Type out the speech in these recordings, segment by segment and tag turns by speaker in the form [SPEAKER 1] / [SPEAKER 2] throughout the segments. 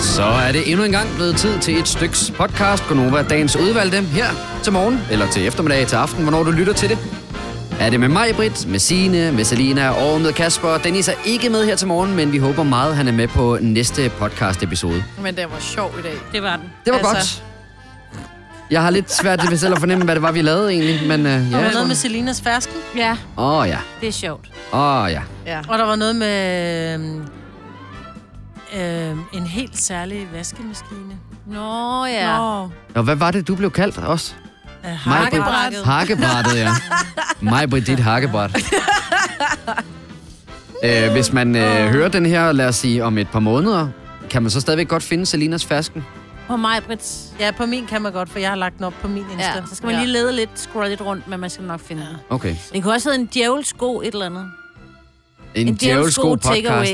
[SPEAKER 1] Så er det endnu en gang blevet tid til et styks podcast. Gonova dagens udvalgte her til morgen, eller til eftermiddag, til aften, hvornår du lytter til det. Er det med mig, Britt, med Sine, med Selina og med Kasper. Dennis er ikke med her til morgen, men vi håber meget, han er med på næste podcast episode.
[SPEAKER 2] Men det var sjov i dag.
[SPEAKER 3] Det var den.
[SPEAKER 1] Det var altså... godt. Jeg har lidt svært ved selv at fornemme, hvad det var, vi lavede egentlig, men øh,
[SPEAKER 3] Der
[SPEAKER 1] ja.
[SPEAKER 3] var noget med Selinas fersken.
[SPEAKER 2] Ja.
[SPEAKER 1] Åh oh, ja,
[SPEAKER 3] Det er sjovt.
[SPEAKER 1] åh oh, ja.
[SPEAKER 2] ja.
[SPEAKER 3] Og der var noget med øhm, øhm, en helt særlig vaskemaskine.
[SPEAKER 2] Nå ja.
[SPEAKER 3] Ja.
[SPEAKER 2] Nå.
[SPEAKER 3] Nå,
[SPEAKER 1] Og hvad var det, du blev kaldt også?
[SPEAKER 3] øh,
[SPEAKER 1] Majbrit.
[SPEAKER 3] hakkebrættet.
[SPEAKER 1] Hakkebrættet, ja. Mig, Britt, dit hakkebræt. Øh, hvis man øh, hører den her, lad os sige, om et par måneder, kan man så stadigvæk godt finde Selinas fersken?
[SPEAKER 3] På mig, Brits.
[SPEAKER 2] Ja, på min kan man godt, for jeg har lagt den op på min Insta.
[SPEAKER 3] Ja, så skal man lige lede lidt, scrolle lidt rundt, men man skal nok finde ja. den.
[SPEAKER 1] Okay.
[SPEAKER 3] Det kunne også hedde en djævelsko et eller andet.
[SPEAKER 1] En, en djævelsk god podcast.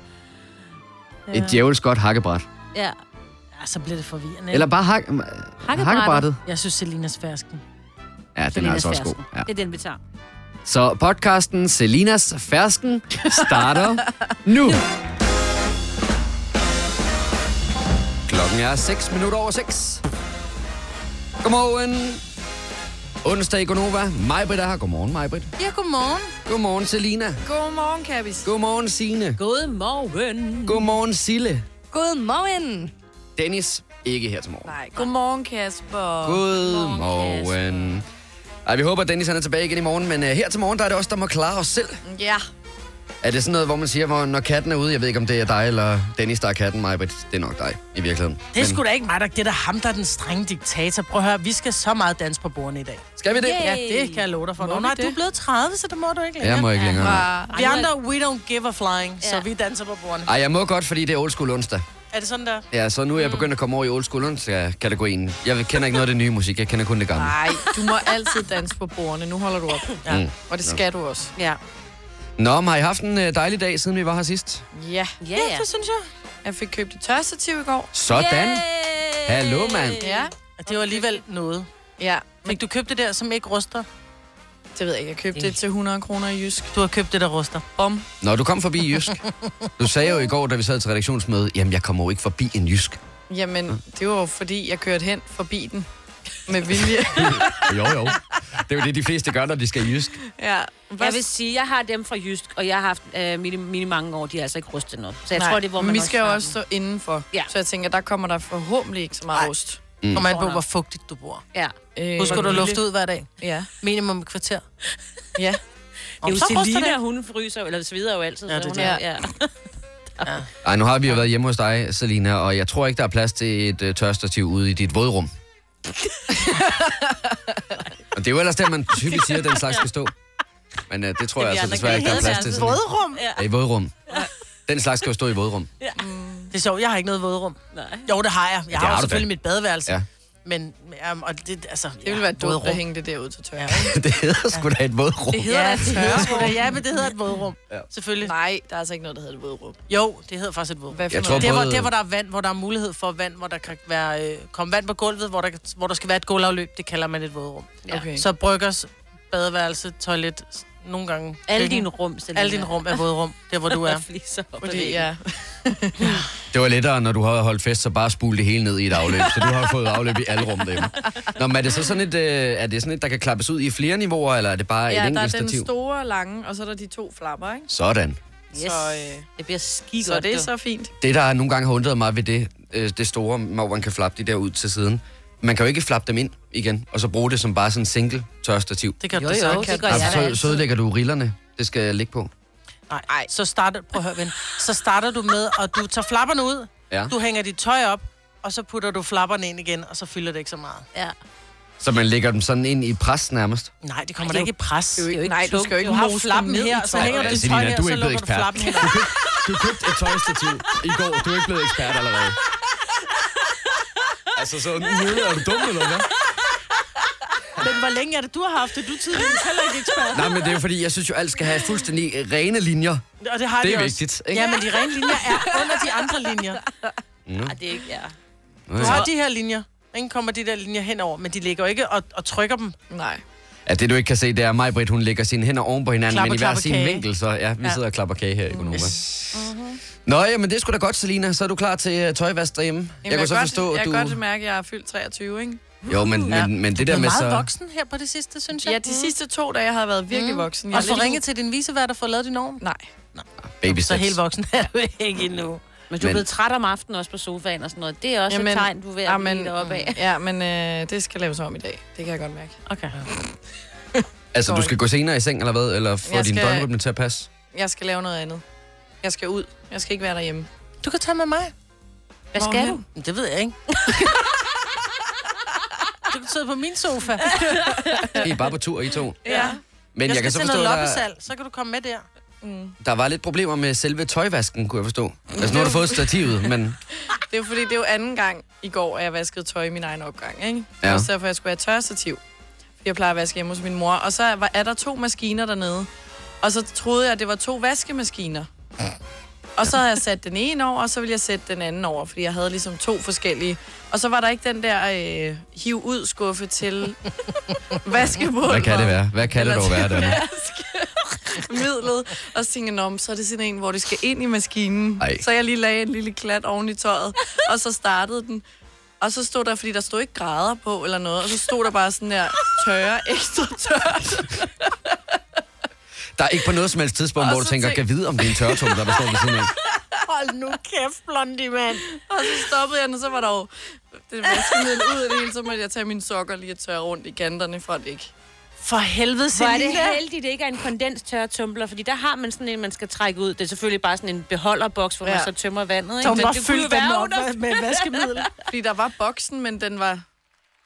[SPEAKER 1] Et djævelsk godt hakkebræt.
[SPEAKER 3] ja.
[SPEAKER 2] Ja, så bliver det forvirrende.
[SPEAKER 1] Eller
[SPEAKER 2] Eller...
[SPEAKER 1] bare hak... hakkebrættet.
[SPEAKER 2] Jeg synes, Selinas fersken.
[SPEAKER 1] Ja, den er altså også god. Ja.
[SPEAKER 3] Det er den, vi tager.
[SPEAKER 1] Så podcasten Selinas Fersken starter nu. Klokken er 6 minutter over 6. Godmorgen. Onsdag i Gonova. Majbrit er her. Godmorgen, Majbrit.
[SPEAKER 2] Ja, godmorgen.
[SPEAKER 1] Godmorgen, Selina.
[SPEAKER 2] Godmorgen, Kabis.
[SPEAKER 1] Godmorgen, Signe.
[SPEAKER 3] God morgen.
[SPEAKER 1] Godmorgen, Sille.
[SPEAKER 4] Godmorgen.
[SPEAKER 1] Dennis, ikke her til morgen.
[SPEAKER 4] Nej, god.
[SPEAKER 2] Godmorgen, Kasper.
[SPEAKER 1] Godmorgen. Ej, vi håber, at Dennis han er tilbage igen i morgen, men uh, her til morgen, der er det os, der må klare os selv.
[SPEAKER 2] Ja.
[SPEAKER 1] Er det sådan noget, hvor man siger, hvor når katten er ude, jeg ved ikke, om det er dig eller Dennis, der er katten, mig, det er nok dig i virkeligheden.
[SPEAKER 2] Det er sgu da ikke mig, der det er da ham, der er den strenge diktator. Prøv at høre, vi skal så meget dans på bordene i dag.
[SPEAKER 1] Skal vi det?
[SPEAKER 3] Yay.
[SPEAKER 2] Ja, det kan jeg love dig for.
[SPEAKER 3] Må
[SPEAKER 2] Nå,
[SPEAKER 3] vi
[SPEAKER 2] nej,
[SPEAKER 3] det?
[SPEAKER 2] du er blevet 30, så det må du ikke længere.
[SPEAKER 1] Jeg må ikke længere.
[SPEAKER 2] Vi andre, we don't give a flying, ja. så
[SPEAKER 3] Ja.
[SPEAKER 2] vi danser på bordene.
[SPEAKER 1] Ej, jeg må godt, fordi det er old school onsdag.
[SPEAKER 2] Er det sådan der?
[SPEAKER 1] Ja, så nu er jeg begyndt at komme over i old school onsdag-kategorien. Jeg kender ikke noget af det nye musik, jeg kender kun det gamle.
[SPEAKER 5] Nej, du må altid danse på bordene. Nu holder du op.
[SPEAKER 2] Ja.
[SPEAKER 1] Mm.
[SPEAKER 5] Og det skal du også.
[SPEAKER 3] Ja.
[SPEAKER 1] Nå, men har I haft en øh, dejlig dag, siden vi var her sidst?
[SPEAKER 5] Ja.
[SPEAKER 3] Ja, ja.
[SPEAKER 2] det synes jeg.
[SPEAKER 5] Jeg fik købt et tørstativ i går.
[SPEAKER 1] Sådan. Hallo, mand.
[SPEAKER 5] Øh, Ja.
[SPEAKER 2] Og det var alligevel noget.
[SPEAKER 5] Ja.
[SPEAKER 2] Fik du købt det der, som ikke ruster?
[SPEAKER 5] Det ved jeg ikke. Jeg købte det til 100 kroner i Jysk.
[SPEAKER 2] Du har købt det, der ruster.
[SPEAKER 5] Bom.
[SPEAKER 1] Nå, du kom forbi Jysk. Du sagde jo i går, da vi sad til redaktionsmøde, jamen, jeg kommer jo ikke forbi en Jysk.
[SPEAKER 5] Jamen, det var jo fordi, jeg kørte hen forbi den. Med vilje.
[SPEAKER 1] Jo, jo. Det er jo det, de fleste gør, når de skal i Jysk.
[SPEAKER 5] ja.
[SPEAKER 3] Jeg vil sige, jeg har dem fra Jysk, og jeg har haft øh, mine, mine mange år, de er altså ikke rustet noget. Så jeg Nej, tror, det er, hvor man
[SPEAKER 5] Men vi skal jo
[SPEAKER 3] har
[SPEAKER 5] også stå indenfor.
[SPEAKER 3] Ja.
[SPEAKER 5] Så jeg tænker, der kommer der forhåbentlig ikke så meget
[SPEAKER 2] Ej.
[SPEAKER 5] rust.
[SPEAKER 2] Mm. Kommer an på, hvor fugtigt du bor.
[SPEAKER 3] den. Ja.
[SPEAKER 5] Øh,
[SPEAKER 2] Husk, at du lufte ud hver dag.
[SPEAKER 5] Ja.
[SPEAKER 2] Minimum et kvarter. Det
[SPEAKER 5] Ja.
[SPEAKER 3] Det er jo
[SPEAKER 2] så ruster
[SPEAKER 3] Selina,
[SPEAKER 2] det.
[SPEAKER 3] hun fryser, jo- eller svider jo altid.
[SPEAKER 2] Ja,
[SPEAKER 3] Ja,
[SPEAKER 2] det er
[SPEAKER 3] det, hun
[SPEAKER 5] det.
[SPEAKER 3] er, ja.
[SPEAKER 1] Ej, nu har vi jo været hjemme hos dig, Selina, og jeg tror ikke, der er plads til et uh, tørstativ ude i dit vådrum. og det er jo ellers der, man typisk siger, at den slags skal stå. Men uh, det tror jeg altså
[SPEAKER 3] andre
[SPEAKER 1] desværre
[SPEAKER 3] kan
[SPEAKER 1] ikke, der er
[SPEAKER 3] ikke
[SPEAKER 1] plads
[SPEAKER 3] have
[SPEAKER 1] til.
[SPEAKER 3] det.
[SPEAKER 1] Sådan.
[SPEAKER 2] Vådrum?
[SPEAKER 1] Ja, i vådrum. Den slags skal jo stå i vådrum.
[SPEAKER 2] Det er sjovt, jeg har ikke noget vådrum.
[SPEAKER 3] Nej.
[SPEAKER 2] Jo, det har jeg. Jeg har,
[SPEAKER 1] har
[SPEAKER 2] har
[SPEAKER 1] du
[SPEAKER 2] selvfølgelig mit badeværelse.
[SPEAKER 1] Ja.
[SPEAKER 2] Ja. Men, um, og det, altså,
[SPEAKER 5] Det ville være dumt at hænge det derude til tørre.
[SPEAKER 1] det hedder sgu da et vådrum.
[SPEAKER 2] Det hedder
[SPEAKER 5] Ja,
[SPEAKER 2] ja, det tørre. Ja, men det hedder et vådrum.
[SPEAKER 1] Ja.
[SPEAKER 2] Ja. Selvfølgelig.
[SPEAKER 5] Nej, der er altså ikke noget, der hedder det vådrum.
[SPEAKER 2] Jo, det hedder faktisk et vådrum.
[SPEAKER 5] Hvad for
[SPEAKER 1] Jeg
[SPEAKER 5] noget?
[SPEAKER 1] tror
[SPEAKER 2] Det var
[SPEAKER 1] Både-
[SPEAKER 2] der, hvor der er vand, hvor der er mulighed for vand, hvor der kan være, øh, komme vand på gulvet, hvor der, hvor der skal være et gulvafløb. Det kalder man et vådrum.
[SPEAKER 3] Ja.
[SPEAKER 5] Okay.
[SPEAKER 2] Så bryggers, badeværelse, toilet, s- nogle gange.
[SPEAKER 3] Alle
[SPEAKER 2] køkken.
[SPEAKER 3] dine rum, Selina.
[SPEAKER 2] Alle dine rum er vådrum, der hvor du er.
[SPEAKER 3] er fliser op ad
[SPEAKER 5] Fordi,
[SPEAKER 3] væggen.
[SPEAKER 5] ja.
[SPEAKER 1] Det var lettere, når du havde holdt fest, så bare spule det hele ned i et afløb. Så du har fået afløb i alle rum derhjemme. Nå, men er det så sådan et, øh, er det sådan et, der kan klappes ud i flere niveauer, eller er det bare et
[SPEAKER 5] ja, der er
[SPEAKER 1] enkelt
[SPEAKER 5] den
[SPEAKER 1] stativ?
[SPEAKER 5] store lange, og så er der de to flapper, ikke?
[SPEAKER 1] Sådan.
[SPEAKER 3] Yes.
[SPEAKER 5] Så, øh,
[SPEAKER 3] det bliver skidt
[SPEAKER 5] Så det er så fint.
[SPEAKER 1] Det, der nogle gange har undret mig ved det, øh, det store, hvor man kan flappe de der ud til siden, man kan jo ikke flappe dem ind igen, og så bruge det som bare sådan en single tørstativ.
[SPEAKER 2] Det kan
[SPEAKER 3] Jo,
[SPEAKER 2] du
[SPEAKER 3] jo,
[SPEAKER 2] så
[SPEAKER 3] det
[SPEAKER 2] kan.
[SPEAKER 3] gør jeg da
[SPEAKER 1] Altså, så, så
[SPEAKER 3] altid.
[SPEAKER 1] ødelægger du rillerne. Det skal jeg ligge på.
[SPEAKER 2] Nej, så starter, prøv at høre, ven. så starter du med, og du tager flapperne ud,
[SPEAKER 1] Ja.
[SPEAKER 2] du hænger dit tøj op, og så putter du flapperne ind igen, og så fylder det ikke så meget.
[SPEAKER 3] Ja.
[SPEAKER 1] Så man lægger dem sådan ind i pres nærmest.
[SPEAKER 2] Nej, det kommer da
[SPEAKER 3] Ej, det er
[SPEAKER 2] ikke i pres.
[SPEAKER 3] jo ikke
[SPEAKER 5] Nej, du
[SPEAKER 3] tungt.
[SPEAKER 5] skal jo ikke
[SPEAKER 2] Du har
[SPEAKER 5] mose
[SPEAKER 2] flappen
[SPEAKER 5] dem ned
[SPEAKER 2] her,
[SPEAKER 5] i
[SPEAKER 2] så
[SPEAKER 5] tøjet.
[SPEAKER 2] hænger du dit
[SPEAKER 1] Selina,
[SPEAKER 2] tøj her,
[SPEAKER 1] du er
[SPEAKER 2] så
[SPEAKER 1] ikke blevet
[SPEAKER 2] lukker du
[SPEAKER 1] ekspert.
[SPEAKER 2] flappen her.
[SPEAKER 1] Du købte, du købte et tøjstativ i går. Du er ikke blevet ekspert allerede. Altså, så nu er du dum, eller hvad?
[SPEAKER 2] Men hvor længe er det, du har haft det? Du er tydeligvis heller ikke ekspert.
[SPEAKER 1] Nej, men det er jo fordi, jeg synes jo, alt skal have fuldstændig rene linjer.
[SPEAKER 2] Og det har
[SPEAKER 1] Det
[SPEAKER 2] de
[SPEAKER 1] er
[SPEAKER 2] også.
[SPEAKER 1] vigtigt, ikke?
[SPEAKER 2] Ja, men de rene linjer er under de andre linjer.
[SPEAKER 3] Ej, det er ikke, ja.
[SPEAKER 2] Du har de her linjer. Ingen kommer de der linjer henover, men de ligger jo ikke og, og trykker dem.
[SPEAKER 5] Nej.
[SPEAKER 1] Ja, det du ikke kan se, det er, at Majbrit, hun lægger sine hænder oven på hinanden,
[SPEAKER 2] Klapper,
[SPEAKER 1] men i hver
[SPEAKER 2] klapper
[SPEAKER 1] sin
[SPEAKER 2] kage.
[SPEAKER 1] vinkel, så ja, vi
[SPEAKER 2] Ja.
[SPEAKER 1] sidder og klapper kage her i Gonova. Yes. Nå, jamen det er sgu da godt, Selina. Så er du klar til øh, tøjvask derhjemme. Jamen, jeg,
[SPEAKER 5] kan
[SPEAKER 1] kan så
[SPEAKER 5] godt,
[SPEAKER 1] forstå,
[SPEAKER 5] jeg
[SPEAKER 1] at du...
[SPEAKER 5] kan godt mærke, at jeg er fyldt 23, ikke?
[SPEAKER 1] Jo, men,
[SPEAKER 5] Ja.
[SPEAKER 1] men, men det
[SPEAKER 3] Du
[SPEAKER 1] der
[SPEAKER 3] er
[SPEAKER 1] med
[SPEAKER 3] meget
[SPEAKER 1] så...
[SPEAKER 3] voksen her på det sidste, synes jeg.
[SPEAKER 5] Ja, de sidste to dage har jeg været virkelig
[SPEAKER 3] Mm.
[SPEAKER 5] voksen. Jeg
[SPEAKER 2] Mm. Og
[SPEAKER 5] er
[SPEAKER 2] få
[SPEAKER 5] lidt-
[SPEAKER 2] ringet til din visevært og få lavet din orm.
[SPEAKER 5] Nej.
[SPEAKER 1] Baby
[SPEAKER 2] Så
[SPEAKER 1] steps.
[SPEAKER 2] helt voksen er du ikke endnu.
[SPEAKER 4] Men du er
[SPEAKER 1] Men-
[SPEAKER 4] blevet træt om aftenen også på sofaen og sådan noget. Det er også et tegn, du er ved at blive lidt deroppe af.
[SPEAKER 5] Ja, men øh, det skal laves om i dag. Det kan jeg godt mærke.
[SPEAKER 2] Okay.
[SPEAKER 1] Altså, du
[SPEAKER 5] Sorry.
[SPEAKER 1] skal gå senere i seng, eller hvad? Eller få
[SPEAKER 5] Jeg
[SPEAKER 1] din
[SPEAKER 5] skal-
[SPEAKER 1] døgnrytme til at passe?
[SPEAKER 5] Jeg skal lave noget andet. Jeg skal ud. Jeg skal ikke være derhjemme.
[SPEAKER 2] Du kan tage med mig.
[SPEAKER 4] Hvad
[SPEAKER 5] Hvor
[SPEAKER 4] skal
[SPEAKER 5] hen?
[SPEAKER 4] du?
[SPEAKER 2] Men Det ved jeg ikke. du kan sidde på min sofa.
[SPEAKER 1] I er bare på tur, I to.
[SPEAKER 2] Ja. Jeg
[SPEAKER 1] Men jeg, jeg
[SPEAKER 2] skal
[SPEAKER 1] kan så
[SPEAKER 2] til
[SPEAKER 1] forstå,
[SPEAKER 2] noget
[SPEAKER 1] der,
[SPEAKER 2] loppesal, så kan du komme med der.
[SPEAKER 4] Mm.
[SPEAKER 1] der var lidt problemer med selve tøjvasken, kunne jeg forstå. Altså, nu har du fået stativet, men...
[SPEAKER 5] Det er jo fordi, det er jo anden gang i går, at jeg vaskede tøj i min egen opgang, ikke?
[SPEAKER 1] Ja.
[SPEAKER 5] Ja. Også derfor, jeg skulle have tørstativ. Jeg plejer at vaske hjemme hos min mor. Og så var, er der to maskiner dernede. Og så troede jeg, at det var to vaskemaskiner. Og så havde jeg sat den ene over, og så ville jeg sætte den anden over, fordi jeg havde ligesom to forskellige. Og så var der ikke den der øh, hiv-ud-skuffe til vaskepulver.
[SPEAKER 1] Hvad kan det være? Hvad kan det
[SPEAKER 5] Eller
[SPEAKER 1] dog være,
[SPEAKER 5] til
[SPEAKER 1] Danne?
[SPEAKER 5] midlet, og så tænkte jeg, "Nå, men så er det sådan en, hvor det skal ind i maskinen.
[SPEAKER 1] Ej.
[SPEAKER 5] Ej. Så jeg lige lagde en lille klat oven i tøjet, og så startede den. Og så stod der, fordi der stod ikke grader på eller noget, og så stod der bare sådan der tørre, ekstra tørre.
[SPEAKER 1] Der er ikke på noget som helst tidspunkt,
[SPEAKER 5] Og
[SPEAKER 1] hvor du
[SPEAKER 5] så
[SPEAKER 1] tænker,
[SPEAKER 5] tænk-
[SPEAKER 1] kan vide, om det er en tørretum, der består ved siden af.
[SPEAKER 2] Hold nu kæft, blondie, mand.
[SPEAKER 5] Og så stoppede jeg den, og så var der jo det vaskemiddel ud af det hele, så måtte jeg tage mine sokker lige og tørre rundt i kanterne for at det ikke.
[SPEAKER 2] For helvede,
[SPEAKER 4] Hvor er
[SPEAKER 2] Selina.
[SPEAKER 4] det heldigt, det ikke er en kondenstørretumbler, fordi der har man sådan en, man skal trække ud. Det er selvfølgelig bare sådan en beholderboks, hvor ja. man
[SPEAKER 5] Ja.
[SPEAKER 4] så tømmer vandet.
[SPEAKER 2] Så
[SPEAKER 4] Ikke?
[SPEAKER 2] hun
[SPEAKER 4] Men
[SPEAKER 2] bare
[SPEAKER 4] det kunne jo
[SPEAKER 2] fyldte den
[SPEAKER 4] være
[SPEAKER 2] op
[SPEAKER 4] under-
[SPEAKER 2] med, med vaskemiddel.
[SPEAKER 5] Fordi der var boksen, men den var...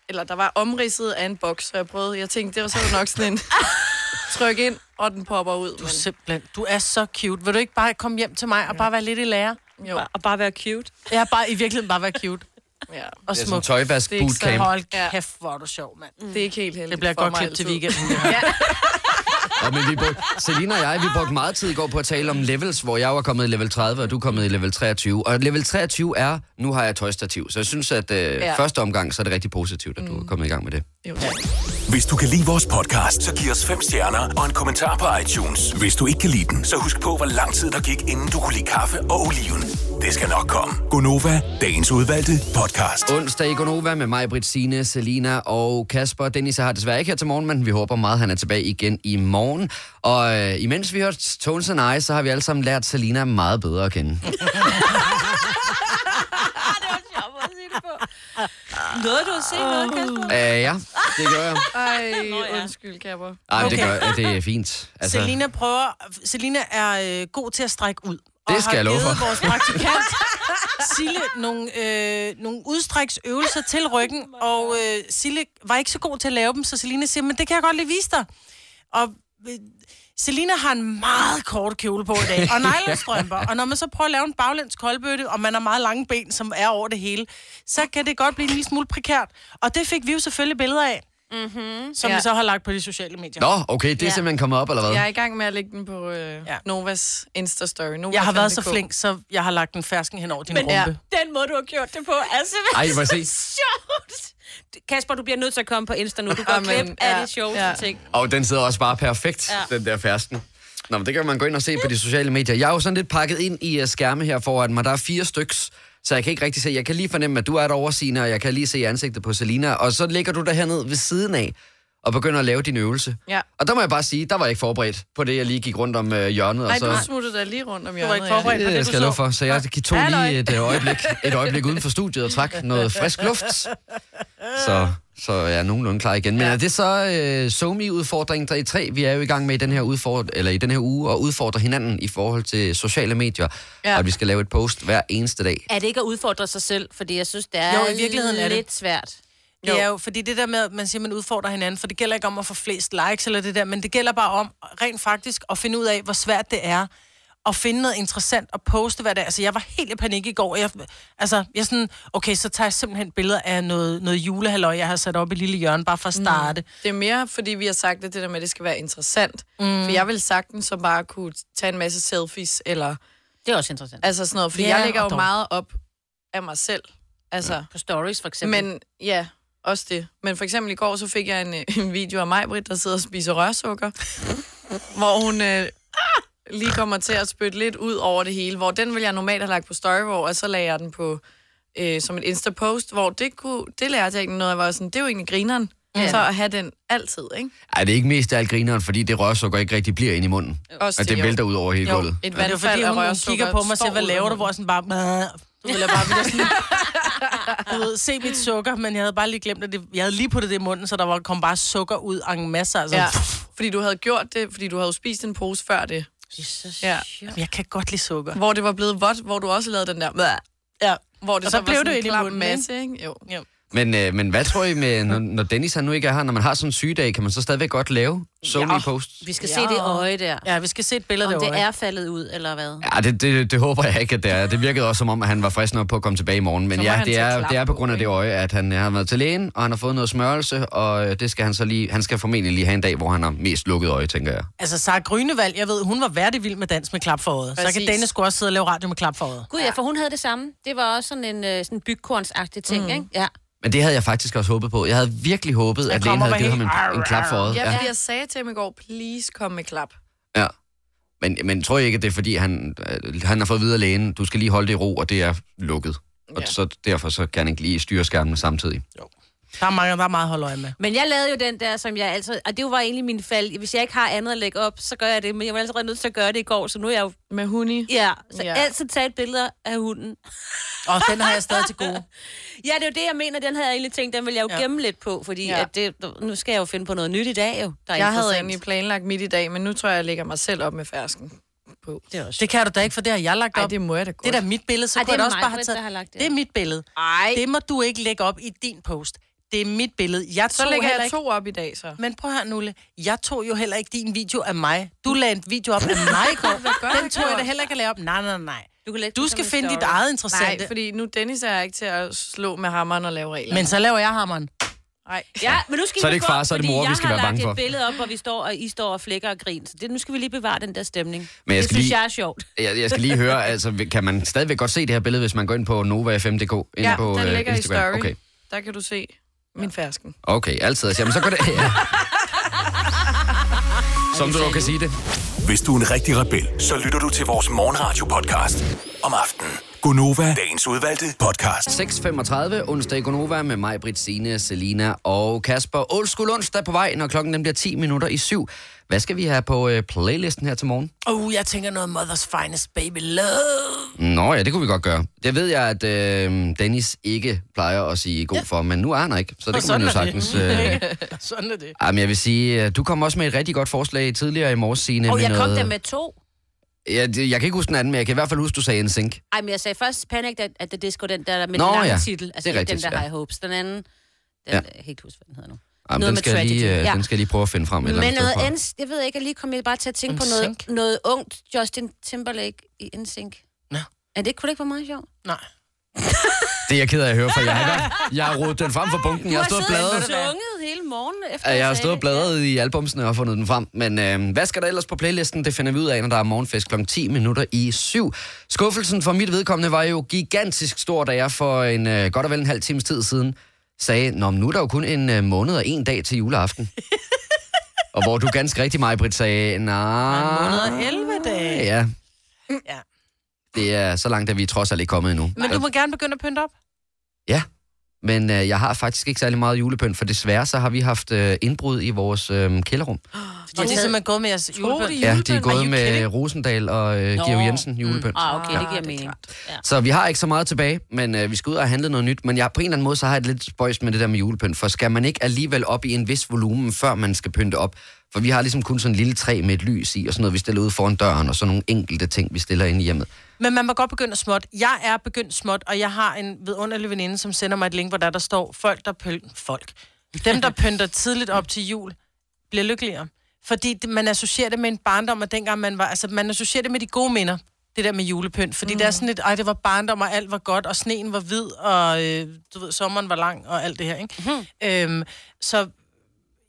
[SPEAKER 5] Eller der var omridset af en boks, så jeg prøvede... Jeg tænkte, det var så nok sådan en... Tryk ind, og den popper ud.
[SPEAKER 2] Du er
[SPEAKER 5] Men,
[SPEAKER 2] simpelthen, du er så cute. Vil du ikke bare komme hjem til mig og bare være lidt i lære?
[SPEAKER 5] jo,
[SPEAKER 4] Og bare være cute.
[SPEAKER 2] Jeg er bare i virkeligheden bare være cute
[SPEAKER 5] ja.
[SPEAKER 2] og
[SPEAKER 1] Det er sådan en
[SPEAKER 2] smuk.
[SPEAKER 1] tøjvask
[SPEAKER 5] Det er ikke så
[SPEAKER 1] bootcamp.
[SPEAKER 2] Hold
[SPEAKER 5] Ja.
[SPEAKER 2] kæft, hvor er du sjov, mand.
[SPEAKER 5] Det er ikke helt heldigt
[SPEAKER 2] Det bliver et
[SPEAKER 5] for
[SPEAKER 2] godt
[SPEAKER 5] mig
[SPEAKER 2] klip til
[SPEAKER 5] altid.
[SPEAKER 2] weekenden.
[SPEAKER 1] Og men vi brugte, Selina og jeg, vi brugte meget tid i går på at tale om levels, hvor jeg var kommet i level 30, og du er kommet i level 23. Og level 23 er, nu har jeg tøjstativ. Så jeg synes, at øh, ja. første omgang, så er det rigtig positivt, at du er kommet i gang med det.
[SPEAKER 5] Jo.
[SPEAKER 6] Hvis du kan lide vores podcast, så giv os fem stjerner og en kommentar på iTunes. Hvis du ikke kan lide den, så husk på, hvor lang tid der gik, inden du kunne lide kaffe og oliven. Det skal nok komme. Gonova, dagens udvalgte podcast.
[SPEAKER 1] Onsdag i Gonova med mig, Britt, Signe, Selina og Kasper. Dennis er her desværre ikke her til morgen, men vi håber meget, han er tilbage igen i morgen. Og øh, imens vi hørte Tones and I, så har vi alle sammen lært Selina meget bedre at kende. Øh,
[SPEAKER 4] Noget, du har set noget, Kasper?
[SPEAKER 1] Æh, ja, det gør jeg.
[SPEAKER 5] Ej, undskyld, Kapper.
[SPEAKER 1] Ej, okay. det,
[SPEAKER 2] Okay.
[SPEAKER 1] gør, jeg. det er fint.
[SPEAKER 2] Altså... Selina prøver... Selina er øh, god til at strække ud. og
[SPEAKER 1] Det skal
[SPEAKER 2] har
[SPEAKER 1] jeg love
[SPEAKER 2] givet
[SPEAKER 1] for.
[SPEAKER 2] vores praktikant Sille nogle, øh, nogle udstræksøvelser til ryggen, og øh, Sille var ikke så god til at lave dem, så Selina siger, men det kan jeg godt lige vise dig. Og øh, Selina har en meget kort kjole på i dag, og nylonstrømper, og når man så prøver at lave en baglæns koldbøtte, og man har meget lange ben, som er over det hele, så kan det godt blive en lille smule prekært. Og det fik vi jo selvfølgelig billeder af,
[SPEAKER 4] Mhm.
[SPEAKER 2] mm-hmm. som ja. vi
[SPEAKER 5] Ja.
[SPEAKER 2] så har lagt på de sociale medier.
[SPEAKER 1] Nå, okay, det er simpelthen kommet op, eller hvad?
[SPEAKER 5] Jeg er i gang med at lægge den på øh,
[SPEAKER 2] Ja.
[SPEAKER 5] ja. Novas Insta-story. Nova
[SPEAKER 2] Jeg har været så
[SPEAKER 5] 5.dk.
[SPEAKER 2] flink, så jeg har lagt en fersken hen over din
[SPEAKER 4] Men
[SPEAKER 2] rumpe.
[SPEAKER 4] ja,
[SPEAKER 2] Ja.
[SPEAKER 4] den måde, du har gjort det på, Altså, er simpelthen
[SPEAKER 1] Ej, må jeg se?
[SPEAKER 4] sjovt. Kasper, du bliver nødt til at komme på Insta nu. Du går
[SPEAKER 5] Amen,
[SPEAKER 4] klip af
[SPEAKER 5] ja,
[SPEAKER 4] de sjoveste
[SPEAKER 5] ja.
[SPEAKER 4] ting.
[SPEAKER 1] Og den sidder også bare perfekt, ja. den der fersken. Nå, men det kan man gå ind og se på de sociale medier. Jeg er jo sådan lidt pakket ind i øh, skærme her foran mig. Der er fire styks, så jeg kan ikke rigtig se. Jeg kan lige fornemme, at du er et oversigne, og jeg kan lige se ansigtet på Selina. Og så ligger du der hernede ved siden af og begynder at lave din øvelse.
[SPEAKER 5] Ja.
[SPEAKER 1] Og der må jeg bare sige, der var jeg ikke forberedt på det, jeg lige gik rundt om øh, hjørnet.
[SPEAKER 5] Nej,
[SPEAKER 1] og så...
[SPEAKER 5] du smuttede da lige rundt om hjørnet.
[SPEAKER 2] ikke forberedt.
[SPEAKER 1] Det,
[SPEAKER 2] på det, du
[SPEAKER 1] det skal jeg
[SPEAKER 2] så.
[SPEAKER 1] love for. Så jeg tog
[SPEAKER 5] Halløj.
[SPEAKER 1] lige et øh, øjeblik, et øjeblik uden for studiet og trak noget frisk luft. Så, så jeg er nogenlunde klar igen. Men er det så øh, SoMe-udfordringen, der er i tre? Vi er jo i gang med i den her, udfordre, eller i den her uge at udfordre hinanden i forhold til sociale medier. Ja.
[SPEAKER 5] Ja.
[SPEAKER 1] Og vi skal lave et post hver eneste dag.
[SPEAKER 4] Er det ikke at udfordre sig selv? Fordi jeg synes, det er,
[SPEAKER 2] Jo, i virkeligheden er det.
[SPEAKER 4] lidt svært.
[SPEAKER 2] Det er jo, fordi det der med, at man siger, man udfordrer hinanden, for det gælder ikke om at få flest likes eller det der, men det gælder bare om rent faktisk at finde ud af, hvor svært det er at finde noget interessant og poste hver dag. Altså, jeg var helt i panik i går. Jeg, altså, jeg sådan, okay, så tager jeg simpelthen billeder af noget, noget julehalløj, jeg har sat op i lille hjørne, bare for at starte. Mm.
[SPEAKER 5] Det er mere, fordi vi har sagt, at det der med, at det skal være interessant. Mm. For jeg vil sagtens så bare kunne tage en masse selfies, eller
[SPEAKER 4] Det er også interessant.
[SPEAKER 5] altså sådan noget. Fordi
[SPEAKER 2] Ja,
[SPEAKER 5] jeg lægger
[SPEAKER 2] og
[SPEAKER 5] jo
[SPEAKER 2] dog.
[SPEAKER 5] meget op af mig selv. Altså,
[SPEAKER 4] På stories, for eksempel.
[SPEAKER 5] Men ja, også det. Men for eksempel i går, så fik jeg en, øh, en video af mig, Britt, der sidder og spiser rørsukker. hvor hun øh, lige kommer til at spytte lidt ud over det hele, hvor den vil jeg normalt have lagt på story, hvor og så lagde jeg den på øh, som et Insta-post, hvor det, kunne, det lærte jeg ikke noget, jeg var sådan, det er jo egentlig grineren, ja. så at have den altid, ikke?
[SPEAKER 1] Ej, det er ikke mest af alt grineren, fordi det rørsukker ikke rigtig bliver ind i munden.
[SPEAKER 5] Også
[SPEAKER 1] Og det
[SPEAKER 5] jo.
[SPEAKER 1] vælter ud over hele
[SPEAKER 5] Jo,
[SPEAKER 1] gulvet.
[SPEAKER 5] et
[SPEAKER 2] Men det er
[SPEAKER 5] vandfald
[SPEAKER 2] fordi,
[SPEAKER 5] af
[SPEAKER 2] hun, hun
[SPEAKER 5] rørsukker
[SPEAKER 2] kigger på mig og siger,
[SPEAKER 5] står
[SPEAKER 2] hvad
[SPEAKER 5] ud
[SPEAKER 2] laver
[SPEAKER 5] af
[SPEAKER 2] du? Hvor jeg sådan bare... "Mæh." Du ville bare ville sådan, du ved, se mit sukker, men jeg havde bare lige glemt, at det, jeg havde lige puttet det i munden, så der var, kom bare sukker ud en masse. Altså.
[SPEAKER 5] Ja,
[SPEAKER 2] Ja.
[SPEAKER 5] fordi du havde gjort det, fordi du havde jo spist en pose før det,
[SPEAKER 4] Jesus.
[SPEAKER 5] Ja.
[SPEAKER 2] Jeg kan godt lide sukker.
[SPEAKER 5] hvor det var blevet vådt, hvor du også lavede den der, "Bæh",
[SPEAKER 2] Ja.
[SPEAKER 5] hvor det
[SPEAKER 2] Og
[SPEAKER 5] så,
[SPEAKER 2] der
[SPEAKER 5] var
[SPEAKER 2] blev
[SPEAKER 5] sådan
[SPEAKER 2] det jo
[SPEAKER 5] en
[SPEAKER 2] ind i
[SPEAKER 5] klam
[SPEAKER 2] munden, ikke?
[SPEAKER 5] masse, ikke? Jo.
[SPEAKER 1] Men, øh, men hvad tror I, med, når, når Dennis han nu ikke er her, når man har sådan en sygedag, kan man så stadigvæk godt lave sony ja. posts?
[SPEAKER 4] Vi skal ja. se det øje der.
[SPEAKER 2] ja, vi skal se et billede
[SPEAKER 4] Om
[SPEAKER 2] derovre.
[SPEAKER 4] det er faldet ud, eller hvad?
[SPEAKER 1] Ja, Ah, det, det, det håber jeg ikke, at det er. Det virkede også som om, at han var frisk nok på at komme tilbage i morgen. Men
[SPEAKER 5] Så må
[SPEAKER 1] ja,
[SPEAKER 5] han
[SPEAKER 1] det
[SPEAKER 5] tage
[SPEAKER 1] er,
[SPEAKER 5] klap
[SPEAKER 1] det er på
[SPEAKER 5] på,
[SPEAKER 1] grund af det øje, at han har været til lægen, og han har fået noget smørelse, og øh, det skal han så lige, han skal formentlig lige have en dag, hvor han har mest lukket øje, tænker jeg.
[SPEAKER 2] Altså, Sara Grønevald, jeg ved, hun var værdig vild med dans med klap for øjet. Så kan
[SPEAKER 5] Præcis.
[SPEAKER 2] Dennis sgu også sidde og lave radio med klap for øjet.
[SPEAKER 4] Gud ja, for hun havde det samme. Det var også sådan en øh, sådan bygkornsagtig ting, mm. ikke? Ja.
[SPEAKER 1] Men det havde jeg faktisk også håbet på. Jeg havde virkelig håbet, at lægen
[SPEAKER 2] kommer
[SPEAKER 1] havde givet
[SPEAKER 2] med
[SPEAKER 1] ham en, en klap for øjet.
[SPEAKER 5] Ja,
[SPEAKER 1] Ja.
[SPEAKER 5] fordi jeg sagde til ham i går, please kom med klap.
[SPEAKER 1] ja. Men, men tror jeg ikke, at det er, fordi han, øh, han har fået videre lægen, du skal lige holde det i ro, og det er lukket. Og
[SPEAKER 5] Ja.
[SPEAKER 1] så derfor så kan han ikke lige styre skærmen samtidig.
[SPEAKER 2] Der er, mange, der er meget at holde øje med.
[SPEAKER 4] Men jeg lavede jo den der, som jeg altså... Og det var egentlig min fald. Hvis jeg ikke har andet at lægge op, så gør jeg det. Men jeg var altså allerede nødt til at gøre det i går, så nu er jeg jo...
[SPEAKER 5] Med huni.
[SPEAKER 4] Ja, så
[SPEAKER 5] Ja.
[SPEAKER 4] ja. altid tage et billede af hunden.
[SPEAKER 2] Og den har jeg stadig til gode.
[SPEAKER 4] Ja, det er jo det, jeg mener. Den havde jeg egentlig tænkt, den ville jeg jo
[SPEAKER 2] Ja.
[SPEAKER 4] ja. gemme lidt på, fordi
[SPEAKER 5] Ja.
[SPEAKER 4] ja. at det, nu skal jeg jo finde på noget nyt i dag, jo. Der er
[SPEAKER 5] Jeg havde
[SPEAKER 4] interessant.
[SPEAKER 5] egentlig planlagt midt i dag, men nu tror jeg, jeg lægger mig selv op med fersken.
[SPEAKER 2] Det kan du da ikke, for det har jeg lagt op.
[SPEAKER 5] Ej, det må jeg da godt.
[SPEAKER 2] Det er da mit billede, så
[SPEAKER 4] Ej,
[SPEAKER 2] Ej,
[SPEAKER 4] det
[SPEAKER 2] kunne
[SPEAKER 4] er
[SPEAKER 2] jeg da også
[SPEAKER 4] mig,
[SPEAKER 2] bare have
[SPEAKER 4] Britt,
[SPEAKER 2] taget...
[SPEAKER 4] der har lagt det.
[SPEAKER 2] det er mit billede.
[SPEAKER 4] Ej.
[SPEAKER 2] Det må du ikke lægge op i din post. Det er mit billede. Jeg
[SPEAKER 5] så
[SPEAKER 2] tog
[SPEAKER 5] lægger
[SPEAKER 2] heller
[SPEAKER 5] jeg
[SPEAKER 2] ikke...
[SPEAKER 5] to op i dag, så.
[SPEAKER 2] Men prøv her, Nulle. Jeg tog jo heller ikke din video af mig. Du lagde en video op af mig i går. Den tog jeg da heller ikke at lave op. Nej, nej, nej.
[SPEAKER 4] Du, kan lægge
[SPEAKER 2] Du
[SPEAKER 4] den
[SPEAKER 2] skal
[SPEAKER 4] som en
[SPEAKER 2] finde dit
[SPEAKER 4] story.
[SPEAKER 2] eget
[SPEAKER 5] Nej,
[SPEAKER 2] interessante.
[SPEAKER 5] fordi nu Dennis er jeg ikke til at slå med hammeren og lave regler.
[SPEAKER 2] Men så laver jeg hammeren.
[SPEAKER 5] Nej.
[SPEAKER 4] Ja, men nu skal
[SPEAKER 1] Så er
[SPEAKER 4] I
[SPEAKER 1] det ikke
[SPEAKER 4] passe på,
[SPEAKER 1] far, så er det
[SPEAKER 4] fordi
[SPEAKER 1] mor, vi
[SPEAKER 4] jeg
[SPEAKER 1] skal
[SPEAKER 4] har
[SPEAKER 1] være bange
[SPEAKER 4] lagt
[SPEAKER 1] for.
[SPEAKER 4] et billede op, hvor vi står, og I står og flækker og griner. Så det, nu skal vi lige bevare den der stemning.
[SPEAKER 1] Men jeg
[SPEAKER 4] det
[SPEAKER 1] skal
[SPEAKER 4] synes
[SPEAKER 1] lige-
[SPEAKER 4] jeg er sjovt.
[SPEAKER 1] Jeg, jeg skal lige høre, altså, kan man stadigvæk godt se det her billede, hvis man går ind på nova5.dk? Inde
[SPEAKER 5] Ja,
[SPEAKER 1] på,
[SPEAKER 5] den
[SPEAKER 1] øh,
[SPEAKER 5] ligger i
[SPEAKER 1] Instagram?
[SPEAKER 5] story.
[SPEAKER 1] Okay,
[SPEAKER 5] Der kan du se min fersken.
[SPEAKER 1] okay altid. Altså, jamen, så går det... Ja. Som du dog kan sige det.
[SPEAKER 6] Hvis du er en rigtig rebel, så lytter du til vores morgenradio-podcast om aftenen. Gunova, dagens udvalgte podcast.
[SPEAKER 1] 6.35, onsdag i Gonova med mig, Britt, Signe, Selina og Kasper. Old School onsdag på vej, når klokken den bliver 10 minutter i syv. Hvad skal vi have på øh, playlisten her til morgen?
[SPEAKER 2] Oh, jeg tænker noget Mother's Finest Baby Love.
[SPEAKER 1] Nå ja, det kunne vi godt gøre. Det ved jeg, at øh, Dennis ikke plejer at sige god for, men nu er han her ikke, så det kunne man jo
[SPEAKER 2] sådan er det.
[SPEAKER 1] sagtens... Øh,
[SPEAKER 2] Sådan er det.
[SPEAKER 1] Jamen, jeg vil sige, øh, du kom også med et rigtig godt forslag tidligere i morges, Signe.
[SPEAKER 4] Og
[SPEAKER 1] med
[SPEAKER 4] jeg kom
[SPEAKER 1] noget-
[SPEAKER 4] der med to.
[SPEAKER 1] Ja, det, jeg kan ikke huske den anden, men jeg kan i hvert fald huske, du sagde en sink.
[SPEAKER 4] Ej, men jeg sagde først Panic at, at det disco, den der med
[SPEAKER 1] Nå,
[SPEAKER 4] den lange
[SPEAKER 1] ja.
[SPEAKER 4] titel.
[SPEAKER 1] Det
[SPEAKER 4] Altså
[SPEAKER 1] er
[SPEAKER 4] ikke
[SPEAKER 1] rigtigt,
[SPEAKER 4] den der
[SPEAKER 1] ja.
[SPEAKER 4] High Hopes. Den anden, den,
[SPEAKER 1] Ja.
[SPEAKER 4] jeg kan ikke huske, hvad den hedder nu.
[SPEAKER 1] Jamen,
[SPEAKER 4] Noget
[SPEAKER 1] den,
[SPEAKER 4] med
[SPEAKER 1] skal jeg lige,
[SPEAKER 4] tragedy,
[SPEAKER 1] øh,
[SPEAKER 4] ja.
[SPEAKER 1] den skal jeg lige prøve at finde frem. et Eller
[SPEAKER 4] Men
[SPEAKER 1] andet sted fra.
[SPEAKER 4] noget ens, jeg ved ikke, jeg lige kom jeg bare til at tænke på
[SPEAKER 2] NSYNC?
[SPEAKER 4] noget, noget ungt Justin Timberlake i NSYNC.
[SPEAKER 2] Nå.
[SPEAKER 4] Er det ikke, kunne det ikke være meget sjovt?
[SPEAKER 2] Nej.
[SPEAKER 1] Det er jeg ked af at høre, for jeg har, i hvert- jeg har rodet den frem fra bunken. Jeg har stået og
[SPEAKER 4] og
[SPEAKER 1] bladret.
[SPEAKER 4] sunget hele morgenen efter.
[SPEAKER 1] Ja, Jeg har
[SPEAKER 4] sagde
[SPEAKER 1] stået og
[SPEAKER 4] det.
[SPEAKER 1] bladret i albumsene og fundet den frem. Men øh, hvad skal der ellers på playlisten? Det finder vi ud af, når der er morgenfest kl. 10 minutter i 7. Skuffelsen for mit vedkommende var jo gigantisk stor, da jeg for en øh, godt og vel en halv times tid siden sagde, Nå, men nu er der jo kun en øh, måned og en dag til juleaften. og hvor du ganske rigtig mig, Britt, sagde, nej,
[SPEAKER 2] Måneder 11 dage.
[SPEAKER 1] ja,
[SPEAKER 2] Ja.
[SPEAKER 1] det er så langt, at vi trods alt ikke kommet endnu.
[SPEAKER 2] Men du må gerne begynde at pynte op.
[SPEAKER 1] Ja, men øh, jeg har faktisk ikke særlig meget julepynt, for desværre så har vi haft øh, indbrud i vores øh, kælderrum.
[SPEAKER 2] Og det er simpelthen gået med jeres julepynt.
[SPEAKER 1] Ja, de er
[SPEAKER 2] Are
[SPEAKER 1] gået
[SPEAKER 2] you
[SPEAKER 1] med
[SPEAKER 2] kidding? Mm.
[SPEAKER 1] Rosendal og øh, Georg Jensen julepynt.
[SPEAKER 4] Ah, okay, det
[SPEAKER 5] Ah,
[SPEAKER 4] giver
[SPEAKER 5] det er
[SPEAKER 4] mening.
[SPEAKER 1] Så vi har ikke så meget tilbage, men øh, vi skal ud og handle noget nyt. Men jeg, på en eller anden måde, så har jeg det lidt spøjst med det der med julepynt, for skal man ikke alligevel op i en vis volumen, før man skal pynte op? For vi har ligesom kun sådan en lille træ med et lys i, og sådan noget, vi stiller ude foran døren, og sådan nogle enkelte ting, vi stiller ind i hjemmet.
[SPEAKER 2] Men man må godt begynde at småt. Jeg er begyndt småt, og jeg har en vidunderlig veninde, som sender mig et link, hvor der, der står, folk der pøl... Folk. Dem, der pynter tidligt op til jul, bliver lykkeligere. Fordi det, man associerer det med en barndom, og dengang man var... Altså, man associerer det med de gode minder, det der med julepynt. Fordi mm. det er sådan lidt, ej, det var barndom, og alt var godt, og sneen var hvid, og øh, du ved, sommeren var lang, og alt det her, ikke? Mm. Øhm, så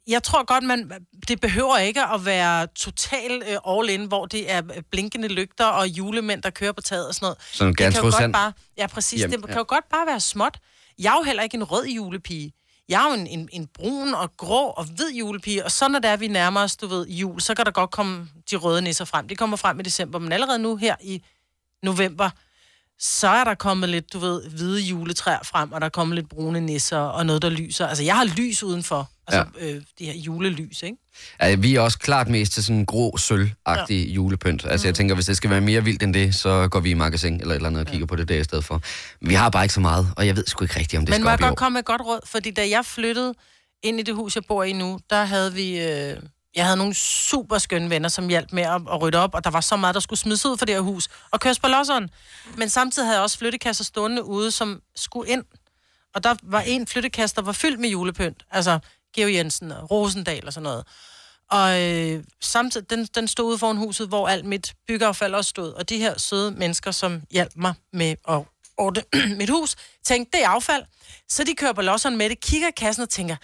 [SPEAKER 2] jeg tror godt, man, det behøver ikke at være total øh, all in, hvor det er øh, blinkende lygter og julemænd, der kører på taget og sådan noget.
[SPEAKER 1] Sådan
[SPEAKER 2] det kan
[SPEAKER 1] Gertrud
[SPEAKER 2] jo godt
[SPEAKER 1] Sand.
[SPEAKER 2] bare, Ja, præcis.
[SPEAKER 1] Jamen,
[SPEAKER 2] det kan
[SPEAKER 1] ja.
[SPEAKER 2] jo godt bare være småt. Jeg er jo heller ikke en rød julepige. Jeg er jo en, en, en brun og grå og hvid julepige, og så når det er, vi nærmer os, du ved, jul, så kan der godt komme de røde nisser frem. De kommer frem i december, men allerede nu her i november, så er der kommet lidt, du ved, hvide juletræer frem, og der er kommet lidt brune nisser og noget, der lyser. Altså, jeg har lys udenfor. Altså, ja. øh, de her julelys, ikke?
[SPEAKER 1] Altså, vi er også klart mest til sådan en grå, sølvagtig ja. julepynt. Altså,
[SPEAKER 2] Mm.
[SPEAKER 1] jeg tænker, hvis det skal være mere vildt end det, så går vi i magasin eller et eller andet og kigger på det der i stedet for. Vi har bare ikke så meget, og jeg ved sgu ikke rigtigt, om det
[SPEAKER 2] Men
[SPEAKER 1] skal
[SPEAKER 2] må jeg
[SPEAKER 1] op i
[SPEAKER 2] godt
[SPEAKER 1] år.
[SPEAKER 2] komme med et godt råd? Fordi da jeg flyttede ind i det hus, jeg bor i nu, der havde vi... Øh, jeg havde nogle super skønne venner, som hjalp med at, at rydde op, og der var så meget, der skulle smides ud for det her hus, og køres på losseren. Men samtidig havde jeg også flyttekasser stående ude, som skulle ind. Og der var en flyttekasse, der var fyldt med julepynt. Altså Georg Jensen og Rosendal og sådan noget. Og øh, samtidig, den, den stod ude foran huset, hvor alt mit byggeaffald også stod. Og de her søde mennesker, som hjalp mig med at ordne mit hus, tænkte, det er affald. Så de kører på losseren med det, kigger i kassen og tænker,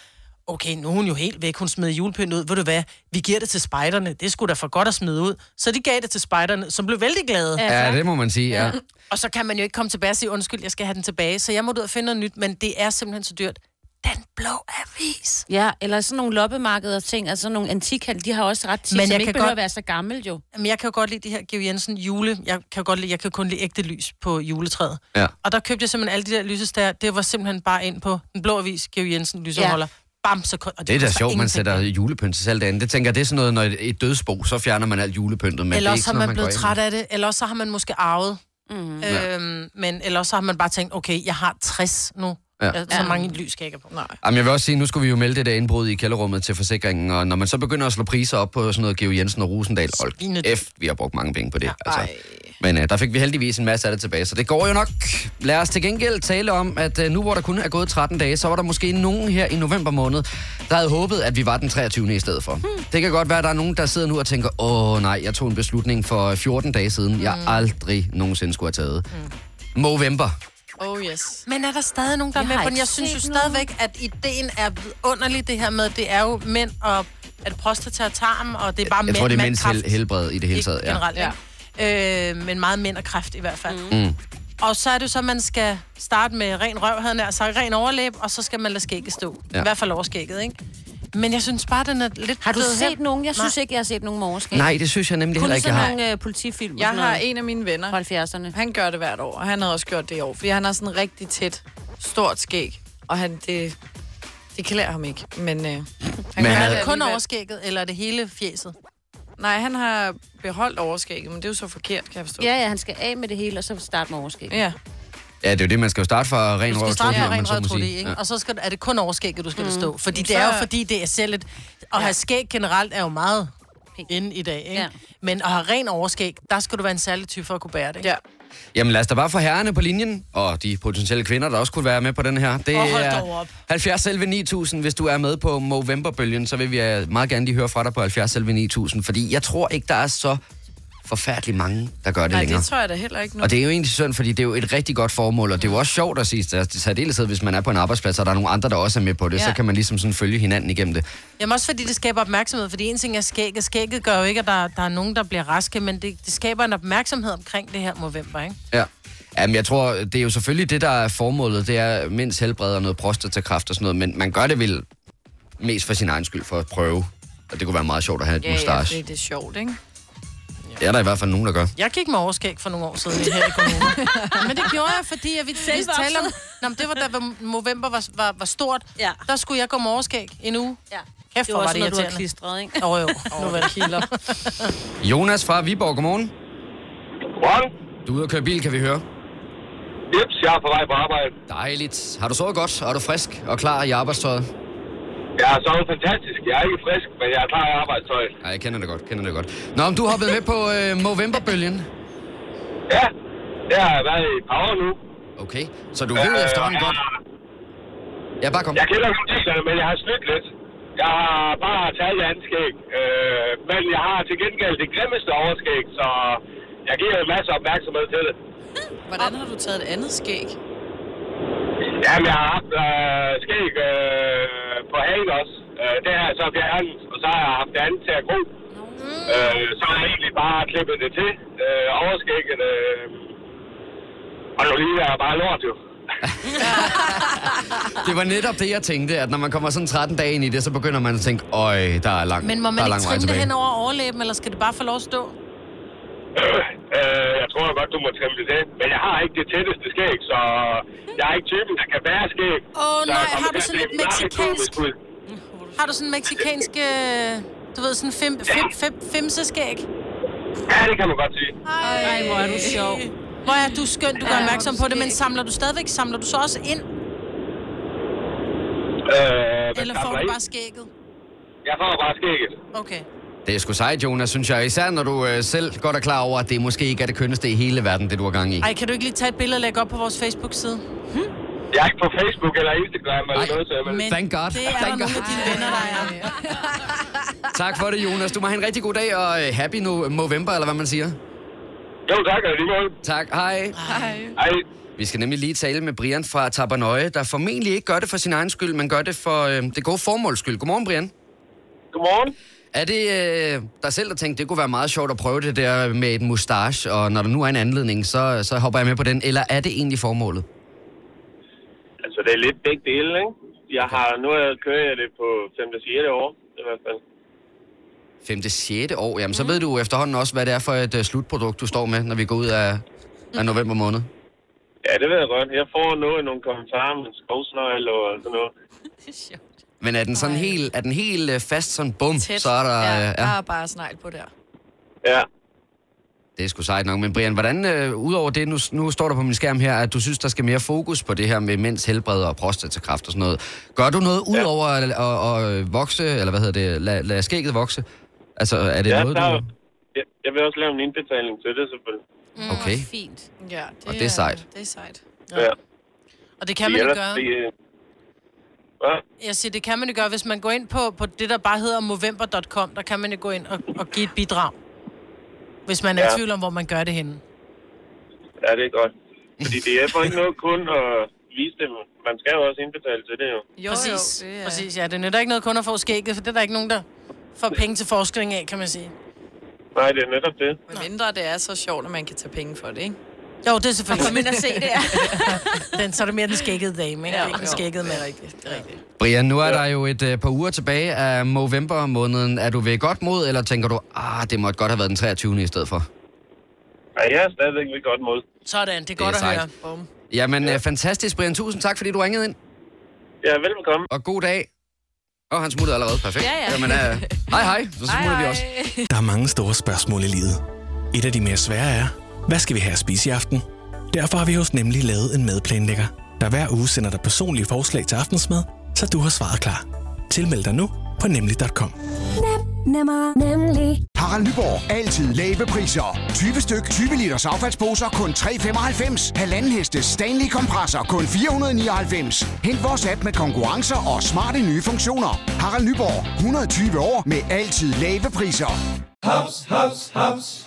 [SPEAKER 2] okay, nu er hun jo helt væk, hun smed julepynt ud. Ved du hvad, vi giver det til spejderne. Det skulle da for godt at smide ud. Så de gav det til spejderne, som blev vældig glade. Ja.
[SPEAKER 1] Ja, det må man sige, ja.
[SPEAKER 2] Og så kan man jo ikke komme tilbage og sige, undskyld, jeg skal have den tilbage. Så jeg måtte ud og finde noget nyt, men det er simpelthen så dyrt. Den blå avis.
[SPEAKER 4] Ja, eller sådan nogle loppemarkeder og ting, altså sådan nogle antikhandel, de har også ret tit,
[SPEAKER 2] Men
[SPEAKER 4] Men som
[SPEAKER 2] jeg
[SPEAKER 4] ikke
[SPEAKER 2] kan
[SPEAKER 4] behøver
[SPEAKER 2] godt-
[SPEAKER 4] godt... at være så gammel jo.
[SPEAKER 2] Jamen, jeg kan jo godt lide det her Georg Jensen jule. Jeg kan jo godt lide, jeg kan kun lide ægte lys på juletræet.
[SPEAKER 1] Ja.
[SPEAKER 2] Og der købte jeg simpelthen alle de der lysestager. Det var simpelthen bare ind på den blå avis, Georg Jensen lyseholder. Ja. Bam, så kom, og
[SPEAKER 1] Det er da
[SPEAKER 2] koster
[SPEAKER 1] sjovt, man
[SPEAKER 2] ingenting.
[SPEAKER 1] sætter julepynt til alt andet. Det tænker jeg, det er sådan noget, når et- et dødsbo, så fjerner man alt julepyntet.
[SPEAKER 2] Eller
[SPEAKER 1] Men det er ikke
[SPEAKER 2] også har
[SPEAKER 1] sådan,
[SPEAKER 2] man,
[SPEAKER 1] noget,
[SPEAKER 2] blevet
[SPEAKER 1] går ind
[SPEAKER 2] træt af det, eller også så har man måske arvet. Mm. Øhm, men eller også så har man bare tænkt, okay, jeg har 60 nu.
[SPEAKER 1] Ja.
[SPEAKER 2] Ja. Så mange lys skal jeg ikke have på. Nej.
[SPEAKER 1] Jamen, jeg vil også sige, nu skulle vi jo melde det der indbrud i kælderrummet til forsikringen, og når man så begynder at slå priser op på sådan noget Geo Jensen og Rosendal, hold
[SPEAKER 2] Svinedyrt.
[SPEAKER 1] F, vi har brugt mange penge på det. altså. Men uh, der fik vi heldigvis en masse af det tilbage, så det går jo nok. Lad os til gengæld tale om, at uh, nu hvor der kun er gået 13 dage, så var der måske nogen her i november måned, der havde håbet, at vi var den 23. i stedet for. Hmm. Det kan godt være, at der er nogen, der sidder nu og tænker, åh nej, jeg tog en beslutning for 14 dage siden,
[SPEAKER 2] Hmm.
[SPEAKER 1] jeg aldrig nogensinde skulle have taget. Hmm. Movember.
[SPEAKER 5] Oh yes.
[SPEAKER 2] Men er der stadig nogen, der er
[SPEAKER 4] Jeg
[SPEAKER 2] med
[SPEAKER 4] har
[SPEAKER 2] på den?
[SPEAKER 4] ikke
[SPEAKER 2] Jeg synes jo
[SPEAKER 4] set
[SPEAKER 2] stadigvæk, at ideen er underlig, det her med, det er jo mænd og at prostata og tarm, og det er bare
[SPEAKER 1] Jeg
[SPEAKER 2] mænd,
[SPEAKER 1] tror, det er
[SPEAKER 2] mand,
[SPEAKER 1] mænds
[SPEAKER 2] kræft.
[SPEAKER 1] hel- helbred i det hele
[SPEAKER 2] Ikke
[SPEAKER 1] taget. Ja.
[SPEAKER 2] generelt, ja. ikke? Øh, men meget mænd og kræft i hvert fald. Mm. Og så er det jo så, at man skal starte med ren røv, havde jeg nær sagt, ren overlæb, og så skal man lade skægget stå.
[SPEAKER 1] Ja.
[SPEAKER 2] Ja. I hvert fald overskægget, ikke? Men jeg synes bare, den er lidt...
[SPEAKER 4] Har du
[SPEAKER 2] blevet
[SPEAKER 4] set
[SPEAKER 2] hen-
[SPEAKER 4] nogen? Jeg synes
[SPEAKER 2] Nej.
[SPEAKER 4] ikke, jeg har set nogen morgenskab.
[SPEAKER 1] Nej, det synes jeg nemlig
[SPEAKER 4] Kun
[SPEAKER 1] heller ikke, jeg
[SPEAKER 4] sådan
[SPEAKER 1] har.
[SPEAKER 4] nogle øh, politifilm og
[SPEAKER 5] Jeg
[SPEAKER 4] sådan
[SPEAKER 5] har
[SPEAKER 4] noget
[SPEAKER 5] en af mine venner,
[SPEAKER 4] fra 70'erne.
[SPEAKER 5] Han gør det hvert år, og han havde også gjort det i år, fordi han har sådan rigtig tæt, stort skæg, og han, det, det klæder ham ikke, men øh, han men gør
[SPEAKER 1] han-
[SPEAKER 5] det
[SPEAKER 2] Kun
[SPEAKER 5] alligevel.
[SPEAKER 2] overskægget, eller er det hele fjeset?
[SPEAKER 5] Nej, han har beholdt overskægget, men det er jo så forkert, kan jeg forstå.
[SPEAKER 4] Ja, ja, han skal af med det hele, og så starte med overskæg.
[SPEAKER 5] Ja.
[SPEAKER 1] Ja, det er jo det, man skal jo starte fra ren
[SPEAKER 2] Du skal
[SPEAKER 1] røv
[SPEAKER 2] starte med
[SPEAKER 1] om man
[SPEAKER 2] rent
[SPEAKER 1] så
[SPEAKER 2] rød
[SPEAKER 1] må
[SPEAKER 2] trulli,
[SPEAKER 1] sige.
[SPEAKER 2] ikke?
[SPEAKER 1] Ja.
[SPEAKER 2] Og så skal, er det kun overskægget, du skal mm. stå. Fordi det
[SPEAKER 5] Så-
[SPEAKER 2] er jo, fordi det er selv et... At have skæg generelt er jo meget inde i dag, ikke?
[SPEAKER 4] Ja.
[SPEAKER 2] Ja. Men at have ren overskæg, der skal du være en særlig type for at kunne bære det. ikke?
[SPEAKER 5] ja.
[SPEAKER 1] Jamen lad os da bare få herrerne på linjen, og de potentielle kvinder, der også kunne være med på den her. Det
[SPEAKER 2] Åh, hold dog
[SPEAKER 1] er
[SPEAKER 2] op.
[SPEAKER 1] 70 selv 9000, hvis du er med på Movember-bølgen, så vil vi øh, meget gerne lige høre fra dig på 70 selv 9000, fordi jeg tror ikke, der er så forfærdelig mange, der gør det
[SPEAKER 5] Nej,
[SPEAKER 1] længere.
[SPEAKER 5] det tror jeg da heller ikke nu.
[SPEAKER 1] Og det er jo egentlig synd, fordi det er jo et rigtig godt formål, og det er jo også sjovt at sige, til særdeleshed, hvis man er på en arbejdsplads, og der er nogle andre, der også er med på det, ja.
[SPEAKER 5] Ja.
[SPEAKER 1] så kan man ligesom sådan følge hinanden igennem det.
[SPEAKER 2] Jamen også fordi det skaber opmærksomhed, fordi en ting er skægget. Skægget gør jo ikke, at der, der er nogen, der bliver raske, men det, det skaber en opmærksomhed omkring det her november, ikke?
[SPEAKER 1] Ja. Jamen, jeg tror, det er jo selvfølgelig det, der er formålet, det er mens helbred og noget prostatakræft og sådan noget, men man gør det vel mest for sin egen skyld, for at prøve. Og det kunne være meget sjovt at have et ja,
[SPEAKER 5] ja, ja,
[SPEAKER 1] mustache.
[SPEAKER 5] fordi det er sjovt, ikke?
[SPEAKER 1] Det er der i hvert fald nogen, der gør.
[SPEAKER 2] Jeg gik med overskæg for nogle år siden her i kommunen. men det gjorde jeg, fordi jeg ville selv
[SPEAKER 4] Selvvokset.
[SPEAKER 2] tale om... Nå, men det var da november var, var, var stort.
[SPEAKER 4] Ja.
[SPEAKER 2] Der skulle jeg gå med overskæg en uge.
[SPEAKER 4] Ja.
[SPEAKER 2] Kæft,
[SPEAKER 4] Det
[SPEAKER 2] hvor
[SPEAKER 4] var
[SPEAKER 2] var
[SPEAKER 4] også
[SPEAKER 2] det
[SPEAKER 4] noget, du har
[SPEAKER 2] irriterende.
[SPEAKER 4] klistret, ikke?
[SPEAKER 2] Åh oh, jo, nu var det kilder.
[SPEAKER 1] Jonas fra Viborg, godmorgen.
[SPEAKER 7] Godmorgen.
[SPEAKER 1] Du er ude og køre bil, kan vi høre.
[SPEAKER 7] Jeps, jeg er på vej på arbejde.
[SPEAKER 1] Dejligt. Har du sovet godt? Er du frisk og klar i arbejdstøjet?
[SPEAKER 7] Jeg har sovet fantastisk. Jeg er ikke frisk, men jeg er klar i arbejdstøj.
[SPEAKER 1] Nej, jeg kender det godt, kender det godt. Nå, men du hoppede med på øh, Movember-bølgen.
[SPEAKER 7] Ja, jeg har været i et par år nu.
[SPEAKER 1] Okay, så du ved efterhånden godt. Ja, bare kom.
[SPEAKER 7] Øh, Jeg kender godt reglerne, men jeg har snydt lidt. Jeg har bare taget anskæg. Øh, men jeg har til gengæld det grimmeste overskæg, så jeg giver en masse opmærksomhed til det.
[SPEAKER 5] Hvordan har du taget et andet skæg?
[SPEAKER 7] Jamen, jeg har haft øh, skæg øh, på hagen også. Øh, det har jeg så fjernet, og så har jeg haft det andet til at gro. Øh, så har jeg egentlig bare klippet det til, øh, overskægget. Øh. Og nu lige er jeg bare lort jo.
[SPEAKER 1] Det var netop det, jeg tænkte, at når man kommer sådan 13 dage ind i det, så begynder man at tænke, øj, der er lang,
[SPEAKER 2] Men må
[SPEAKER 1] der
[SPEAKER 2] man
[SPEAKER 1] er
[SPEAKER 2] ikke
[SPEAKER 1] lang vej
[SPEAKER 2] trimme det
[SPEAKER 1] tilbage.
[SPEAKER 2] hen over overlæben, eller skal det bare få lov at stå?
[SPEAKER 8] Øh, jeg tror godt, du må trimme det til. Men jeg har ikke det tætteste skæg, så jeg er ikke typen, der kan bære skæg.
[SPEAKER 2] Åh,
[SPEAKER 8] Så
[SPEAKER 2] nej,
[SPEAKER 8] jeg kommer
[SPEAKER 2] har du
[SPEAKER 8] til at
[SPEAKER 2] sådan
[SPEAKER 8] se
[SPEAKER 2] lidt
[SPEAKER 8] meget
[SPEAKER 2] mexicansk?
[SPEAKER 8] komisk ud.
[SPEAKER 2] Har du sådan en meksikansk, øh, du ved, sådan fem, fem, fem, femseskæg?
[SPEAKER 8] Ja, det kan man godt sige.
[SPEAKER 2] Ej, hvor er du sjov. Hvor er du skøn, du gør opmærksom på det, men samler du stadigvæk, samler du så også ind,
[SPEAKER 8] Øh, men
[SPEAKER 2] eller
[SPEAKER 8] der
[SPEAKER 2] får
[SPEAKER 8] var
[SPEAKER 2] du
[SPEAKER 8] ikke-
[SPEAKER 2] bare skægget?
[SPEAKER 8] Jeg får bare skægget.
[SPEAKER 2] Okay.
[SPEAKER 1] Det er sgu sejt, Jonas, synes jeg. Især når du øh, selv godt er klar over, at det måske ikke er det kønneste i hele verden, det du har gang i.
[SPEAKER 2] Ej, kan du ikke lige tage et billede og lægge op på vores Facebook-side?
[SPEAKER 8] Jeg er ikke på Facebook eller Instagram eller
[SPEAKER 1] Ej,
[SPEAKER 8] noget, så jeg vil...
[SPEAKER 2] men-
[SPEAKER 1] Thank God.
[SPEAKER 2] Det er der
[SPEAKER 1] Thank
[SPEAKER 2] nogle
[SPEAKER 1] God.
[SPEAKER 2] af dine venner, der er.
[SPEAKER 1] Tak for det, Jonas. Du må have en rigtig god dag, og øh, happy no- November, eller hvad man siger.
[SPEAKER 8] Jo, tak, og lige måde.
[SPEAKER 1] Tak, hej.
[SPEAKER 8] Hej.
[SPEAKER 1] Vi skal nemlig lige tale med Brian fra Tabernøje, der formentlig ikke gør det for sin egen skyld, men gør det for øh, det gode formåls skyld. Godmorgen, Brian.
[SPEAKER 8] Godmorgen.
[SPEAKER 1] Er det øh, dig selv, der tænkte, det kunne være meget sjovt at prøve det der med et mustache, og når der nu er en anledning, så, så hopper jeg med på den, eller er det egentlig formålet?
[SPEAKER 8] Altså, det er lidt begge dele, ikke? Jeg har, nu kører jeg det på 5. 6. år, i hvert fald.
[SPEAKER 1] 5. 6. år, jamen så ved du efterhånden også, hvad det er for et øh, slutprodukt, du står med, når vi går ud af, af november måned.
[SPEAKER 8] Ja, det ved jeg godt. Jeg får noget nogle kommentarer med skovsnøgle og sådan noget.
[SPEAKER 1] Men er den sådan helt, er den helt øh, fast sådan bum,
[SPEAKER 5] Tæt.
[SPEAKER 1] så er der...
[SPEAKER 5] ja,
[SPEAKER 1] øh,
[SPEAKER 5] der er bare snegl på der.
[SPEAKER 8] Ja.
[SPEAKER 1] Det er sgu sejt nok. Men Brian, hvordan, øh, udover det, nu, nu står der på min skærm her, at du synes, der skal mere fokus på det her med mænds helbred og prostatakræft og sådan noget. Gør du noget
[SPEAKER 8] Ja.
[SPEAKER 1] udover at, at, at vokse, eller hvad hedder det, lad, lad skægget vokse? Altså, er det
[SPEAKER 8] Ja,
[SPEAKER 1] noget,
[SPEAKER 8] der,
[SPEAKER 1] du...
[SPEAKER 8] jeg, jeg vil også lave en indbetaling til det, selvfølgelig.
[SPEAKER 2] Mm.
[SPEAKER 1] Okay.
[SPEAKER 4] Fint.
[SPEAKER 5] Ja,
[SPEAKER 1] Og det er sejt.
[SPEAKER 5] Det er sejt.
[SPEAKER 8] Ja.
[SPEAKER 2] Og det kan man jo gøre.
[SPEAKER 8] det, øh, Hvad?
[SPEAKER 2] Jeg siger, det kan man jo gøre, hvis man går ind på, på det, der bare hedder movember.com, der kan man jo gå ind og, og give et bidrag. Hvis man er i
[SPEAKER 8] Ja.
[SPEAKER 2] tvivl om, hvor man gør det henne.
[SPEAKER 8] Ja, det er godt. Fordi det er for ikke noget kun at vise det. Man skal jo også indbetale til det, jo.
[SPEAKER 5] Jo,
[SPEAKER 2] Præcis.
[SPEAKER 5] jo, det er...
[SPEAKER 2] Præcis, ja. Det nytter ikke noget kun at få skægget, for det er der ikke nogen, der får penge til forskning af, kan man sige.
[SPEAKER 8] Nej, det er netop det.
[SPEAKER 5] Men mindre det er så sjovt, at man kan tage penge for det, ikke?
[SPEAKER 2] Jo, det er selvfølgelig.
[SPEAKER 4] Men at se det er.
[SPEAKER 2] Den, så er det mere den skækkede dame, ikke? Ja,
[SPEAKER 5] Ja,
[SPEAKER 2] ikke den
[SPEAKER 5] jo.
[SPEAKER 2] skækkede mand.
[SPEAKER 5] rigtigt. Det er rigtigt.
[SPEAKER 1] Brian, nu er der jo et øh, par uger tilbage af november-måneden. Er du ved godt mod, eller tænker du, ah, det måtte godt have været den 23. i stedet for?
[SPEAKER 8] Nej, jeg er stadigvæk ved godt mod.
[SPEAKER 2] Sådan, det er
[SPEAKER 1] Det er
[SPEAKER 2] godt det er at
[SPEAKER 1] sejt.
[SPEAKER 2] høre.
[SPEAKER 5] Bum.
[SPEAKER 1] Jamen, øh, fantastisk, Brian. Tusind tak, fordi du ringede ind,
[SPEAKER 8] Ja, velbekomme.
[SPEAKER 1] og god dag. Og han smuttede allerede. Perfekt.
[SPEAKER 4] Ja, ja.
[SPEAKER 1] Jamen, øh, hej, hej. Så smutter vi også.
[SPEAKER 9] Der er mange store spørgsmål i livet. Et af de mere svære er, hvad skal vi have at spise i aften? Derfor har vi hos Nemlig lavet en madplanlægger, der hver uge sender dig personlige forslag til aftensmad, så du har svaret klar. Tilmeld dig nu på nemlig.com.
[SPEAKER 10] Nemmer, nemlig.
[SPEAKER 11] Harald Nyborg. Altid lave priser. 20 styk, 20 liters affaldsposer kun 3,95. Halvanden heste Stanley kompresser kun 499. Hent vores app med konkurrencer og smarte nye funktioner. Harald Nyborg. 120 år med altid lave priser.
[SPEAKER 12] Haps, haps, haps.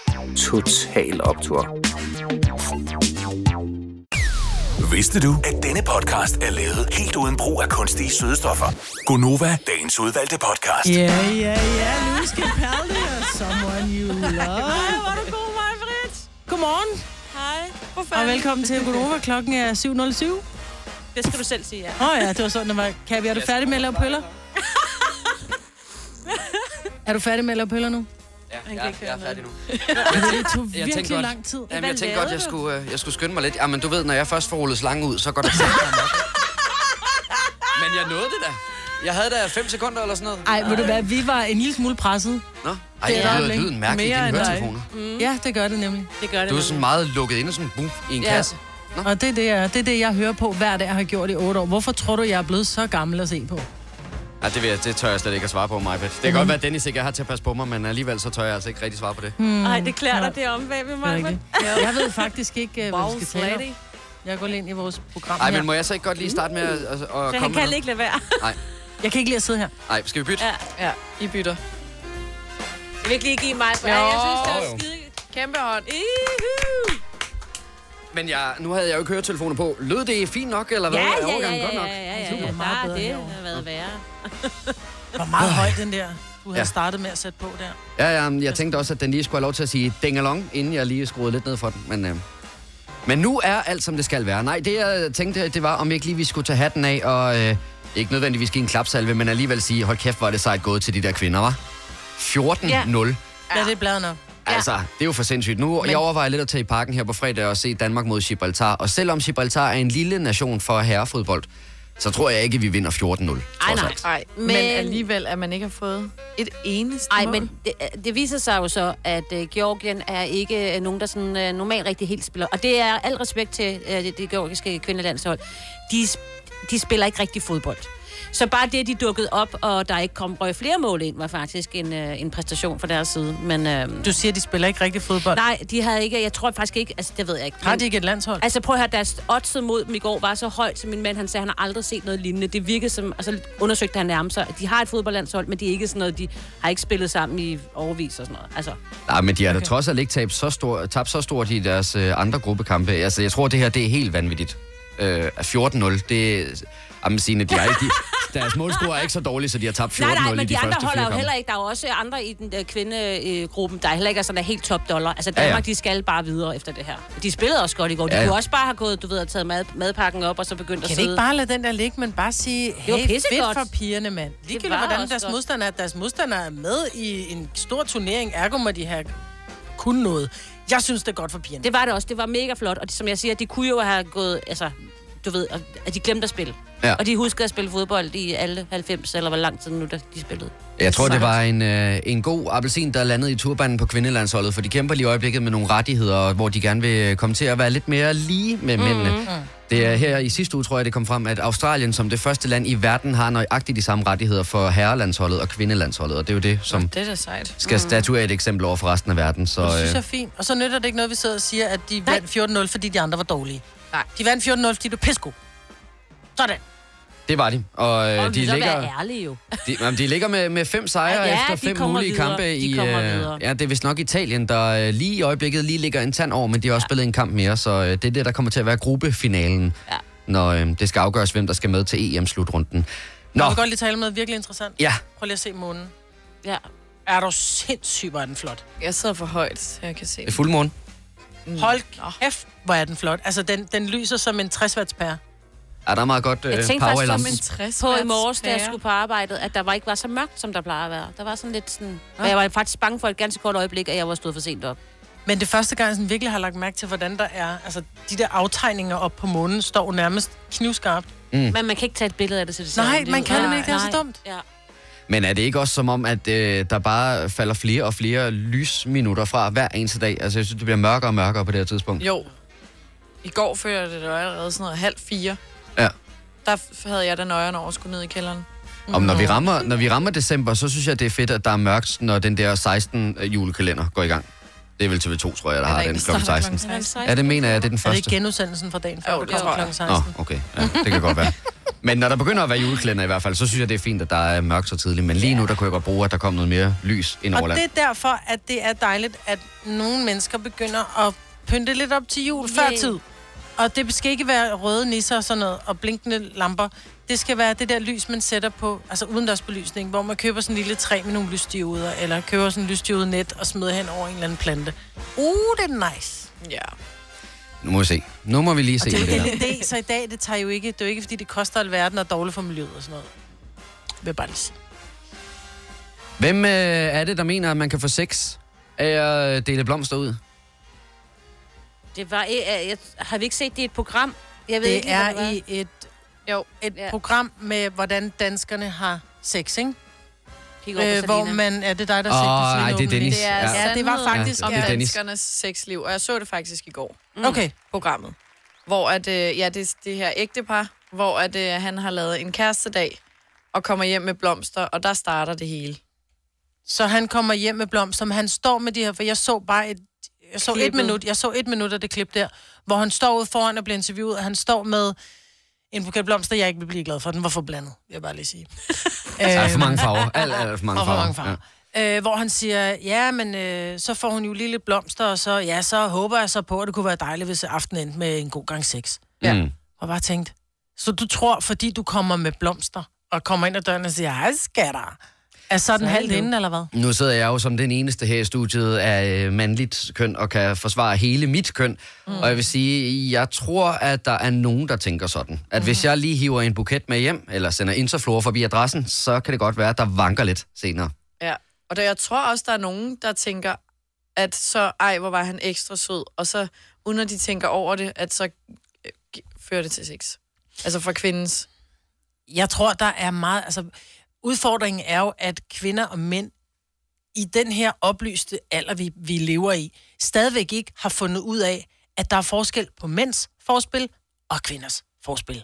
[SPEAKER 13] Total Optor.
[SPEAKER 9] Vidste du, at denne podcast er lavet helt uden brug af kunstige sødestoffer? Gonova, dagens udvalgte podcast. Yeah.
[SPEAKER 14] Ja, ja, ja. Louis Capaldi og Someone You Love.
[SPEAKER 5] Ej, hvor er du god, Majbrit.
[SPEAKER 2] Godmorgen,
[SPEAKER 4] Hej. Hvorfor?
[SPEAKER 2] og velkommen til Econova. Klokken er 7.07.
[SPEAKER 4] Det skal du selv sige, ja.
[SPEAKER 2] Åh oh, ja, det var sådan, det var. Kabi, er du færdig med at lave pøller? er du færdig med at lave pøller nu?
[SPEAKER 1] Ja, jeg, jeg er færdig nu.
[SPEAKER 2] Det tog
[SPEAKER 1] tænkte
[SPEAKER 2] virkelig
[SPEAKER 1] godt.
[SPEAKER 2] lang tid.
[SPEAKER 1] Jamen, jeg
[SPEAKER 4] Hvad
[SPEAKER 1] tænkte godt,
[SPEAKER 4] lavede
[SPEAKER 1] jeg
[SPEAKER 4] du?
[SPEAKER 1] skulle, øh, jeg skulle skynde mig lidt. Jamen, du ved, når jeg først får rullet slangen ud, så går det selv nok. Men jeg nåede det da. Jeg havde da 5 sekunder eller sådan noget.
[SPEAKER 2] Ej, ved du hvad, vi var en lille smule presset.
[SPEAKER 1] Nå. Ej, det lyder lyden mærkeligt i
[SPEAKER 5] Mere
[SPEAKER 1] dine
[SPEAKER 5] end dig.
[SPEAKER 1] høretelefoner.
[SPEAKER 2] Mm. Ja, det gør det nemlig.
[SPEAKER 4] Det gør det.
[SPEAKER 1] Du er sådan meget lukket ind og sådan bum, i en
[SPEAKER 5] Ja.
[SPEAKER 1] kasse.
[SPEAKER 2] Og det er det, jeg, det er det, jeg hører på hver dag, og har gjort i otte år. Hvorfor tror du, jeg er blevet så gammel at se på?
[SPEAKER 1] Ja, det, vil jeg, det tør jeg slet ikke at svare på, mig. Det kan godt være, at Dennis ikke er her til at passe på mig, men alligevel så tør jeg altså ikke rigtig svare på det.
[SPEAKER 4] Hmm.
[SPEAKER 2] Hmm.
[SPEAKER 4] Nej, det klæder dig, det er om bagved mig.
[SPEAKER 2] Ikke? Jeg ved faktisk ikke, øh, hvad vi skal tale om. Jeg går lige ind i vores program
[SPEAKER 1] Ej,
[SPEAKER 2] her.
[SPEAKER 1] men må jeg så ikke godt lige starte med at, at, at så komme
[SPEAKER 2] Så han
[SPEAKER 1] med
[SPEAKER 2] kan
[SPEAKER 1] noget?
[SPEAKER 2] ikke lade være.
[SPEAKER 1] Nej,
[SPEAKER 2] Jeg kan ikke lide at sidde her.
[SPEAKER 1] nej, skal vi bytte?
[SPEAKER 4] Ja.
[SPEAKER 5] Ja, I bytter.
[SPEAKER 4] Jeg vil ikke lige give mig.
[SPEAKER 5] Jo.
[SPEAKER 4] Ja, jeg synes, det
[SPEAKER 1] Jo, jo.
[SPEAKER 4] var skide...
[SPEAKER 5] Kæmpe hånd.
[SPEAKER 1] Men jeg, nu havde jeg jo ikke høretelefoner på. Lød det fint nok, eller hvad?
[SPEAKER 4] Ja,
[SPEAKER 1] Er
[SPEAKER 4] ja, ja,
[SPEAKER 1] overgangen
[SPEAKER 4] ja,
[SPEAKER 1] godt
[SPEAKER 4] ja,
[SPEAKER 1] nok?
[SPEAKER 4] ja, ja,
[SPEAKER 2] Det
[SPEAKER 4] ja.
[SPEAKER 2] var meget
[SPEAKER 4] Der er
[SPEAKER 2] bedre
[SPEAKER 4] det,
[SPEAKER 2] herovre.
[SPEAKER 4] der har været værre.
[SPEAKER 2] Hvor meget høj den der, du har
[SPEAKER 1] Ja.
[SPEAKER 2] ja. startet med at sætte på der.
[SPEAKER 1] Ja, ja, men jeg tænkte også, at den lige skulle have lov til at sige dengalong, inden jeg lige skruede lidt ned for den. Men, øh, men nu er alt, som det skal være. Nej, det jeg tænkte, det var, om ikke lige vi skulle tage hatten af og... Øh, ikke nødvendigvis give en klapsalve, men alligevel sige, hold kæft, hvor er det sejt gået til de der kvinder, var 14-0. Ja.
[SPEAKER 2] Ja, det er bladet nok.
[SPEAKER 1] Altså, det er jo for sindssygt. Nu, jeg overvejer lidt at tage i parken her på fredag og se Danmark mod Gibraltar. Og selvom Gibraltar er en lille nation for herrefodbold, så tror jeg ikke, vi vinder 14-0.
[SPEAKER 4] Ej,
[SPEAKER 1] trods
[SPEAKER 4] nej.
[SPEAKER 1] alt.
[SPEAKER 5] Nej, men... men
[SPEAKER 4] Men-
[SPEAKER 5] alligevel, at man ikke har fået et eneste
[SPEAKER 4] Ej,
[SPEAKER 5] mål.
[SPEAKER 4] men det, det viser sig jo så, at øh, Georgien er ikke øh, nogen, der sådan, øh, normalt rigtig helt spiller. Og det er al respekt til øh, det, det georgiske kvindelandshold. De, sp- de spiller ikke rigtig fodbold. Så bare det, at de dukkede op, og der ikke kom røg flere mål ind, var faktisk en, øh, en præstation fra deres side. Men øh,
[SPEAKER 2] Du siger, at de spiller ikke rigtig fodbold.
[SPEAKER 4] nej, de havde ikke, jeg tror faktisk ikke, altså det ved jeg ikke.
[SPEAKER 2] Har de ikke et landshold?
[SPEAKER 4] Altså prøv at høre, deres oddset mod dem i går var så højt, som min mand han sagde, han har aldrig set noget lignende. Det virkede som, og så undersøgte han nærmest, at de har et fodboldlandshold, men de er ikke sådan noget, de har ikke spillet sammen i overvis og sådan noget. Altså,
[SPEAKER 1] Nej, men de har da trods alt ikke tabt så, stor, tabt så stort i deres øh, andre gruppekampe. Altså, jeg tror, det her det er helt vanvittigt. Øh, at 14-0, det... Jamen, Signe, de er ikke, de, deres målscore er ikke så dårlig, så de har tabt 14-0
[SPEAKER 4] nej, nej,
[SPEAKER 1] i
[SPEAKER 4] men
[SPEAKER 1] de,
[SPEAKER 4] de andre
[SPEAKER 1] første
[SPEAKER 4] holder
[SPEAKER 1] fire
[SPEAKER 4] jo
[SPEAKER 1] kampe.
[SPEAKER 4] heller ikke. Der er jo også andre i den øh, kvindegruppen, der heller ikke er sådan der helt top dollar. Altså
[SPEAKER 1] Ja, ja.
[SPEAKER 4] Danmark, ja, ja. de skal bare videre efter det her. De spillede også godt i går. De
[SPEAKER 1] Ja,
[SPEAKER 4] ja,
[SPEAKER 1] ja.
[SPEAKER 4] ja. kunne også bare have gået, du ved, og taget mad, madpakken op, og så begyndt
[SPEAKER 2] Kan
[SPEAKER 4] at
[SPEAKER 2] vi ikke
[SPEAKER 4] sidde.
[SPEAKER 2] bare lade den der ligge, men bare sige,
[SPEAKER 4] var
[SPEAKER 2] hey, fedt
[SPEAKER 4] pissegodt.
[SPEAKER 2] for pigerne, mand. Ligegyldigt,
[SPEAKER 4] var
[SPEAKER 2] hvordan
[SPEAKER 4] også
[SPEAKER 2] deres
[SPEAKER 4] godt.
[SPEAKER 2] modstander er. Deres modstander er med i en stor turnering. Ergo må de have kun noget. Jeg synes, det er godt for pigerne.
[SPEAKER 4] Det var det også. Det var mega flot. Og de- som jeg siger, de kunne jo have gået, altså, du ved, og- at de glemte at spille.
[SPEAKER 1] Ja.
[SPEAKER 4] Og de huskede at spille fodbold i alle 90, eller hvor lang tid nu, der de spillede.
[SPEAKER 1] Jeg tror, det var en, øh, en god appelsin, der landede i turbanen på kvindelandsholdet, for de kæmper lige i øjeblikket med nogle rettigheder, hvor de gerne vil øh, komme til at være lidt mere lige med mændene.
[SPEAKER 2] Mhm.
[SPEAKER 1] Det er her i sidste uge, tror jeg, det kom frem, at Australien som det første land i verden har nøjagtigt de samme rettigheder for herrelandsholdet og kvindelandsholdet, og det er jo det, som
[SPEAKER 5] Det er da sejt.
[SPEAKER 1] skal statuere et eksempel over for resten af verden. Så,
[SPEAKER 2] Det Mm. synes jeg
[SPEAKER 1] øh,
[SPEAKER 2] er fint. Og så nytter det ikke noget, vi sidder og siger, at de vandt 14-0, fordi de andre var dårlige.
[SPEAKER 5] Nej.
[SPEAKER 2] De vandt 14-0, fordi du er pissegod. Sådan.
[SPEAKER 1] det var de. Og, øh,
[SPEAKER 4] Og
[SPEAKER 1] de,
[SPEAKER 4] så være
[SPEAKER 1] ligger,
[SPEAKER 4] ærlige jo.
[SPEAKER 1] de, jamen, de ligger med, med fem sejre
[SPEAKER 4] Ja,
[SPEAKER 1] ja, efter
[SPEAKER 4] de
[SPEAKER 1] fem
[SPEAKER 4] kommer
[SPEAKER 1] mulige
[SPEAKER 4] videre.
[SPEAKER 1] kampe
[SPEAKER 4] De
[SPEAKER 1] i...
[SPEAKER 4] kommer
[SPEAKER 1] øh,
[SPEAKER 4] videre.
[SPEAKER 1] ja, det er vist nok Italien, der øh, lige i øjeblikket lige ligger en tand over, men de har også spillet en kamp mere, så øh, det er det, der kommer til at være gruppefinalen,
[SPEAKER 4] Ja.
[SPEAKER 1] når øh, det skal afgøres, hvem der skal med til E EM-slutrunden. Nå,
[SPEAKER 2] Jeg vil godt lige tale med noget virkelig interessant.
[SPEAKER 1] ja,
[SPEAKER 2] Prøv lige at se månen.
[SPEAKER 4] Ja.
[SPEAKER 2] Er du sindssyg, hvor er den flot.
[SPEAKER 5] Jeg sidder for højt, så jeg kan se.
[SPEAKER 1] det er fuldmåne.
[SPEAKER 2] Hold kæft, hvor er den flot. Altså, den, den lyser som en 60-wattspære.
[SPEAKER 1] Ja, der er meget godt øh,
[SPEAKER 4] Jeg tænkte
[SPEAKER 1] power i
[SPEAKER 4] faktisk som
[SPEAKER 1] lampen.
[SPEAKER 4] en
[SPEAKER 5] 60
[SPEAKER 4] på i morges, da jeg
[SPEAKER 5] værtspære.
[SPEAKER 4] skulle på arbejdet, at der var ikke var så mørkt, som der plejer at være. Der var sådan lidt sådan... Og jeg var faktisk bange for et ganske kort øjeblik, at jeg var stået for sent op.
[SPEAKER 2] Men det er første gang, jeg sådan virkelig har lagt mærke til, hvordan der er... Altså, de der aftegninger op på månen står jo nærmest knivskarpt.
[SPEAKER 1] Mm.
[SPEAKER 4] Men man kan ikke tage et billede af det, så det ser
[SPEAKER 2] Nej,
[SPEAKER 4] ordentligt
[SPEAKER 2] man
[SPEAKER 4] ud.
[SPEAKER 2] kan
[SPEAKER 4] Nej,
[SPEAKER 2] nemlig ikke. Det er så
[SPEAKER 4] nej.
[SPEAKER 2] dumt.
[SPEAKER 4] Ja.
[SPEAKER 1] Men er det ikke også som om, at øh, der bare falder flere og flere lysminutter fra hver eneste dag? Altså, jeg synes, det bliver mørkere og mørkere på det her tidspunkt.
[SPEAKER 5] Jo. I går følte jeg det, det var allerede sådan noget halv fire.
[SPEAKER 1] Ja.
[SPEAKER 5] Der f- havde jeg da nøjeren over at skulle ned i kælderen.
[SPEAKER 1] Om når vi rammer, når vi rammer december, så synes jeg, det er fedt, at der er mørkt, når den der 16 julekalender går i gang. Det er vel TV2, tror jeg, der har
[SPEAKER 5] en,
[SPEAKER 1] den
[SPEAKER 5] der
[SPEAKER 1] kl.
[SPEAKER 5] starter
[SPEAKER 1] 16.
[SPEAKER 5] klokken 16?
[SPEAKER 1] Ja, det mener jeg, det er den
[SPEAKER 2] Er det ikke
[SPEAKER 1] første.
[SPEAKER 2] genudsendelsen fra dagen før,
[SPEAKER 5] Jo,
[SPEAKER 2] du
[SPEAKER 5] det
[SPEAKER 2] kommer
[SPEAKER 5] tror jeg.
[SPEAKER 2] kl. 16?
[SPEAKER 1] Nå, okay. Ja, det kan godt være. Men når der begynder at være julekalender i hvert fald, så synes jeg, det er fint, at der er mørkt så tidligt. Men lige nu, der kunne jeg godt bruge, at der kom noget mere lys ind over
[SPEAKER 2] Og det
[SPEAKER 1] landet.
[SPEAKER 2] er derfor, at det er dejligt, at nogle mennesker begynder at pynte lidt op til jul før
[SPEAKER 4] Yeah.
[SPEAKER 2] tid. Og det skal ikke være røde nisser og sådan noget, og blinkende lamper. Det skal være det der lys, man sætter på, altså udendørsbelysning, hvor man køber sådan en lille træ med nogle lysdioder, eller køber sådan en lysdiode net og smider hen over en eller anden plante. Uh, det er nice.
[SPEAKER 5] Ja.
[SPEAKER 1] Nu må vi se. Nu må vi lige se,
[SPEAKER 2] Det
[SPEAKER 1] hvad det
[SPEAKER 2] er
[SPEAKER 1] er.
[SPEAKER 2] en idé, så i dag, det tager jo ikke, det er jo ikke, fordi det koster alverden og er dårligt for miljøet og sådan noget. Vil jeg bare lige sige.
[SPEAKER 1] Hvem øh, er det, der mener, at man kan få sex af at dele blomster ud?
[SPEAKER 4] Det var... Jeg, jeg, har vi ikke set, det i et program? Jeg ved
[SPEAKER 2] Det
[SPEAKER 4] ikke, lige, hvad
[SPEAKER 2] er
[SPEAKER 4] var.
[SPEAKER 2] i et, jo, et
[SPEAKER 4] Ja.
[SPEAKER 2] program med, hvordan danskerne har sex, ikke?
[SPEAKER 4] Kig over på
[SPEAKER 2] Øh, hvor
[SPEAKER 4] Selina.
[SPEAKER 2] man... Er det dig, der
[SPEAKER 1] Åh,
[SPEAKER 2] sigter
[SPEAKER 1] nej, det er Dennis.
[SPEAKER 5] Det er
[SPEAKER 1] Ja.
[SPEAKER 5] ja.
[SPEAKER 2] Ja, det var faktisk...
[SPEAKER 1] Ja,
[SPEAKER 2] Ja, Mm.
[SPEAKER 1] det
[SPEAKER 5] om
[SPEAKER 1] er Dennis.
[SPEAKER 5] danskernes sexliv, og jeg så det faktisk i går,
[SPEAKER 2] Okay,
[SPEAKER 5] programmet. Hvor at, øh, ja, det, det her ægtepar, hvor at, øh, han har lavet en kærestedag, og kommer hjem med blomster, og der starter det hele.
[SPEAKER 2] så han kommer hjem med blomster, men han står med de her... For jeg så bare et jeg så et
[SPEAKER 3] Klippet.
[SPEAKER 2] minut, jeg så et minut af det klip der, hvor han står ude foran og bliver interviewet, og han står med en buket blomster, jeg ikke vil blive glad for. Den var for blandet, vil jeg bare lige sige.
[SPEAKER 1] Altså,
[SPEAKER 2] Øh,
[SPEAKER 1] Der er for mange farver. Alt, alt, alt for mange
[SPEAKER 2] Og for
[SPEAKER 1] farver.
[SPEAKER 2] mange farver. Ja. Øh, hvor han siger, ja, men øh, så får hun jo lige lidt blomster, og så, ja, så håber jeg så på, at det kunne være dejligt, hvis aftenen endte med en god gang sex.
[SPEAKER 1] Ja. Mm.
[SPEAKER 2] Og bare tænkt, så du tror, fordi du kommer med blomster, og kommer ind ad døren og siger, hej skatter, er sådan halvt inden, eller hvad?
[SPEAKER 1] Nu sidder jeg jo som den eneste her i studiet af øh, mandligt køn, og kan forsvare hele mit køn. Mm. Og jeg vil sige, jeg tror, at der er nogen, der tænker sådan. At mm. hvis jeg lige hiver en buket med hjem, eller sender interflor forbi adressen, så kan det godt være, at der vanker lidt senere.
[SPEAKER 5] Ja. Og der, jeg tror også, der er nogen, der tænker, at så, ej, hvor var han ekstra sød. Og så, uden at de tænker over det, at så øh, gi- fører det til sex. Altså fra kvindens.
[SPEAKER 2] Jeg tror, der er meget... Altså, udfordringen er jo, at kvinder og mænd i den her oplyste alder, vi, vi lever i, stadigvæk ikke har fundet ud af, at der er forskel på mænds forspil og kvinders forspil.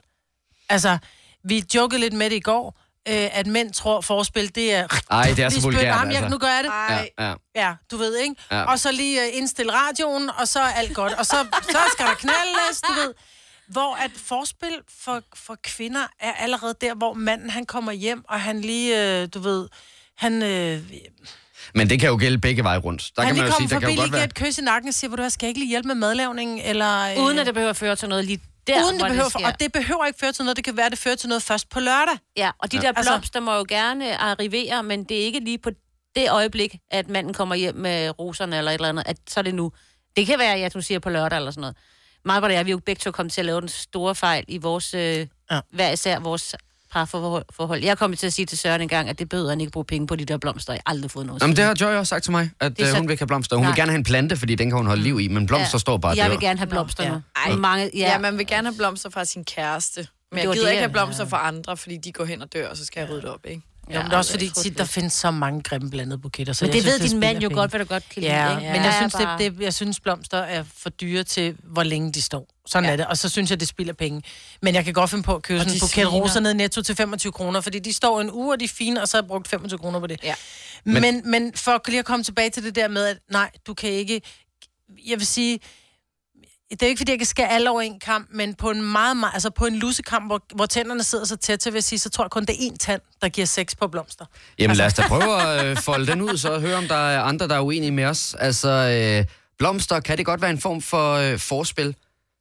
[SPEAKER 2] Altså, vi jokede lidt med det i går, øh, at mænd tror, forspil, det er...
[SPEAKER 1] Ej, det er så
[SPEAKER 2] Vi spytter
[SPEAKER 1] vulgært,
[SPEAKER 2] ham, ja,
[SPEAKER 1] altså.
[SPEAKER 2] Nu gør jeg det.
[SPEAKER 1] Ja, ja.
[SPEAKER 2] Ja, du ved, ikke?
[SPEAKER 1] Ja.
[SPEAKER 2] Ja. Og så lige øh, indstille radioen, og så er alt godt. Og så, så skal der knaldes, du ved. Hvor at forspil for, for kvinder er allerede der, hvor manden han kommer hjem, og han lige, øh, du ved, han, øh,
[SPEAKER 1] Men det kan jo gælde begge veje rundt. Der
[SPEAKER 2] han
[SPEAKER 1] kan man
[SPEAKER 2] lige
[SPEAKER 1] jo
[SPEAKER 2] kommer
[SPEAKER 1] sige, der
[SPEAKER 2] forbi,
[SPEAKER 1] kan jo
[SPEAKER 2] lige
[SPEAKER 1] godt
[SPEAKER 2] giver
[SPEAKER 1] være...
[SPEAKER 2] et kys i nakken og siger, hvor du hvad, skal jeg ikke lige hjælpe med madlavningen, eller... Øh,
[SPEAKER 4] Uden at det behøver at føre til noget lige der,
[SPEAKER 2] uden
[SPEAKER 4] hvor
[SPEAKER 2] det behøver, for,
[SPEAKER 4] sker.
[SPEAKER 2] og det behøver ikke føre til noget, det kan være, det fører til noget først på lørdag.
[SPEAKER 4] Ja, og de ja. der
[SPEAKER 2] Altså-
[SPEAKER 4] blomster må jo gerne arrivere, men det er ikke lige på det øjeblik, at manden kommer hjem med roserne eller et eller andet, at så er det nu. Det kan være, at du siger på lørdag eller sådan noget. Mig og jeg, vi er jo begge to kommet til at lave den store fejl i vores, øh, ja. hver især vores parforhold. Jeg kom til at sige til Søren engang, at det behøver han ikke bruge penge på de der blomster. Jeg har aldrig fået noget.
[SPEAKER 1] Jamen, det har Joy også sagt til mig, at
[SPEAKER 4] Det er
[SPEAKER 1] øh,
[SPEAKER 4] så-
[SPEAKER 1] hun vil ikke have blomster. Hun
[SPEAKER 4] Nej.
[SPEAKER 1] vil gerne have en plante, fordi den kan hun
[SPEAKER 2] Mm.
[SPEAKER 1] holde liv i, men blomster står bare
[SPEAKER 4] Jeg
[SPEAKER 1] der.
[SPEAKER 4] vil gerne have blomster nu.
[SPEAKER 5] Ej.
[SPEAKER 4] Ja. Mange,
[SPEAKER 5] Ja. ja,
[SPEAKER 4] ja.
[SPEAKER 5] man vil gerne have blomster fra sin kæreste. Men
[SPEAKER 4] Det
[SPEAKER 5] jeg
[SPEAKER 4] var
[SPEAKER 5] gider
[SPEAKER 4] det,
[SPEAKER 5] ikke have
[SPEAKER 4] jeg-
[SPEAKER 5] blomster fra andre, fordi de går hen og dør, og så skal jeg rydde det op, ikke?
[SPEAKER 2] Ja, Jamen, det er også fordi, tit, der findes så mange grimme blandede buketter. Så
[SPEAKER 4] Men
[SPEAKER 2] jeg
[SPEAKER 4] det
[SPEAKER 2] synes,
[SPEAKER 4] ved din mand
[SPEAKER 2] spilder
[SPEAKER 4] jo
[SPEAKER 2] penge.
[SPEAKER 4] godt, hvad du godt kan lide.
[SPEAKER 2] Ja,
[SPEAKER 4] ikke?
[SPEAKER 2] men
[SPEAKER 4] Der
[SPEAKER 2] jeg
[SPEAKER 4] er
[SPEAKER 2] synes, det,
[SPEAKER 4] bare-
[SPEAKER 2] det, jeg synes, blomster er for dyre til, hvor længe de står. Sådan ja. er det. Og så synes jeg, det spilder penge. Men jeg kan godt finde på at købe sådan en
[SPEAKER 5] de
[SPEAKER 2] buket
[SPEAKER 5] sviner.
[SPEAKER 2] roser ned i netto til 25 kroner, fordi de står en uge, og de er fine, og så har jeg brugt 25 kroner på det.
[SPEAKER 5] Ja.
[SPEAKER 2] Men, men, men for lige at komme tilbage til det der med, at nej, du kan ikke... Jeg vil sige, det er jo ikke, fordi jeg kan skære alle over en kamp, men på en meget, meget altså på en lussekamp, hvor, hvor tænderne sidder så tæt til, vil jeg sige, så tror jeg kun, det er én tand, der giver sex på blomster.
[SPEAKER 1] Jamen lad os da prøve at øh, folde den ud, så høre, om der er andre, der er uenige med os. Altså, øh, blomster, kan det godt være en form for øh, forspil? Det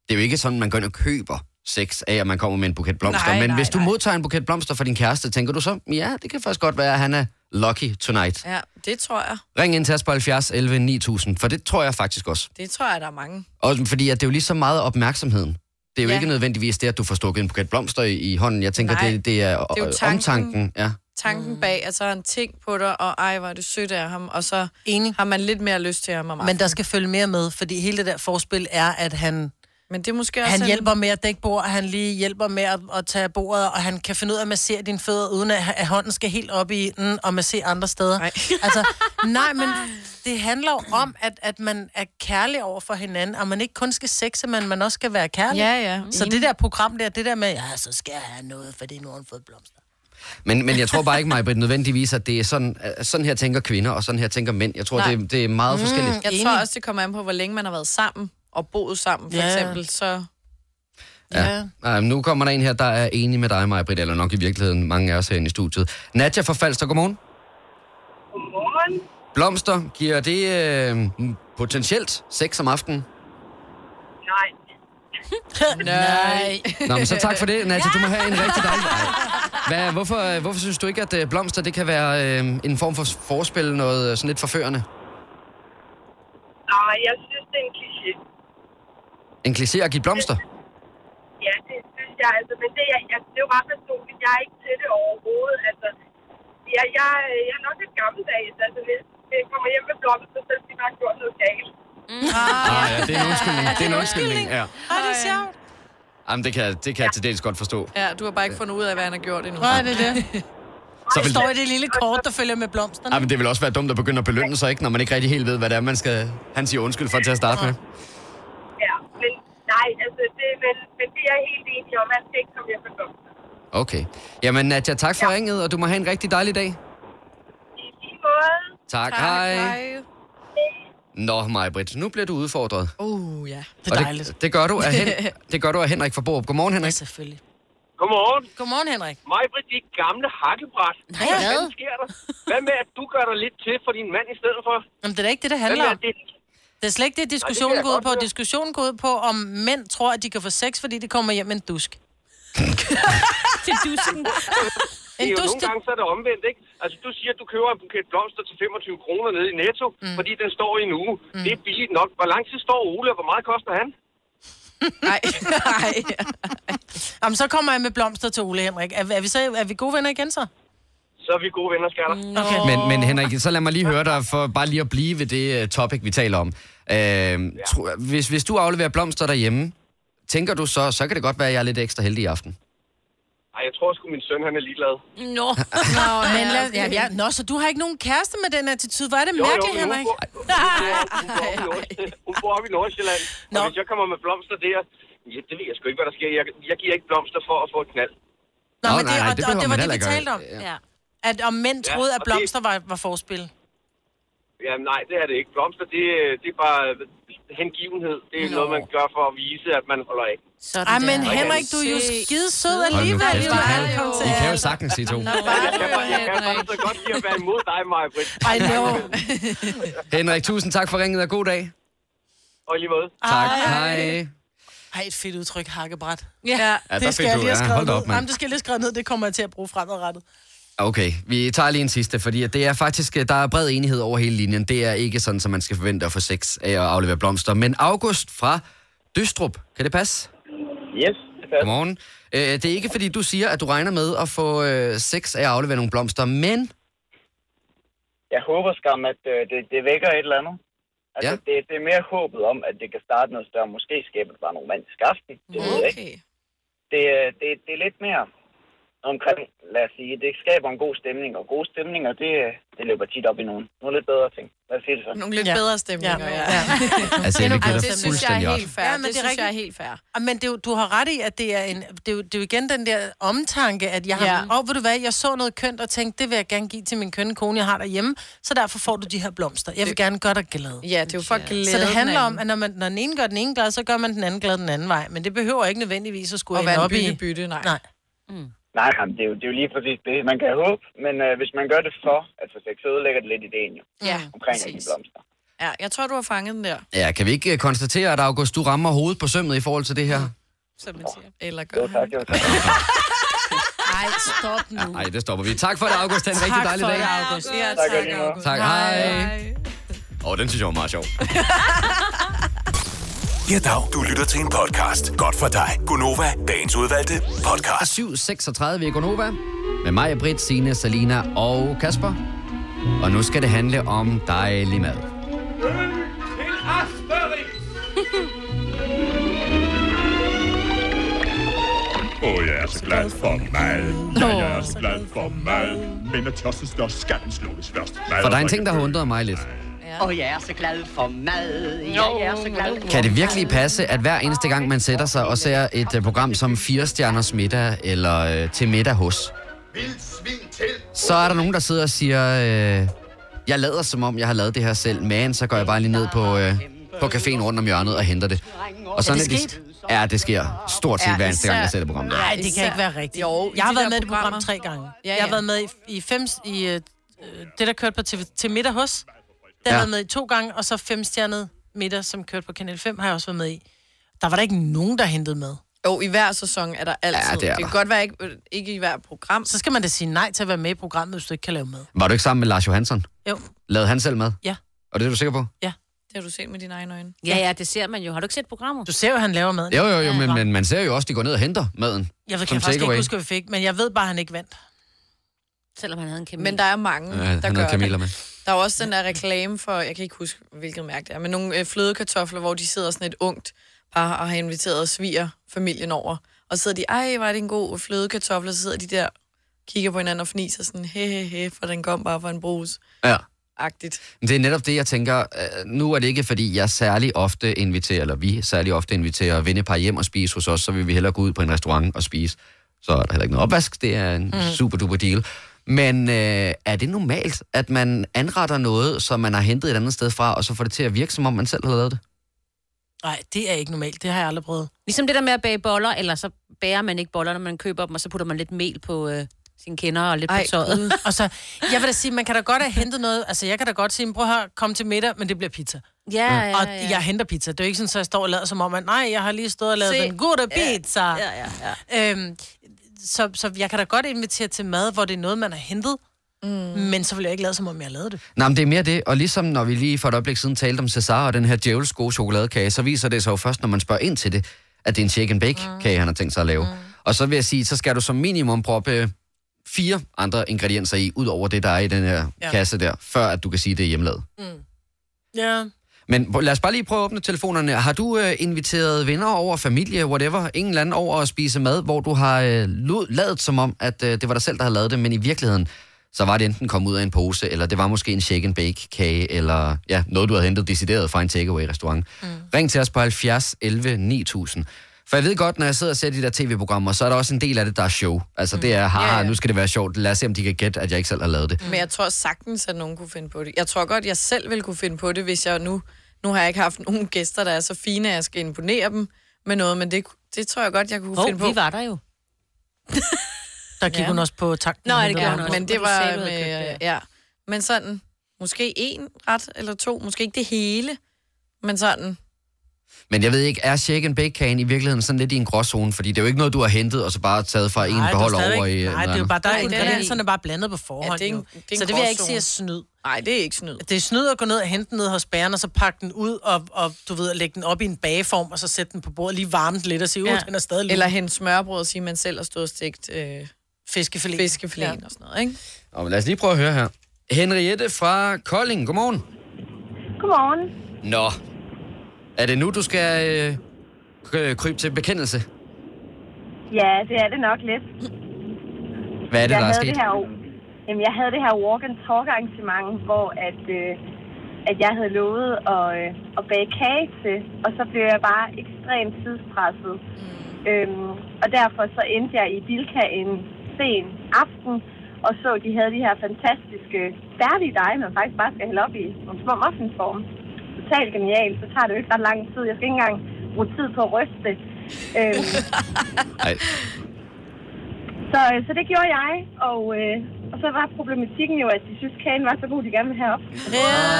[SPEAKER 1] er jo ikke sådan, man går ind og køber sex af, at man kommer med en buket blomster.
[SPEAKER 5] Nej,
[SPEAKER 1] Men
[SPEAKER 5] nej,
[SPEAKER 1] hvis du
[SPEAKER 5] nej.
[SPEAKER 1] modtager en buket blomster fra din kæreste, tænker du så, ja, det kan faktisk godt være, at han er lucky tonight.
[SPEAKER 5] Ja, det tror jeg.
[SPEAKER 1] Ring ind til os på 70 11 9000, for det tror jeg faktisk også.
[SPEAKER 5] Det tror jeg, der er mange.
[SPEAKER 1] Og fordi at det er jo lige så meget opmærksomheden. Det er jo ja.
[SPEAKER 5] Ja.
[SPEAKER 1] ikke nødvendigvis det, at du får stukket en buket blomster i, i hånden. Jeg tænker,
[SPEAKER 5] Nej,
[SPEAKER 1] det, det er,
[SPEAKER 5] det er jo
[SPEAKER 1] øh,
[SPEAKER 5] tanken.
[SPEAKER 1] omtanken. Ja.
[SPEAKER 2] Mhm.
[SPEAKER 5] Tanken bag, at så har han tænkt på dig, og ej, hvor er det sødt af ham, og så
[SPEAKER 2] Enig.
[SPEAKER 5] har man lidt mere lyst til ham om
[SPEAKER 2] Men der skal følge mere med, fordi hele det der forspil er, at han,
[SPEAKER 5] Men det er måske også...
[SPEAKER 2] han
[SPEAKER 5] en-
[SPEAKER 2] hjælper med at dække bord, han lige hjælper med at, at tage af bordet, og han kan finde ud af at massere dine fødder, uden at, at hånden skal helt op i den og massere andre steder.
[SPEAKER 5] Nej.
[SPEAKER 2] Altså, nej, men det handler jo om, at, at man er kærlig over for hinanden, og man ikke kun skal sexe, men man også skal være kærlig.
[SPEAKER 5] Ja, ja.
[SPEAKER 2] Så det der program der, det der med, ja, så skal jeg have noget, fordi nu har hun fået blomster.
[SPEAKER 1] Men, men jeg tror bare ikke, Majbrit, nødvendigvis, at det er sådan, at sådan her tænker kvinder, og sådan her tænker mænd. Jeg tror,
[SPEAKER 5] Nej.
[SPEAKER 1] det, det er meget mm. forskelligt.
[SPEAKER 5] Jeg
[SPEAKER 2] Enig.
[SPEAKER 5] tror også, det kommer an på, hvor længe man har været sammen og boet sammen, for
[SPEAKER 2] Ja.
[SPEAKER 5] ja. eksempel. Så
[SPEAKER 1] Ja. Nej, men nu kommer der en her, der er enig med dig, Majbrit, eller nok i virkeligheden mange af os herinde i studiet. Nadja fra Falster, godmorgen.
[SPEAKER 7] Godmorgen.
[SPEAKER 1] Blomster, giver det øh, potentielt sex om aftenen?
[SPEAKER 7] Nej.
[SPEAKER 5] nej.
[SPEAKER 1] Nå, men så tak for det, Nadja. Du må have en rigtig dejlig dag. Hvad, hvorfor, øh, hvorfor synes du ikke, at øh, blomster det kan være øh, en form for forspil, noget øh, sådan lidt forførende?
[SPEAKER 7] Nej, jeg synes, det er en kliché.
[SPEAKER 1] En kliché at give blomster?
[SPEAKER 7] Ja, det synes jeg. Altså, men det, jeg, jeg, det er jo bare personligt. Jeg er ikke til det overhovedet. Altså, jeg, jeg, jeg er nok lidt gammeldags. Altså, hvis hvis jeg kommer hjem med blomster, så skal jeg gjort noget galt.
[SPEAKER 1] Ah, ja, det er en undskyldning. Det er en undskyldning, ja.
[SPEAKER 2] Ej, det er sjovt.
[SPEAKER 1] Jamen, det kan, det kan jeg til dels godt forstå.
[SPEAKER 5] Ja, du har bare ikke fundet ud af, hvad han har gjort endnu.
[SPEAKER 2] Nej, det er det.
[SPEAKER 1] Så
[SPEAKER 2] Det står i det lille kort, der følger med blomsterne.
[SPEAKER 1] Ja, men det vil også være dumt at begynde at belønne sig, ikke, når man ikke rigtig helt ved, hvad det er, man skal... Han siger undskyld for til at starte med.
[SPEAKER 7] Ja, men nej, altså, det, men, men det er jeg helt enig om. Man skal ikke komme hjem med blomster.
[SPEAKER 1] Okay. Jamen, Nadja, tak for ringet, og du må have en rigtig dejlig dag.
[SPEAKER 7] I lige måde.
[SPEAKER 1] Tak, hej. Nå, Majbrit, nu bliver du udfordret.
[SPEAKER 5] Uh, ja.
[SPEAKER 2] Oh, Det er
[SPEAKER 1] Og
[SPEAKER 2] dejligt.
[SPEAKER 1] Det, det, gør du af Hen- det gør du af Henrik fra Borup. Godmorgen, Henrik.
[SPEAKER 2] Selvfølgelig.
[SPEAKER 15] Godmorgen.
[SPEAKER 2] Godmorgen, Henrik.
[SPEAKER 15] Mig, Britt, dit gamle hakkebræt.
[SPEAKER 4] Nej,
[SPEAKER 15] Hvad
[SPEAKER 4] hvad?
[SPEAKER 15] fanden sker der? Hvad med, at du gør dig lidt til for din mand i stedet for?
[SPEAKER 2] Jamen, det er da ikke det, det
[SPEAKER 15] Hvad
[SPEAKER 2] handler
[SPEAKER 15] med,
[SPEAKER 2] om.
[SPEAKER 15] at det...
[SPEAKER 2] Det er slet ikke det, diskussionen
[SPEAKER 15] jeg
[SPEAKER 2] går ud
[SPEAKER 15] godt
[SPEAKER 2] på.
[SPEAKER 15] høre.
[SPEAKER 2] Diskussionen går ud på, om mænd tror, at de kan få sex, fordi de kommer hjem med en dusk.
[SPEAKER 4] Til dusken.
[SPEAKER 15] Det
[SPEAKER 2] En
[SPEAKER 15] er jo
[SPEAKER 2] dusk,
[SPEAKER 15] nogle
[SPEAKER 2] det,
[SPEAKER 15] gange, så er det omvendt, ikke? Altså, du siger, at du køber en buket blomster til 25 kroner nede i Netto, mm. fordi den står i en uge. Mm. Det er billigt nok. Hvor lang tid står Ole, og hvor meget koster han?
[SPEAKER 5] Nej, nej.
[SPEAKER 2] jamen, så kommer jeg med blomster til Ole Henrik. Er, er, vi, så, er vi gode venner igen så?
[SPEAKER 15] Så er vi gode venner, skatter. Mm.
[SPEAKER 2] Okay.
[SPEAKER 1] Men, men Henrik, så lad mig lige høre dig, for bare lige at blive ved det øh, topic, vi taler om. Øh, tro, hvis, hvis du afleverer blomster derhjemme, tænker du så, så kan det godt være, at jeg er lidt ekstra heldig i aften.
[SPEAKER 15] Ej, jeg tror sgu, min søn han er ligeglad.
[SPEAKER 4] Nå.
[SPEAKER 2] Nå, men lad, ja, ja. Nå, så du har ikke nogen kæreste med den attitude. Hvor er det
[SPEAKER 15] Jo,
[SPEAKER 2] mærkeligt,
[SPEAKER 15] jo, men
[SPEAKER 2] Henrik?
[SPEAKER 15] Hun bor, hun, bor, hun, bor, oppe i Nordsjælland. hun bor oppe i Nordsjælland.
[SPEAKER 2] Nå.
[SPEAKER 15] Og hvis jeg kommer med blomster der, ja, det ved jeg sgu ikke, hvad der sker. Jeg, jeg giver ikke blomster for at få et knald.
[SPEAKER 2] Nå,
[SPEAKER 1] Nå,
[SPEAKER 2] men det,
[SPEAKER 1] nej, nej,
[SPEAKER 2] og,
[SPEAKER 1] det
[SPEAKER 2] og
[SPEAKER 1] behøver
[SPEAKER 2] det var det,
[SPEAKER 1] man
[SPEAKER 2] vi
[SPEAKER 1] heller ikke
[SPEAKER 2] talte om.
[SPEAKER 4] Ja.
[SPEAKER 2] At om mænd
[SPEAKER 15] Ja,
[SPEAKER 2] troede, at
[SPEAKER 15] og det-
[SPEAKER 2] blomster var, var forspil.
[SPEAKER 15] Jamen nej, det er det ikke. Blomster, det, det er bare hengivenhed. Det er
[SPEAKER 4] Nå.
[SPEAKER 15] Nå. noget, man gør for at vise, at man holder af.
[SPEAKER 4] Sådan
[SPEAKER 2] Ej, men
[SPEAKER 4] der.
[SPEAKER 2] Henrik, du er jo
[SPEAKER 5] Se.
[SPEAKER 2] skide sød
[SPEAKER 1] nu
[SPEAKER 2] alligevel.
[SPEAKER 1] kæft,
[SPEAKER 2] jo,
[SPEAKER 1] I
[SPEAKER 2] når
[SPEAKER 1] kan-
[SPEAKER 2] han kom til
[SPEAKER 1] I kan jo
[SPEAKER 2] alt.
[SPEAKER 1] sagtens sige to.
[SPEAKER 15] Jeg kan, bare- jeg kan bare så godt lide at være imod dig, Maja Britt.
[SPEAKER 2] I know.
[SPEAKER 1] Henrik, tusind tak for ringet, og god dag.
[SPEAKER 15] Og i lige måde.
[SPEAKER 1] Tak. Hej.
[SPEAKER 2] Ej, et fedt udtryk, hakkebræt.
[SPEAKER 5] Ja.
[SPEAKER 1] Ja, der
[SPEAKER 2] det
[SPEAKER 1] fik
[SPEAKER 2] skal jeg
[SPEAKER 1] du-
[SPEAKER 2] lige have
[SPEAKER 1] ja,
[SPEAKER 2] skrevet
[SPEAKER 1] hold da
[SPEAKER 2] ned.
[SPEAKER 1] op, mand. Altså,
[SPEAKER 2] Jamen, det skal jeg lige have skrevet ned. Det kommer jeg til at bruge fremadrettet.
[SPEAKER 1] Okay, vi tager lige en sidste, fordi at det er faktisk, øh, der er bred enighed over hele linjen. Det er ikke sådan, som man skal forvente at få sex af at aflevere blomster. Men August fra Døstrup, kan det passe?
[SPEAKER 15] Yes, det passer.
[SPEAKER 1] Godmorgen. Øh, det er ikke, fordi du siger, at du regner med at få øh, sex af at aflevere nogle blomster, men...
[SPEAKER 15] Jeg håber skam, at øh, det, det vækker et eller andet. Altså,
[SPEAKER 1] Ja.
[SPEAKER 15] det, det er mere håbet om, at det kan starte noget større. Måske skaber det bare en romantisk aften. Det ved jeg ikke.
[SPEAKER 5] Okay.
[SPEAKER 15] Det, øh, det, det er lidt mere omkring, lad os sige, det skaber en god stemning. Og gode stemninger, det, øh, det løber tit op i nogen. Nogle lidt bedre ting. Lad os sige det sådan.
[SPEAKER 5] Nogle lidt
[SPEAKER 2] Ja.
[SPEAKER 5] bedre stemninger, ja. ja.
[SPEAKER 1] Altså, jeg vil give
[SPEAKER 5] Ej,
[SPEAKER 1] dig
[SPEAKER 5] det synes jeg
[SPEAKER 1] fuldstændig
[SPEAKER 5] er
[SPEAKER 1] ret.
[SPEAKER 5] helt fair.
[SPEAKER 2] Ja,
[SPEAKER 5] Ja, men det,
[SPEAKER 2] men det er
[SPEAKER 5] det synes jeg er
[SPEAKER 2] rigtigt.
[SPEAKER 5] helt fair.
[SPEAKER 2] Ah, Men det, er jo- du har ret i, at det er, en, det er, jo, det er jo igen den der omtanke, at jeg har...
[SPEAKER 5] Ja.
[SPEAKER 2] Ja. Og ved du hvad, jeg så noget kønt og tænkte, det vil jeg gerne give til min kønne kone, jeg har derhjemme, så derfor får du de her blomster. Jeg vil gerne gøre dig glad.
[SPEAKER 5] Ja, det er jo for glæden.
[SPEAKER 2] Så det handler om,
[SPEAKER 5] at
[SPEAKER 2] at når, man, når den ene gør den ene glad, så gør man den anden glad den anden vej. Men det behøver ikke nødvendigvis at skulle
[SPEAKER 5] at
[SPEAKER 2] ende
[SPEAKER 5] være
[SPEAKER 2] op
[SPEAKER 5] en
[SPEAKER 2] i...
[SPEAKER 5] bytte, bytte, nej.
[SPEAKER 2] Nej.
[SPEAKER 15] Nej, nej, men det er, jo, det er jo lige præcis det. Man kan håbe, men øh, hvis man gør det for at få sex, så ødelægger det lidt ideen jo.
[SPEAKER 5] Ja,
[SPEAKER 15] Omkring at
[SPEAKER 5] præcis.
[SPEAKER 15] give blomster.
[SPEAKER 5] Ja, jeg tror, du har fanget den der,
[SPEAKER 1] Ja, kan vi ikke øh, konstatere, at August, du rammer hovedet på sømmet i forhold til det her?
[SPEAKER 5] som man siger. Eller
[SPEAKER 15] Jo,
[SPEAKER 5] gør
[SPEAKER 15] tak,
[SPEAKER 5] han.
[SPEAKER 15] jo, tak.
[SPEAKER 2] Ej, stop nu.
[SPEAKER 1] Nej, det stopper vi. Tak for det, August. Det er en rigtig dejlig
[SPEAKER 2] for
[SPEAKER 1] dag.
[SPEAKER 2] det, August.
[SPEAKER 5] Ja,
[SPEAKER 15] Tak,
[SPEAKER 5] tak,
[SPEAKER 15] og lige måde.
[SPEAKER 5] August.
[SPEAKER 1] Tak, hej. Åh, oh, den synes jeg var meget sjov.
[SPEAKER 6] Ja, dag. Du lytter til en podcast. Godt for dig. Gunova, dagens udvalgte podcast.
[SPEAKER 1] 7.36 i Gonova med mig, Britt, Signe, Salina og Kasper. Og nu skal det handle om dejlig mad.
[SPEAKER 12] Til Asperix!
[SPEAKER 6] Åh, jeg er så glad for mad. Ja, jeg er så glad for mad. Men når tosset står, skal den slukkes først. Mad
[SPEAKER 1] For der er en ting, der har undret mig lidt.
[SPEAKER 7] Og jeg er så glad for mad. Jeg er så glad for
[SPEAKER 1] Kan det virkelig passe, at hver eneste gang, man sætter sig og ser et øh, program som Fire Stjerners Middag eller øh, Til Middag Hos,
[SPEAKER 6] Vildt svin til.
[SPEAKER 1] så er der nogen, der sidder og siger, øh, jeg lader som om, jeg har lavet det her selv, men så går jeg bare lige ned på, øh, på caféen rundt om hjørnet og henter det. Og sådan
[SPEAKER 2] Er det sket?
[SPEAKER 1] Ja, det sker stort set hver eneste gang, jeg sætter programmet.
[SPEAKER 2] Nej, det kan
[SPEAKER 5] Især-
[SPEAKER 2] ikke være rigtigt.
[SPEAKER 5] Jo, i
[SPEAKER 2] jeg har
[SPEAKER 5] de
[SPEAKER 2] været
[SPEAKER 5] der
[SPEAKER 2] med i det program
[SPEAKER 5] programmer.
[SPEAKER 2] tre gange. Ja,
[SPEAKER 5] Ja,
[SPEAKER 2] Jeg har
[SPEAKER 5] ja.
[SPEAKER 2] været med i, i fem... I, øh, det, der kørte på TV, til middag hos. Der ja.
[SPEAKER 1] Ja.
[SPEAKER 2] har jeg været med i to gange, og så femstjernet middag, som kørte på Kanal 5, har jeg også været med i. Der var der ikke nogen, der hentede med.
[SPEAKER 5] Jo, i hver sæson er der altid.
[SPEAKER 1] Ja, det er
[SPEAKER 5] det
[SPEAKER 1] der.
[SPEAKER 5] kan godt være ikke, ikke i hver program.
[SPEAKER 2] Så skal man da sige nej til at være med i programmet, hvis du ikke kan lave med.
[SPEAKER 1] Var du ikke sammen med Lars Johansson?
[SPEAKER 2] Jo.
[SPEAKER 1] Lavede han selv mad?
[SPEAKER 2] Ja.
[SPEAKER 1] Og det er du sikker på?
[SPEAKER 5] Det har du set med dine egne øjne.
[SPEAKER 4] Ja, ja, det ser man jo. Har du ikke set programmet?
[SPEAKER 2] Du ser jo, at han laver maden.
[SPEAKER 1] Jo, jo, jo, men, men man ser jo også, at de går ned og henter maden.
[SPEAKER 2] Jeg ved, kan
[SPEAKER 1] Som
[SPEAKER 2] jeg faktisk
[SPEAKER 1] takeaway.
[SPEAKER 2] ikke huske, hvad vi fik, men jeg ved bare, at han ikke vandt.
[SPEAKER 4] Selvom han havde en kæmpe...
[SPEAKER 5] Men der er mange,
[SPEAKER 1] Øh,
[SPEAKER 5] der
[SPEAKER 1] han
[SPEAKER 5] gør
[SPEAKER 1] havde kameler
[SPEAKER 5] det.
[SPEAKER 1] med.
[SPEAKER 5] Der er jo også den der reklame for, jeg kan ikke huske, hvilket mærke det er, men nogle øh, flødekartofler, hvor de sidder sådan et ungt par og har inviteret sviger familien over. Og så sidder de, ej, var det en god flødekartofle, så sidder de der kigger på hinanden og fniser sådan, he, he, he, for den kom bare fra en brus.
[SPEAKER 1] Ja.
[SPEAKER 5] Agtigt.
[SPEAKER 1] Men Det er netop det, jeg tænker. øh, Nu er det ikke, fordi jeg særlig ofte inviterer, eller vi særlig ofte inviterer vennepar hjem og spise hos os, så vil vi hellere gå ud på en restaurant og spise. Så er der heller ikke noget opvask. Det er en mm. super duper deal. Men øh, er det normalt, at man anretter noget, som man har hentet et andet sted fra, og så får det til at virke, som om man selv har lavet det?
[SPEAKER 2] Nej, det er ikke normalt. Det har jeg aldrig prøvet.
[SPEAKER 4] Ligesom det der med at bage boller, eller så bager man ikke boller, når man køber dem, og så putter man lidt mel på øh, sine kender og lidt Ej,
[SPEAKER 2] Ej,
[SPEAKER 4] på tøjet.
[SPEAKER 2] Gud. Og så, jeg vil da sige, man kan da godt have hentet noget. Altså, jeg kan da godt sige, prøv her, kom til middag, men det bliver pizza.
[SPEAKER 5] Mm.
[SPEAKER 4] Ja, ja,
[SPEAKER 2] Og
[SPEAKER 4] ja.
[SPEAKER 2] jeg henter pizza. Det er jo ikke sådan, at jeg står og lader som om, at nej, jeg har lige stået og lavet
[SPEAKER 4] Se.
[SPEAKER 2] den gode pizza. Ja,
[SPEAKER 4] ja, ja.
[SPEAKER 2] Øhm, så, så jeg kan da godt invitere til mad, hvor det er noget, man har hentet. Mm. Men så vil jeg ikke lade, som om jeg lavede det.
[SPEAKER 1] Nej, men det er mere det, og ligesom når vi lige for et øjeblik siden talte om Cesar og den her djævels gode chokoladekage, så viser det sig jo først, når man spørger ind til det, at det er en shake and bake kage, han har tænkt sig at lave. Mm. Og så vil jeg sige, så skal du som minimum proppe fire andre ingredienser i, ud over det, der er i den her
[SPEAKER 2] Ja.
[SPEAKER 1] ja. kasse der, før at du kan sige, det er hjemmelavet.
[SPEAKER 2] Ja.
[SPEAKER 1] Men lad os bare lige prøve at åbne telefonerne. Har du øh, inviteret venner over, familie, whatever, ingen eller anden over at spise mad, hvor du har øh, lod- lavet som om, at øh, det var dig selv, der havde lavet det, men i virkeligheden, så var det enten kommet ud af en pose, eller det var måske en shake and bake kage, eller ja, noget, du havde hentet decideret fra en takeaway restaurant. Mm. Ring til os på 70 11 9000. For jeg ved godt, når jeg sidder og ser de der tv-programmer, så er der også en del af det, der er show. Altså det er, haha,
[SPEAKER 5] Mm. Ja,
[SPEAKER 1] ja,
[SPEAKER 5] ja.
[SPEAKER 1] ja. nu skal det være sjovt. Lad os se, om de kan gætte, at jeg ikke selv har lavet det.
[SPEAKER 5] Mm. Men jeg tror sagtens, at nogen kunne finde på det. Jeg tror godt, jeg selv ville kunne finde på det, hvis jeg nu... Nu har jeg ikke haft nogen gæster, der er så fine, at jeg skal imponere dem med noget, men det, det tror jeg godt, jeg kunne
[SPEAKER 4] Hov,
[SPEAKER 5] finde på.
[SPEAKER 4] vi var der jo.
[SPEAKER 2] Der gik
[SPEAKER 5] Ja.
[SPEAKER 2] ja. hun også på tanken.
[SPEAKER 4] Nå,
[SPEAKER 2] og
[SPEAKER 4] ja, det
[SPEAKER 2] hentede
[SPEAKER 4] gjorde
[SPEAKER 2] varme.
[SPEAKER 4] hun også.
[SPEAKER 5] Men det
[SPEAKER 4] Og du
[SPEAKER 5] var øh,
[SPEAKER 4] sagde, du havde
[SPEAKER 5] med,
[SPEAKER 4] købt det,
[SPEAKER 5] ja. Men sådan, måske en ret eller to, måske ikke det hele, men sådan.
[SPEAKER 1] Men jeg ved ikke, er shake and bake kagen i virkeligheden sådan lidt i en gråzone? Fordi det er jo ikke noget, du har hentet og så bare taget fra en
[SPEAKER 2] Nej, det er
[SPEAKER 1] beholder
[SPEAKER 2] stadigvæk-
[SPEAKER 1] over i... øh,
[SPEAKER 2] Nej, det er
[SPEAKER 1] noget
[SPEAKER 2] jo
[SPEAKER 1] andet.
[SPEAKER 2] bare, der er
[SPEAKER 5] Nej, det er-
[SPEAKER 2] ingredienserne bare blandet på forhånd.
[SPEAKER 5] Ja, det er en-
[SPEAKER 2] jo.
[SPEAKER 5] det er en
[SPEAKER 2] så det vil jeg ikke
[SPEAKER 5] gråzone.
[SPEAKER 2] sige er snyd.
[SPEAKER 5] Nej, det er ikke snyd.
[SPEAKER 2] Det er snyd at gå ned og hente den ned hos bæren, og så pakke den ud, og, og du ved, lægge den op i en bageform, og så sætte den på bordet, lige varme den lidt og sige, ud,
[SPEAKER 4] Ja.
[SPEAKER 2] ja. den er stadig lun.
[SPEAKER 5] Eller hente smørbrød og sige, at man selv har stået og stegt øh,
[SPEAKER 2] fiskefilet.
[SPEAKER 5] fiskefiléen ja. og sådan noget, ikke?
[SPEAKER 1] Og men lad os lige prøve at høre her. Henriette fra Kolding, godmorgen.
[SPEAKER 7] Godmorgen.
[SPEAKER 1] Nå, er det nu, du skal øh, kry- krybe til bekendelse?
[SPEAKER 7] Ja, det er det nok lidt.
[SPEAKER 1] Hvad er det,
[SPEAKER 7] jeg
[SPEAKER 1] der er
[SPEAKER 7] havde
[SPEAKER 1] sket?
[SPEAKER 7] det her, jamen, jeg havde det her walk and talk arrangement, hvor at, øh, at jeg havde lovet at, øh, at bage kage til, og så blev jeg bare ekstremt tidspresset.
[SPEAKER 1] Mm.
[SPEAKER 7] Øhm, og derfor så endte jeg i Bilka en sen aften, og så, at de havde de her fantastiske, færdige dej, man faktisk bare skal hælde op i nogle små muffinsform. Totalt genialt, så tager det jo ikke ret lang tid. Jeg skal ikke engang bruge tid på at ryste det. Øhm,
[SPEAKER 1] Ej,
[SPEAKER 7] så, øh, så det gjorde jeg, og, øh, og så var problematikken jo, at de synes, kagen var så god, de gerne ville have op.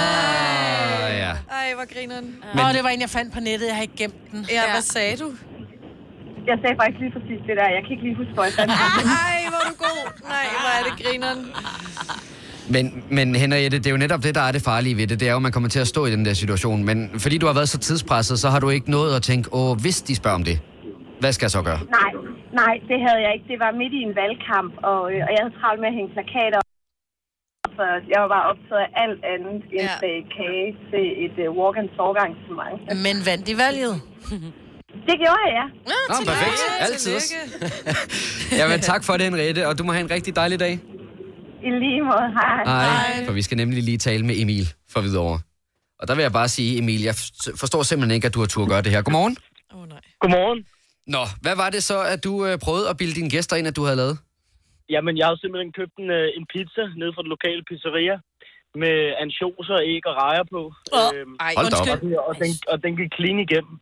[SPEAKER 1] øh, ja.
[SPEAKER 5] Ej, hvor griner den.
[SPEAKER 2] Men... Nå, det var en, jeg fandt på nettet. Jeg har ikke gemt den.
[SPEAKER 5] Ja, ja, hvad sagde du?
[SPEAKER 7] Jeg sagde faktisk lige præcis det der. Jeg kan ikke lige huske, hvor jeg fandt det.
[SPEAKER 5] Ej, hvor er du god. Nej, hvor er det grineren.
[SPEAKER 1] Men, men Henriette, det er jo netop det, der er det farlige ved det. Det er jo, at man kommer til at stå i den der situation. Men fordi du har været så tidspresset, så har du ikke nået at tænke, åh, hvis de spørger om det, hvad skal jeg så gøre?
[SPEAKER 7] Nej, nej, det havde jeg ikke. Det var midt i en valgkamp, og, øh, og jeg havde travlt med at hænge plakater op. Så jeg var bare optaget af alt andet end
[SPEAKER 5] Ja.
[SPEAKER 7] ja. kage til et uh, walk and talk arrangement.
[SPEAKER 2] Men vandt i valget.
[SPEAKER 7] Det gjorde jeg, ja.
[SPEAKER 1] Nå, perfekt. Altid. Jamen, tak for det, Henriette, og du må have en rigtig dejlig dag.
[SPEAKER 7] I lige måde. Hej.
[SPEAKER 1] Nej, for vi skal nemlig lige tale med Emil fra Hvidovre. Og der vil jeg bare sige, Emil, jeg f- forstår simpelthen ikke, at du har tur at gøre det her. Godmorgen.
[SPEAKER 5] Åh, oh, nej.
[SPEAKER 16] Godmorgen.
[SPEAKER 1] Nå, hvad var det så, at du øh, prøvede at bilde dine gæster ind, at du havde lavet?
[SPEAKER 16] Jamen, jeg har jo simpelthen købt en, øh, en pizza nede fra den lokale pizzeria med ansjoser, æg og rejer på.
[SPEAKER 2] Åh,
[SPEAKER 16] Øhm,
[SPEAKER 5] Ej,
[SPEAKER 1] Hold da op.
[SPEAKER 16] og,
[SPEAKER 5] undskyld.
[SPEAKER 1] Mm.
[SPEAKER 16] den- og, den, og den gik clean igennem.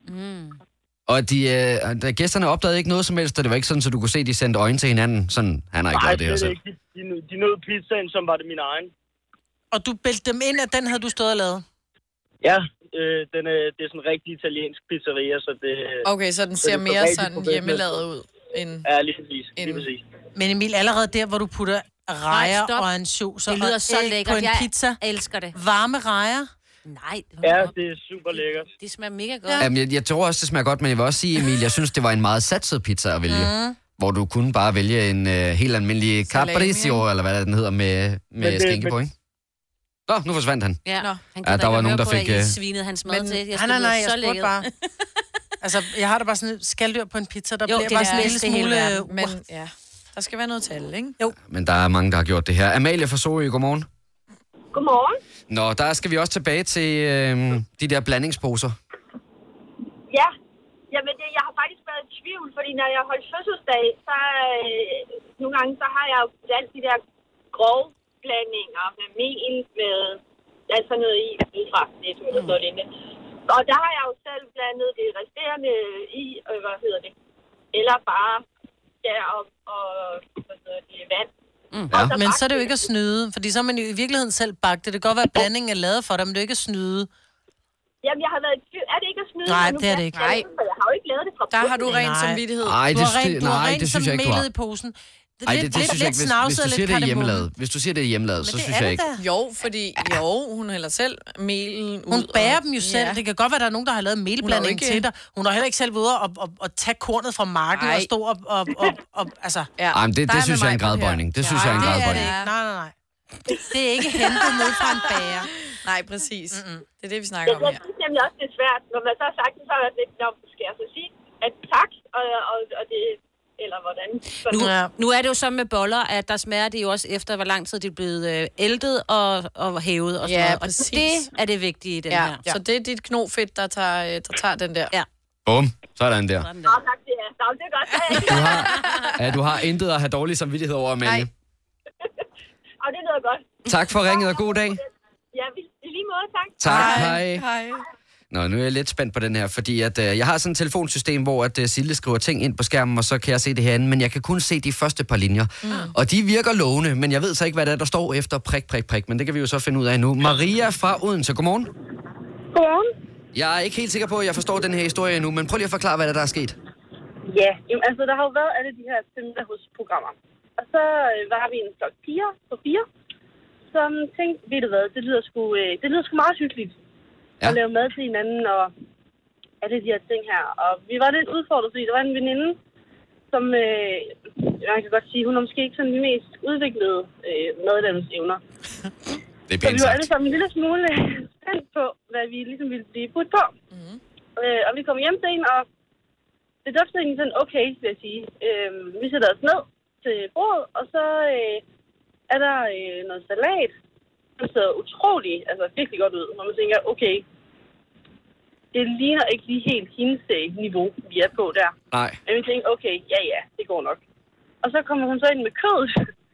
[SPEAKER 1] Og de, øh, da gæsterne opdagede ikke noget som helst, og det var ikke sådan, så du kunne se, at de sendte øjne til hinanden. Sådan, han har ikke lavet det her
[SPEAKER 16] slet
[SPEAKER 1] selv.
[SPEAKER 16] ikke. De- De, nød- de nød pizzaen, som var det min egen.
[SPEAKER 2] Og du bælte dem ind, at den havde du stået og lavet.
[SPEAKER 16] Ja, øh, den, øh, det er sådan en rigtig italiensk pizzeria, så det øh,
[SPEAKER 5] Okay, så den
[SPEAKER 16] Så det
[SPEAKER 5] ser
[SPEAKER 16] er
[SPEAKER 5] mere
[SPEAKER 16] rigtig
[SPEAKER 5] sådan
[SPEAKER 16] professionelt.
[SPEAKER 5] hjemmelavet ud end...
[SPEAKER 16] er lige præcis. Lige
[SPEAKER 5] En-
[SPEAKER 16] præcis.
[SPEAKER 2] Men Emil, allerede der, hvor du putter
[SPEAKER 4] Nej,
[SPEAKER 2] rejer
[SPEAKER 4] stop.
[SPEAKER 2] og ansjoser
[SPEAKER 4] Det lyder
[SPEAKER 2] og
[SPEAKER 4] så
[SPEAKER 2] æg
[SPEAKER 4] lækkert.
[SPEAKER 2] på en
[SPEAKER 4] Jeg
[SPEAKER 2] pizza.
[SPEAKER 4] elsker det.
[SPEAKER 2] Varme rejer.
[SPEAKER 4] Nej,
[SPEAKER 16] Ja,
[SPEAKER 4] hold op.
[SPEAKER 16] det er super lækkert.
[SPEAKER 4] det smager mega godt. Ja.
[SPEAKER 1] Jamen, jeg, jeg tror også, det smager godt, men jeg vil også sige, Emil, jeg synes, det var en meget satset pizza at vælge. Mm. Hvor du kunne bare vælge en øh, helt almindelig
[SPEAKER 5] Salami,
[SPEAKER 1] capriccio, eller hvad den hedder, med, med
[SPEAKER 16] det-
[SPEAKER 1] skinke på,
[SPEAKER 16] men-
[SPEAKER 1] ikke? Nå, nu forsvandt han.
[SPEAKER 4] Ja,
[SPEAKER 5] Nå.
[SPEAKER 4] han gider
[SPEAKER 1] Ja,
[SPEAKER 4] ikke
[SPEAKER 1] der var
[SPEAKER 4] at høre
[SPEAKER 1] nogen, der
[SPEAKER 4] på,
[SPEAKER 1] fik,
[SPEAKER 4] at I
[SPEAKER 1] øh,
[SPEAKER 4] svinede hans mad
[SPEAKER 5] Men-
[SPEAKER 4] til. Jeg
[SPEAKER 2] Nej, nej, nej, jeg
[SPEAKER 4] så
[SPEAKER 2] spurgte
[SPEAKER 4] lækkert.
[SPEAKER 2] bare. Altså, jeg har da bare sådan et skaldyr på en pizza, der
[SPEAKER 4] Jo,
[SPEAKER 2] jo, bliver
[SPEAKER 4] det er
[SPEAKER 2] bare
[SPEAKER 4] det
[SPEAKER 2] sådan en lille
[SPEAKER 4] bedste i hele
[SPEAKER 2] smule... uh,
[SPEAKER 4] verden,
[SPEAKER 5] Men ja, der skal være noget tal, ikke?
[SPEAKER 1] Men der er mange, der har gjort det her. Amalie fra Sorø, godmorgen.
[SPEAKER 7] Godmorgen.
[SPEAKER 1] Nå, der skal vi også tilbage til øh, de der blandingsposer.
[SPEAKER 7] Ja, jamen det, jeg har faktisk været i tvivl, fordi når jeg holdt fødselsdag, så øh, nogle gange, så har jeg jo blandt de der
[SPEAKER 17] grove blandinger med mel, med alt sådan noget i, fra Netto eller sådan noget lignende. Og der har jeg jo selv blandet det resterende i, øh, hvad hedder det, eller bare der og, og hvad hedder det, vand.
[SPEAKER 2] Mm. Ja. Men så er det jo ikke at snyde, fordi så er man jo i virkeligheden selv bagt det. Det kan godt være, at blandingen er lavet for dig, men det er jo ikke at snyde.
[SPEAKER 17] Jamen, jeg har været i tvivl. Er det ikke at snyde?
[SPEAKER 2] Nej,
[SPEAKER 17] mig nu?
[SPEAKER 2] det er det ikke.
[SPEAKER 17] Jeg, jeg, jeg, har jo ikke lavet det fra
[SPEAKER 5] Der har du
[SPEAKER 17] bunden.
[SPEAKER 5] ren samvittighed.
[SPEAKER 1] Ej,
[SPEAKER 2] du
[SPEAKER 1] det
[SPEAKER 2] har
[SPEAKER 1] sy-
[SPEAKER 2] rent, du har
[SPEAKER 1] nej,
[SPEAKER 2] rent
[SPEAKER 1] det
[SPEAKER 2] som
[SPEAKER 1] synes jeg ikke, du har.
[SPEAKER 2] melet i posen.
[SPEAKER 1] Ej, det, det,
[SPEAKER 2] lidt,
[SPEAKER 1] synes jeg ikke. Hvis, hvis
[SPEAKER 2] snavset
[SPEAKER 1] du
[SPEAKER 2] og
[SPEAKER 1] siger,
[SPEAKER 2] lidt
[SPEAKER 1] det er
[SPEAKER 2] kardemomme.
[SPEAKER 1] hjemmelavet, hvis du siger, det er hjemmelavet, så synes jeg ikke.
[SPEAKER 5] Jo, fordi jo, hun hælder selv melen ud.
[SPEAKER 2] Hun bager
[SPEAKER 5] og-
[SPEAKER 2] dem jo selv.
[SPEAKER 5] Ja.
[SPEAKER 2] Det kan godt være, at der er nogen, der har lavet melblanding
[SPEAKER 5] ikke-
[SPEAKER 2] til dig. Hun har heller ikke selv været ude og, og, og tage kornet fra marken
[SPEAKER 5] Ej.
[SPEAKER 2] og stå op. Og, og, og, altså.
[SPEAKER 5] ja.
[SPEAKER 1] Ej, men det, det synes jeg er en gradbøjning. Det synes jeg er en
[SPEAKER 2] det er det
[SPEAKER 1] gradbøjning.
[SPEAKER 2] ikke. Nej, nej, nej. Det er ikke hentet ned fra en bager.
[SPEAKER 5] Nej, præcis. Mm-mm. Det er det, vi snakker
[SPEAKER 17] Jeg,
[SPEAKER 5] om
[SPEAKER 17] jeg
[SPEAKER 5] her.
[SPEAKER 17] synes nemlig også, det er svært. Når man så har sagt det, så er det lidt, "Nå, skal jeg så sige, at tak, og, og, og det, eller hvordan.
[SPEAKER 4] Nu, nu er det jo sådan med boller, at der smager det jo også efter, hvor lang tid det er blevet øh, æltet og, og hævet og sådan
[SPEAKER 5] Ja,
[SPEAKER 4] noget. Og
[SPEAKER 5] præcis.
[SPEAKER 4] det er det vigtige i den
[SPEAKER 5] Ja.
[SPEAKER 4] her.
[SPEAKER 5] Så det er dit knofedt, der tager, øh, der tager den der.
[SPEAKER 4] Ja.
[SPEAKER 1] Bum, sådan der.
[SPEAKER 17] Nå, tak, det er. Nå, det er godt.
[SPEAKER 1] Du har, ja, du har intet at have dårlig samvittighed over, Amalie.
[SPEAKER 17] og det lyder godt.
[SPEAKER 1] Tak for ringet, og god dag.
[SPEAKER 17] Ja, vi, i lige måde, tak.
[SPEAKER 1] Tak, hej.
[SPEAKER 5] Hej.
[SPEAKER 1] Nå, nu er jeg lidt spændt på den her, fordi at, øh, jeg har sådan et telefonsystem, hvor at, øh, Sille skriver ting ind på skærmen, og så kan jeg se det herinde, men jeg kan kun se de første par linjer. Mm. Og de virker lovende, men jeg ved så ikke, hvad det er, der står efter prik, prik, prik, men det kan vi jo så finde ud af nu. Maria fra Odense, godmorgen.
[SPEAKER 18] Godmorgen.
[SPEAKER 1] Jeg er ikke helt sikker på, at jeg forstår den her historie endnu, men prøv lige at forklare, hvad det er, der er sket.
[SPEAKER 18] Ja, jamen, altså der har jo været alle de her søndagsprogrammer. Og så øh, var vi en flok piger på fire, som tænkte, ved du hvad, det lyder sgu, øh, det lyder sgu meget hyggeligt ja. at lave mad til hinanden og alle de her ting her. Og vi var lidt udfordret, fordi der var en veninde, som, øh, man kan godt sige, hun er måske ikke sådan de mest udviklede øh, madlavningsevner.
[SPEAKER 1] Det er
[SPEAKER 18] Så vi var alle sammen en lille smule spændt på, hvad vi ligesom ville blive budt på.
[SPEAKER 1] Mhm.
[SPEAKER 18] Mm. Øh, og vi kom hjem til en, og det duftede egentlig sådan okay, vil jeg sige. Øh, vi sætter os ned til bordet, og så øh, er der øh, noget salat, som ser utrolig, altså virkelig godt ud, når man tænker, okay, det ligner ikke lige helt hendes øh, niveau, vi er på der.
[SPEAKER 1] Nej.
[SPEAKER 18] Men vi tænkte, okay, ja ja, det går nok. Og så kommer hun så ind med kød,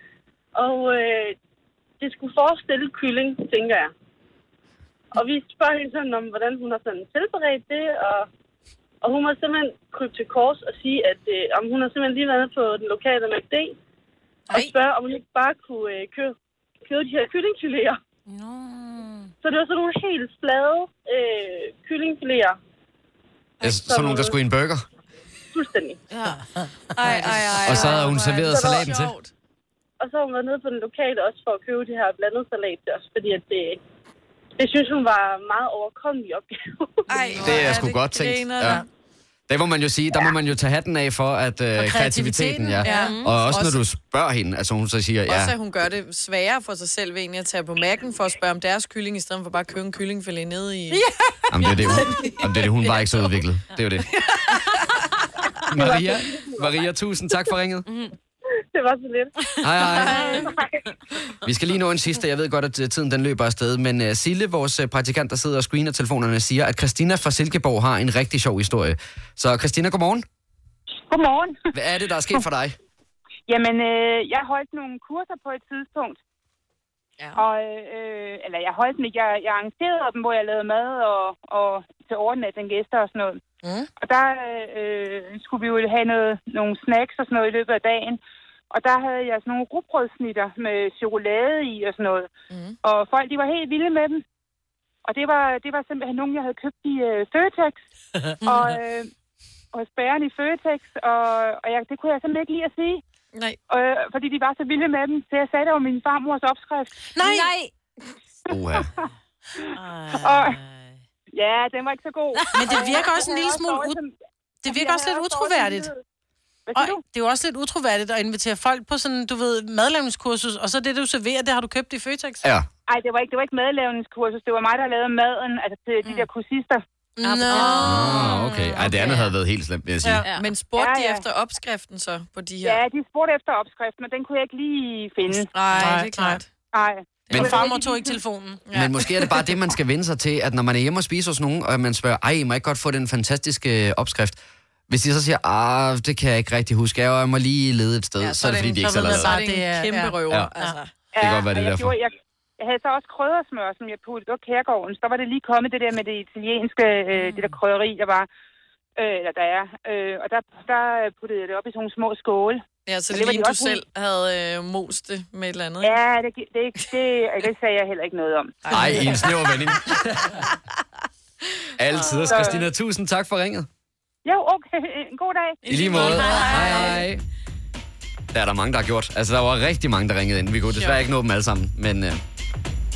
[SPEAKER 18] og øh, det skulle forestille kylling, tænker jeg. Og vi spørger hende sådan om, hvordan hun har sådan tilberedt det, og, og hun må simpelthen krybe til kors og sige, at øh, om hun har simpelthen lige været på den lokale McD, og spørge, om hun ikke bare kunne øh, købe, købe de her kyllingfiléer. No. Så det var sådan nogle helt flade øh, kyllingfiléer,
[SPEAKER 1] Jeg, sådan nogen, der skulle i en burger.
[SPEAKER 18] fuldstændig. Ja.
[SPEAKER 5] Ej, ej, ej.
[SPEAKER 1] Og så havde hun serveret salaten til.
[SPEAKER 18] Og så har hun været nede på den lokale også for at købe det her blandet salat til os, fordi at det, det synes hun var en meget overkommelig opgave.
[SPEAKER 5] Ej,
[SPEAKER 1] Det er sgu godt tænkt. Ja. Det må man jo sige, der må man jo tage hatten af for, at øh, kreativiteten, ja.
[SPEAKER 5] ja.
[SPEAKER 1] Og også når
[SPEAKER 5] Også-
[SPEAKER 1] du spørger hende, altså hun så siger,
[SPEAKER 5] Også
[SPEAKER 1] ja,
[SPEAKER 5] at hun gør det sværere for sig selv ved egentlig at tage på mærken for at spørge om deres kylling, i stedet for bare at købe en kyllingfilet ned i...
[SPEAKER 1] Jamen, det er det, hun, jamen, det er det, hun var ikke så udviklet. Det er jo det. Maria, Maria, tusind tak for ringet.
[SPEAKER 18] det var så lidt.
[SPEAKER 1] Hej, hej. Vi skal lige nå en sidste. Jeg ved godt, at øh, tiden den løber afsted, men uh, Sille, vores øh, praktikant, der sidder og screener telefonerne, siger, at Christina fra Silkeborg har en rigtig sjov historie. Så Christina, godmorgen.
[SPEAKER 19] Godmorgen.
[SPEAKER 1] Hvad er det, der er sket for dig?
[SPEAKER 19] Jamen, øh, jeg holdt nogle kurser på et tidspunkt. Ja. Og, øh, eller jeg holdt dem ikke. Jeg, jeg arrangerede dem, hvor jeg lavede mad og, og til overnatten gæster og sådan noget.
[SPEAKER 2] Mm.
[SPEAKER 19] Og der øh, skulle vi jo have noget, nogle snacks og sådan noget i løbet af dagen. Og der havde jeg sådan nogle rugbrødsnitter med chokolade i og sådan noget. Mm. Og folk, de var helt vilde med dem. Og det var, det var simpelthen nogen, jeg havde købt i øh, Føtex. og øh, hos bæren i Føtex, og, og jeg, det kunne jeg simpelthen ikke lide at sige.
[SPEAKER 5] Nej.
[SPEAKER 19] Øh, fordi de var så vilde med dem, så jeg sagde, det var min farmors opskrift.
[SPEAKER 2] Nej!
[SPEAKER 19] Nej.
[SPEAKER 1] Oha.
[SPEAKER 19] og, ja, den var ikke så god.
[SPEAKER 2] Men det
[SPEAKER 19] Og
[SPEAKER 2] virker
[SPEAKER 19] jeg-
[SPEAKER 2] også en
[SPEAKER 19] jeg
[SPEAKER 2] lille
[SPEAKER 19] havde
[SPEAKER 2] smule
[SPEAKER 19] dårlig
[SPEAKER 2] ud-
[SPEAKER 19] sam-
[SPEAKER 2] Det
[SPEAKER 19] jeg
[SPEAKER 2] virker også
[SPEAKER 19] havde
[SPEAKER 2] lidt
[SPEAKER 19] dårlig
[SPEAKER 2] utroværdigt.
[SPEAKER 19] samvittighed.
[SPEAKER 2] Og det er jo også lidt utroværdigt at invitere folk på sådan, du ved, madlavningskursus, og så det, du serverer, det har du købt i Føtex.
[SPEAKER 1] Ja.
[SPEAKER 19] Ej, det var ikke, det var ikke madlavningskursus, det var mig, der lavede maden, altså til
[SPEAKER 2] Mm.
[SPEAKER 19] de der kursister.
[SPEAKER 2] Nå.
[SPEAKER 1] Ah, okay. Ej, det andet havde været helt slemt, vil jeg sige.
[SPEAKER 5] Ja. Men spurgte
[SPEAKER 19] Ja,
[SPEAKER 5] ja, ja.
[SPEAKER 19] ja.
[SPEAKER 5] de efter opskriften så på de her?
[SPEAKER 19] Ja, de spurgte efter opskrift, men den kunne jeg ikke lige finde.
[SPEAKER 5] Nej, det er klart.
[SPEAKER 19] Nej.
[SPEAKER 1] Men-
[SPEAKER 19] Og
[SPEAKER 2] farmor tog ikke telefonen.
[SPEAKER 1] Ja. Men måske er det bare det, man skal vende sig til, at når man er hjemme og spiser hos nogen, og man spørger, ej, må jeg ikke godt få den fantastiske øh, opskrift? Hvis de så siger, ah, det kan jeg ikke rigtig huske, jeg må lige lede et sted, ja, så, er det fordi, de ikke selv har lavet
[SPEAKER 5] det er en kæmpe
[SPEAKER 1] Ja.
[SPEAKER 5] røver.
[SPEAKER 1] Ja.
[SPEAKER 5] Altså.
[SPEAKER 1] kan godt være, det
[SPEAKER 19] og
[SPEAKER 1] er
[SPEAKER 19] jeg
[SPEAKER 1] derfor.
[SPEAKER 19] Gjorde, jeg, jeg havde så også kryddersmør, som jeg puttede på kærgården. Så var det lige kommet det der med det italienske, øh,
[SPEAKER 5] Mm.
[SPEAKER 19] det der krydderi, der var, øh, eller der er. Øh, og der, der puttede jeg det op i sådan nogle små skåle.
[SPEAKER 5] Ja, så det,
[SPEAKER 19] Og var
[SPEAKER 5] det
[SPEAKER 19] de
[SPEAKER 5] lignede, du
[SPEAKER 19] også-
[SPEAKER 5] selv havde øh, most det med et eller andet.
[SPEAKER 19] Ja, det, gi- det, det, det, det sagde jeg heller ikke noget om.
[SPEAKER 1] Ej, i en snæver vending. Altid.
[SPEAKER 19] Så-
[SPEAKER 1] Christina, tusind tak for ringet.
[SPEAKER 19] Jo, okay. En god dag.
[SPEAKER 1] I lige måde. Hej, hej. Der er der mange, der har gjort. Altså, der var rigtig mange, der ringede ind. Vi kunne desværre ikke nå dem alle sammen, men... Øh,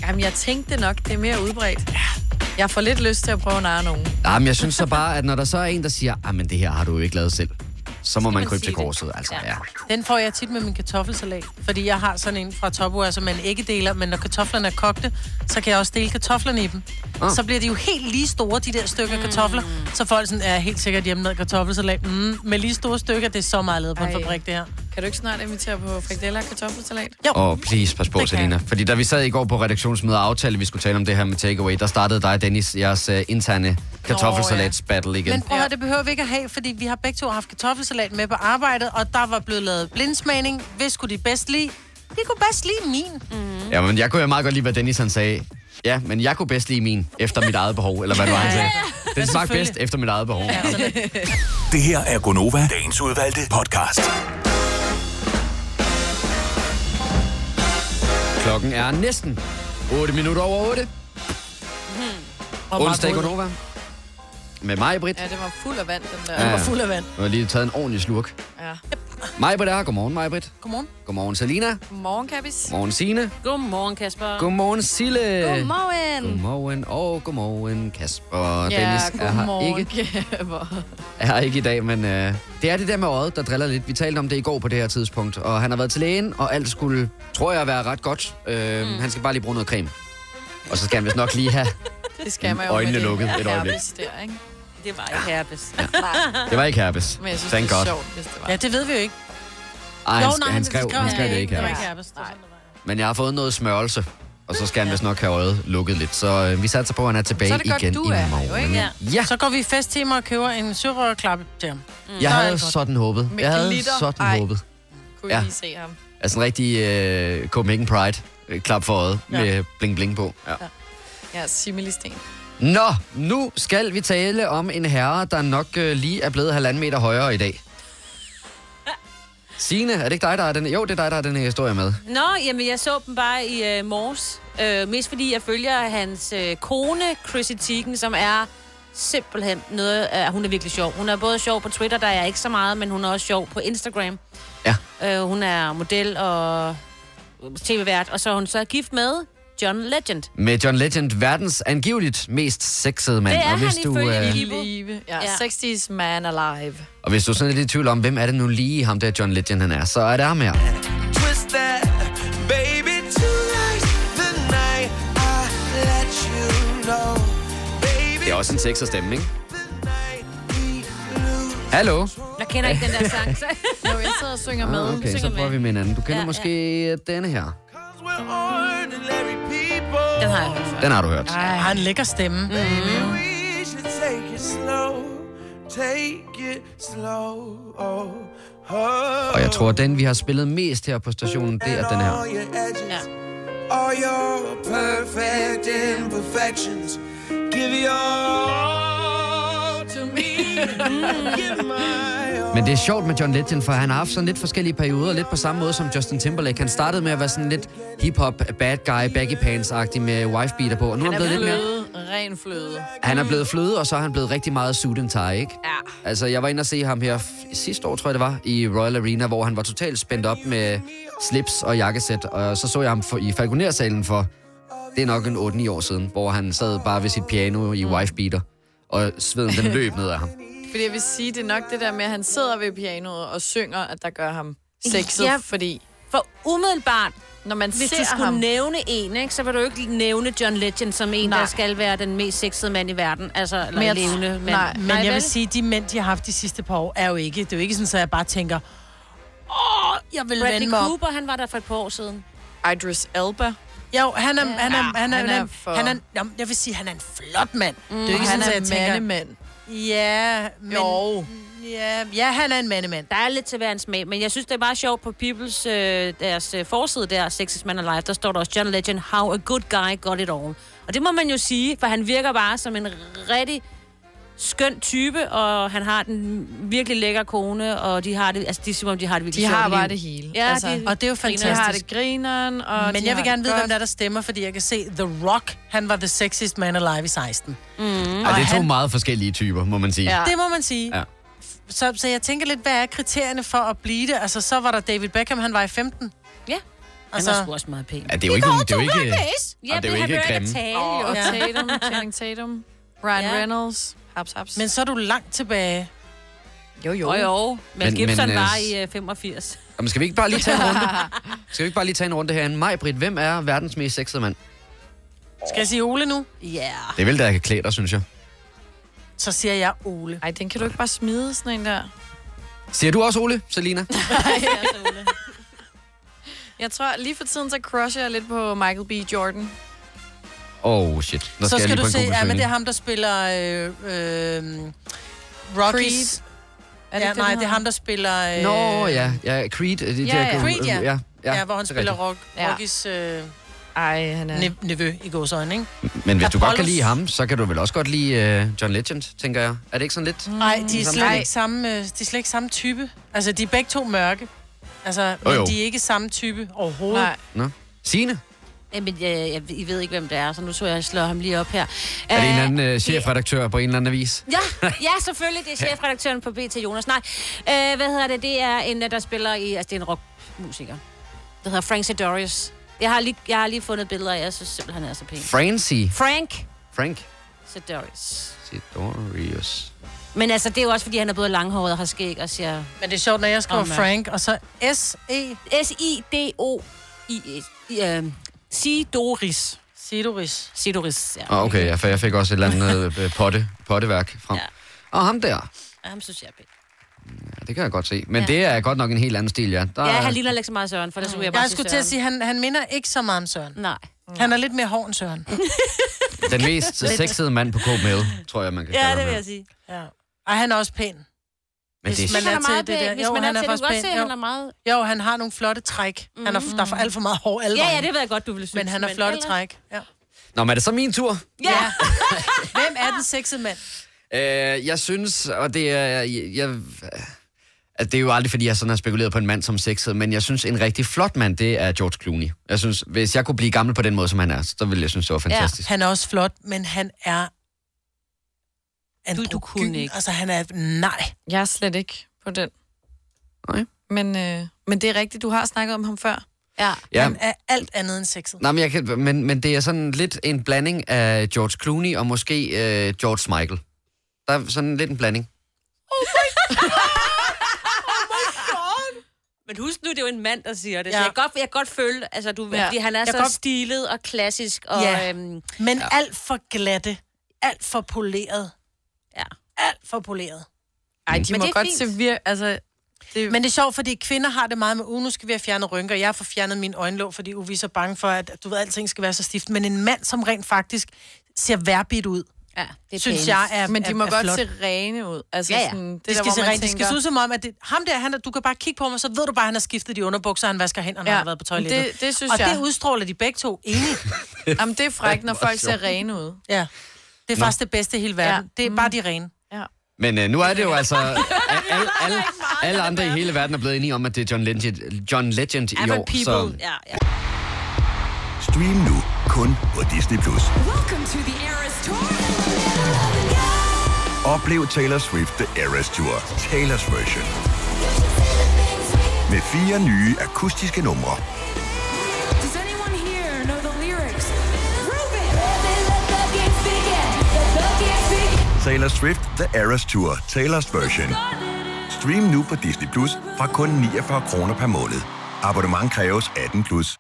[SPEAKER 5] Jamen, jeg tænkte nok, det er mere udbredt. Jeg får lidt lyst til at prøve at narre nogen.
[SPEAKER 1] Ah, men jeg synes så bare, at når der så er en, der siger, ah, men det her har du jo ikke lavet selv, så må man,
[SPEAKER 2] man sige
[SPEAKER 1] krybe til
[SPEAKER 2] det.
[SPEAKER 1] korset. Altså, ja.
[SPEAKER 2] Den får jeg tit med min kartoffelsalat, fordi jeg har sådan en fra Topware, som man ikke deler, men når kartoflerne er kogte, så kan jeg også dele kartoflerne i dem.
[SPEAKER 1] Ah.
[SPEAKER 2] Ah. Så bliver de jo helt lige store, de der stykker mm. kartofler, så folk sådan, er helt sikkert hjemme med kartoffelsalat. Mm, med lige store stykker, det er så meget lavet på en
[SPEAKER 5] Ej.
[SPEAKER 2] fabrik, det her.
[SPEAKER 5] Kan du ikke snart invitere på frikadeller og kartoffelsalat?
[SPEAKER 2] Jo.
[SPEAKER 1] Åh, oh, please, pas på, Selina. Fordi da vi sad i går på redaktionsmødet og aftalte, at vi skulle tale om det her med takeaway, der startede dig, Dennis, jeres uh, interne kartoffelsalats-battle igen.
[SPEAKER 2] Men prøv at høre, det behøver vi ikke at have, fordi vi har begge to haft kartoffelsalat med på arbejdet, og der var blevet lavet blindsmagning. Hvis skulle de bedst lide? De kunne bedst lide min. Mm.
[SPEAKER 1] Ja, men jeg kunne jo meget godt lide, hvad Dennis han sagde. Ja, men jeg kunne bedst lide min efter mit eget behov, eller hvad det var, han sagde. Den smagte bedst efter mit eget behov.
[SPEAKER 6] Det her er Gonova, dagens udvalgte podcast.
[SPEAKER 1] Klokken er næsten 8 minutter over 8.
[SPEAKER 5] Mm-hmm. Hvor meget
[SPEAKER 1] Onsdag i
[SPEAKER 5] boede du?
[SPEAKER 1] Gonova. Med mig, Britt.
[SPEAKER 5] Ja, det var fuld af vand, den der.
[SPEAKER 1] Ja. Jeg har lige taget en ordentlig slurk.
[SPEAKER 5] Ja.
[SPEAKER 1] Mig, Britt er her. Godmorgen, mig, Britt.
[SPEAKER 2] Godmorgen.
[SPEAKER 1] Godmorgen, Selina.
[SPEAKER 5] Godmorgen, Kappis.
[SPEAKER 1] Godmorgen, Signe.
[SPEAKER 4] Godmorgen, Kasper.
[SPEAKER 1] Godmorgen, Sille.
[SPEAKER 4] Godmorgen.
[SPEAKER 1] Godmorgen, og godmorgen, Kasper. Dennis er her ikke,
[SPEAKER 5] Kasper.
[SPEAKER 1] er her ikke i dag, men øh, det er det der med øjet, der driller lidt. Vi talte om det i går på det her tidspunkt, og han har været til lægen, og alt skulle, tror jeg, være ret godt. Øh, Han skal bare lige bruge noget creme. Og så skal han vist nok lige have...
[SPEAKER 5] Det skal man jo
[SPEAKER 1] Øjnene
[SPEAKER 5] med det
[SPEAKER 1] lukket et øjeblik.
[SPEAKER 5] herpes Der, ikke?
[SPEAKER 4] Det var ikke herpes. Ja.
[SPEAKER 1] Det var ikke herpes.
[SPEAKER 5] Men jeg synes,
[SPEAKER 1] Thank
[SPEAKER 5] det er
[SPEAKER 1] God.
[SPEAKER 5] sjovt, hvis det var.
[SPEAKER 2] Ja, det ved vi jo ikke.
[SPEAKER 1] Ej, han, sk- han, skrev, han skrev det ikke
[SPEAKER 2] Det var
[SPEAKER 1] herpes.
[SPEAKER 2] ikke herpes. Det var sådan, det var.
[SPEAKER 1] Men jeg har fået noget smørelse, og så skal han vist nok have øjet lukket lidt. Så øh, vi satser på, at han er tilbage igen i morgen.
[SPEAKER 2] Mm.
[SPEAKER 1] Ja.
[SPEAKER 2] Så går vi i festtimer og køber en sørøverklappe til ham.
[SPEAKER 1] Mm. Jeg havde sådan håbet.
[SPEAKER 2] Med
[SPEAKER 1] Jeg havde
[SPEAKER 2] glitter.
[SPEAKER 1] sådan
[SPEAKER 2] Ej.
[SPEAKER 1] håbet.
[SPEAKER 5] Kunne
[SPEAKER 1] Ja.
[SPEAKER 5] ja. lige se ham.
[SPEAKER 1] Altså en rigtig øh, Copenhagen Pride øh, klap for øjet
[SPEAKER 5] Ja.
[SPEAKER 1] med bling bling på. Ja.
[SPEAKER 5] Ja, Similisten.
[SPEAKER 1] Nå, nu skal vi tale om en herre, der nok øh, lige er blevet halvanden meter højere i dag. Signe, er det ikke dig, der er den? Jo, det er dig, der er den her historie med.
[SPEAKER 4] Nå, jamen jeg så dem bare i øh, morges. Øh, mest fordi jeg følger hans øh, kone, Chrissy Teigen, som er simpelthen noget... Øh, hun er virkelig sjov. Hun er både sjov på Twitter, der er jeg ikke så meget, men hun er også sjov på Instagram. Ja. Øh, hun er model og tv-vært, og så er hun så gift med John Legend.
[SPEAKER 1] Med John Legend, verdens angiveligt mest sexede mand.
[SPEAKER 4] Det er
[SPEAKER 1] og hvis
[SPEAKER 4] han
[SPEAKER 1] du,
[SPEAKER 4] ifølge
[SPEAKER 1] øh,
[SPEAKER 5] I live. Ja, ja. 60's man alive.
[SPEAKER 1] Og hvis du sådan er lidt i tvivl om, hvem er det nu lige ham der John Legend han er, så er det ham her.
[SPEAKER 20] Twist that, baby, tonight's the night I let you know.
[SPEAKER 1] Det er også en sexet stemme, ikke? Hallo?
[SPEAKER 4] Jeg kender ikke den der sang, så...
[SPEAKER 5] Jo, jeg sidder og synger med.
[SPEAKER 1] Ah, okay, så prøver vi med en anden. Du kender ja, måske ja. denne her.
[SPEAKER 4] Den har jeg hørt før.
[SPEAKER 1] Den har du hørt.
[SPEAKER 2] Ej, har en lækker stemme. Mm.
[SPEAKER 20] We should take it slow, take it slow. Oh, oh.
[SPEAKER 1] Og jeg tror, at den, vi har spillet mest her på stationen, det er den her.
[SPEAKER 20] All your edges, all your perfect imperfections. Give your all to me. Give my all.
[SPEAKER 1] Men det er sjovt med John Legend, for han har haft sådan lidt forskellige perioder, lidt på samme måde som Justin Timberlake. Han startede med at være sådan lidt hip-hop, bad guy, baggy pants-agtig med wife-beater på, og nu er han blevet lidt mere...
[SPEAKER 5] mere... ren fløde.
[SPEAKER 1] Han er blevet fløde, og så er han blevet rigtig meget suit and tie, ikke? Ja. Altså, jeg var inde og se ham her f- sidste år, tror jeg det var, i Royal Arena, hvor han var totalt spændt op med slips og jakkesæt. Og så så jeg ham for, i Falconer-salen for, det er nok en 8-9 år siden, hvor han sad bare ved sit piano i wife-beater, og sveden den løb ned af ham.
[SPEAKER 5] Fordi jeg vil sige, det er nok det der med, at han sidder ved pianoet og synger, at der gør ham sexet,
[SPEAKER 4] Ja.
[SPEAKER 5] ja. fordi...
[SPEAKER 4] For umiddelbart,
[SPEAKER 5] når man
[SPEAKER 4] Hvis
[SPEAKER 5] ser
[SPEAKER 4] du skulle
[SPEAKER 5] ham...
[SPEAKER 4] nævne en, ikke, så vil du jo ikke nævne John Legend som en, Nej. der skal være den mest sexede mand i verden. Altså, eller
[SPEAKER 2] Men jeg-
[SPEAKER 4] levende mand.
[SPEAKER 2] Nej, men jeg
[SPEAKER 4] vel?
[SPEAKER 2] vil sige, at de mænd, de har haft de sidste par år, er jo ikke... Det er jo ikke sådan, at jeg bare tænker, åh, jeg vil
[SPEAKER 4] Bradley
[SPEAKER 2] vende mig op.
[SPEAKER 4] Cooper, han var der for et par år siden.
[SPEAKER 5] Idris Elba.
[SPEAKER 2] Jo, han er, han er,
[SPEAKER 5] Ja,
[SPEAKER 2] han er,
[SPEAKER 5] han
[SPEAKER 2] han
[SPEAKER 5] er
[SPEAKER 2] er,
[SPEAKER 5] for-
[SPEAKER 2] han er, jamen, jeg vil sige, han er en flot mand. Mm, det er
[SPEAKER 5] og
[SPEAKER 2] jo ikke sådan,
[SPEAKER 5] han
[SPEAKER 2] at
[SPEAKER 5] er
[SPEAKER 2] jeg tænker...
[SPEAKER 5] mandemand.
[SPEAKER 2] Ja, men... Jo.
[SPEAKER 4] Ja, ja, han er en mandemand. Der er lidt til hver en smag, men jeg synes, det er meget sjovt på Peoples, øh, deres øh, forside der, Sex is Man Alive, der står der også John Legend, How a Good Guy Got It All. Og det må man jo sige, for han virker bare som en rigtig skøn type, og han har den virkelig lækker kone, og de har det, altså de er som om, de har det virkelig
[SPEAKER 5] De
[SPEAKER 4] sjovt
[SPEAKER 5] har
[SPEAKER 4] i
[SPEAKER 5] bare
[SPEAKER 4] livet.
[SPEAKER 5] det hele.
[SPEAKER 4] Ja,
[SPEAKER 5] Altså,
[SPEAKER 4] de,
[SPEAKER 5] og det er jo fantastisk. De har det grineren, og
[SPEAKER 2] Men
[SPEAKER 5] de har
[SPEAKER 2] jeg vil gerne
[SPEAKER 5] det
[SPEAKER 2] vide,
[SPEAKER 5] godt.
[SPEAKER 2] hvem der, er, der stemmer, fordi jeg kan se The Rock, han var the sexiest man alive i 16. Mm.
[SPEAKER 4] Mm.
[SPEAKER 2] Og
[SPEAKER 1] Ej, det er to
[SPEAKER 2] han-
[SPEAKER 1] meget forskellige typer, må man sige.
[SPEAKER 2] Ja. Det må man sige.
[SPEAKER 1] Ja.
[SPEAKER 2] Så, så jeg tænker lidt, hvad er kriterierne for at blive det? Altså, så var der David Beckham, han var i 15.
[SPEAKER 4] Ja.
[SPEAKER 2] Altså,
[SPEAKER 4] var sgu også meget pæn.
[SPEAKER 1] Ja, det er jo ikke... Det er jo ikke,
[SPEAKER 2] Ja,
[SPEAKER 1] og det er jo ikke grimme.
[SPEAKER 5] Åh, og
[SPEAKER 2] Ja.
[SPEAKER 5] Tatum, Channing Tatum, Ryan
[SPEAKER 2] Ja.
[SPEAKER 5] Reynolds, haps, haps.
[SPEAKER 2] Men så er du langt tilbage.
[SPEAKER 5] Jo, jo.
[SPEAKER 4] Jo, jo. Mel
[SPEAKER 1] Men-
[SPEAKER 4] Gibson
[SPEAKER 1] men, øh,
[SPEAKER 4] var i øh, 85.
[SPEAKER 1] Jamen, skal vi ikke bare lige tage en runde? Skal vi ikke bare lige tage en runde herinde? Maj, Britt, hvem er verdens mest sexede mand?
[SPEAKER 2] Skal jeg sige Ole nu?
[SPEAKER 4] Ja. Yeah.
[SPEAKER 1] Det er vel, der kan klæde dig, synes jeg.
[SPEAKER 2] Så siger jeg Ole.
[SPEAKER 5] Ej, den kan du ikke bare smide, sådan en der.
[SPEAKER 1] Ser du også Ole, Selina?
[SPEAKER 5] Jeg tror, lige for tiden, så crusher jeg lidt på Michael B. Jordan.
[SPEAKER 1] Åh, oh, shit. Der
[SPEAKER 2] så
[SPEAKER 1] jeg lige
[SPEAKER 2] skal
[SPEAKER 1] på
[SPEAKER 2] du
[SPEAKER 1] en
[SPEAKER 2] se, ja, men
[SPEAKER 1] Google-søgning.
[SPEAKER 2] det er ham, der spiller øh, øh, Rockies.
[SPEAKER 5] Er det
[SPEAKER 2] ja,
[SPEAKER 5] ikke den,
[SPEAKER 2] nej,
[SPEAKER 5] han
[SPEAKER 2] det er
[SPEAKER 5] har?
[SPEAKER 2] ham, der spiller... øh,
[SPEAKER 1] Nå, ja. ja Creed. øh, Det, det
[SPEAKER 2] Ja,
[SPEAKER 1] er-
[SPEAKER 2] ja. Creed, ja.
[SPEAKER 1] ja.
[SPEAKER 2] Ja, hvor han
[SPEAKER 1] det er
[SPEAKER 2] spiller
[SPEAKER 1] rigtigt.
[SPEAKER 2] rock,
[SPEAKER 5] Ja.
[SPEAKER 2] Rockies øh,
[SPEAKER 5] Ej, han er...
[SPEAKER 2] ne- nevø i gods øjne, ikke?
[SPEAKER 1] Men hvis du godt kan
[SPEAKER 2] Apollos.
[SPEAKER 1] lide ham, så kan du vel også godt lide uh, John Legend, tænker jeg. Er det ikke sådan
[SPEAKER 4] Mm.
[SPEAKER 1] lidt?
[SPEAKER 2] Nej, de, er
[SPEAKER 1] Sådan-
[SPEAKER 2] slet ikke samme, øh, de er slet ikke samme type. Altså, de er begge to mørke. Altså,
[SPEAKER 1] Jo,
[SPEAKER 2] men
[SPEAKER 1] jo.
[SPEAKER 2] de er ikke samme type overhovedet. Nej.
[SPEAKER 1] Nå. Signe?
[SPEAKER 4] Jamen, jeg, jeg, I ved ikke, hvem det er, så nu tror jeg, jeg slår ham lige op her.
[SPEAKER 1] Er det en
[SPEAKER 4] Øh,
[SPEAKER 1] eller anden øh, chefredaktør på en eller anden avis?
[SPEAKER 4] Ja, ja, selvfølgelig. Det er chefredaktøren på BT Jonas. Nej, øh, hvad hedder det? Det er en, der spiller i... Altså, det er en rockmusiker. Det hedder Frank Sidorius. Jeg har lige, jeg har lige fundet billeder af, jeg synes simpelthen, han er så pæn.
[SPEAKER 1] Francie.
[SPEAKER 4] Frank
[SPEAKER 1] Frank
[SPEAKER 4] Sidorius.
[SPEAKER 1] Sidorius.
[SPEAKER 4] Men altså, det er jo også, fordi han er både langhåret og har skæg og siger... øh,
[SPEAKER 2] Men det er sjovt, når jeg skriver
[SPEAKER 4] Åh, mand.
[SPEAKER 2] Frank, og så E- S-E...
[SPEAKER 4] S-I-D-O-I-S. Øh, Sidoris.
[SPEAKER 2] Sidoris.
[SPEAKER 4] Sidoris, ja.
[SPEAKER 1] Åh, oh, okay, ja, for jeg fik også et eller andet øh, potte, potteværk frem. Ja. Og ham der,
[SPEAKER 4] Ja, ham synes jeg er pæn.
[SPEAKER 1] ja, det kan jeg godt se. Men
[SPEAKER 4] Ja.
[SPEAKER 1] ja. det er godt nok en helt anden stil, ja. Der,
[SPEAKER 4] Ja,
[SPEAKER 1] er-
[SPEAKER 4] han ligner ikke så meget Søren, for ellers skulle jeg bare
[SPEAKER 2] Jeg skulle til at sige, han, han minder ikke så meget om Søren.
[SPEAKER 4] Nej.
[SPEAKER 2] Han er lidt mere hård end Søren.
[SPEAKER 1] Den mest sexede mand på KML, tror jeg, man kan kalde ham.
[SPEAKER 4] sige.
[SPEAKER 2] Ja. Ej, han er også pæn.
[SPEAKER 1] Men det
[SPEAKER 2] Hvis
[SPEAKER 1] er
[SPEAKER 2] man er til det der.
[SPEAKER 4] Hvis
[SPEAKER 2] Jo,
[SPEAKER 4] man
[SPEAKER 2] han
[SPEAKER 4] er
[SPEAKER 2] er
[SPEAKER 4] til, du
[SPEAKER 2] faktisk
[SPEAKER 4] kan godt
[SPEAKER 2] pæn.
[SPEAKER 4] se, at han
[SPEAKER 2] Jo.
[SPEAKER 4] er meget...
[SPEAKER 2] Jo, han har nogle flotte træk. Mm. Han er, der er for alt for meget hår alle
[SPEAKER 4] Ja, ja,
[SPEAKER 2] vegne.
[SPEAKER 4] det ved jeg godt, du ville synes.
[SPEAKER 2] Men han har flotte træk. Ja.
[SPEAKER 1] Nå, men er det så min tur?
[SPEAKER 4] Ja.
[SPEAKER 2] Hvem er den sexede mand?
[SPEAKER 1] Øh, jeg synes, og det er... Jeg, jeg, at det er jo aldrig, fordi jeg sådan har spekuleret på en mand som sexet, men jeg synes, en rigtig flot mand, det er George Clooney. Jeg synes, hvis jeg kunne blive gammel på den måde, som han er, så ville jeg synes, det var fantastisk.
[SPEAKER 2] Ja, han er også flot, men han er androgyn. Du, du
[SPEAKER 5] kunne ikke.
[SPEAKER 2] Altså, han er... Nej.
[SPEAKER 5] Jeg er slet ikke på den.
[SPEAKER 1] Nej.
[SPEAKER 5] Men, øh, men det er rigtigt, du har snakket om ham før.
[SPEAKER 4] Ja.
[SPEAKER 1] Ja.
[SPEAKER 2] Han er alt andet end sexet.
[SPEAKER 1] Nej, men, jeg kan, men, men det er sådan lidt en blanding af George Clooney og måske øh, George Michael. Der er sådan lidt en blanding.
[SPEAKER 4] Oh Men husk nu, det er jo en mand, der siger det. Ja.
[SPEAKER 2] Ja.
[SPEAKER 4] Så jeg kan godt, jeg kan godt føle, altså, du,
[SPEAKER 2] Ja.
[SPEAKER 4] ja. fordi han er
[SPEAKER 2] Jeg
[SPEAKER 4] jeg så
[SPEAKER 2] kan godt-
[SPEAKER 4] stilet og klassisk. Og,
[SPEAKER 2] Ja.
[SPEAKER 4] øhm,
[SPEAKER 2] Men ja. alt for glatte. Alt for poleret.
[SPEAKER 4] Ja.
[SPEAKER 2] Alt for poleret.
[SPEAKER 5] Ej, de
[SPEAKER 2] Men
[SPEAKER 5] men må
[SPEAKER 2] det er
[SPEAKER 5] godt
[SPEAKER 2] fint.
[SPEAKER 5] se vir... Altså, det,
[SPEAKER 2] Men det er sjovt, fordi kvinder har det meget med, uh, nu skal vi have fjernet rynker. Jeg har fået fjernet min øjenlåg, fordi uh, vi er så bange for, at du ved, alting skal være så stift. Men en mand, som rent faktisk ser værbit ud,
[SPEAKER 4] ja, det er
[SPEAKER 2] synes
[SPEAKER 4] pænt.
[SPEAKER 2] jeg er
[SPEAKER 5] men de
[SPEAKER 2] er,
[SPEAKER 5] må
[SPEAKER 2] er
[SPEAKER 5] godt
[SPEAKER 2] flot.
[SPEAKER 5] se rene ud. Altså,
[SPEAKER 2] Ja, ja.
[SPEAKER 5] Sådan, det
[SPEAKER 2] de
[SPEAKER 5] der,
[SPEAKER 2] skal
[SPEAKER 5] hvor
[SPEAKER 2] se
[SPEAKER 5] man
[SPEAKER 2] rent, de skal
[SPEAKER 5] tænker-
[SPEAKER 2] se ud som om, at det, ham der, han, er- du kan bare kigge på ham, og så ved du bare, at han har skiftet de underbukser, og han vasker hænderne, ja. og
[SPEAKER 5] Ja,
[SPEAKER 2] har været på toilettet.
[SPEAKER 5] det- det synes
[SPEAKER 2] og
[SPEAKER 5] jeg.
[SPEAKER 2] det udstråler de begge to enige.
[SPEAKER 5] Jamen, det er frækt, når
[SPEAKER 1] Det var
[SPEAKER 5] folk ser
[SPEAKER 1] sjovt.
[SPEAKER 5] rene ud. Mm.
[SPEAKER 2] Ja. Det er
[SPEAKER 1] Nå.
[SPEAKER 2] faktisk det bedste i hele verden. Ja. Det er bare de rene.
[SPEAKER 1] Men øh, nu er det jo altså... Alle, alle, alle andre i hele verden er blevet enige om, at det er John Legend, John Legend i år. Så,
[SPEAKER 4] Ja, ja.
[SPEAKER 6] Stream nu kun på Disney+. Plus.
[SPEAKER 21] Welcome to the Eras Tour.
[SPEAKER 6] Oplev Taylor Swift The Eras Tour, Taylor's version. Med fire nye akustiske numre.
[SPEAKER 21] Does anyone here know the lyrics?
[SPEAKER 6] Taylor Swift The Eras Tour, Taylor's version. Stream nu på Disney Plus fra kun 49 kroner per måned. Abonnement kræves 18 plus.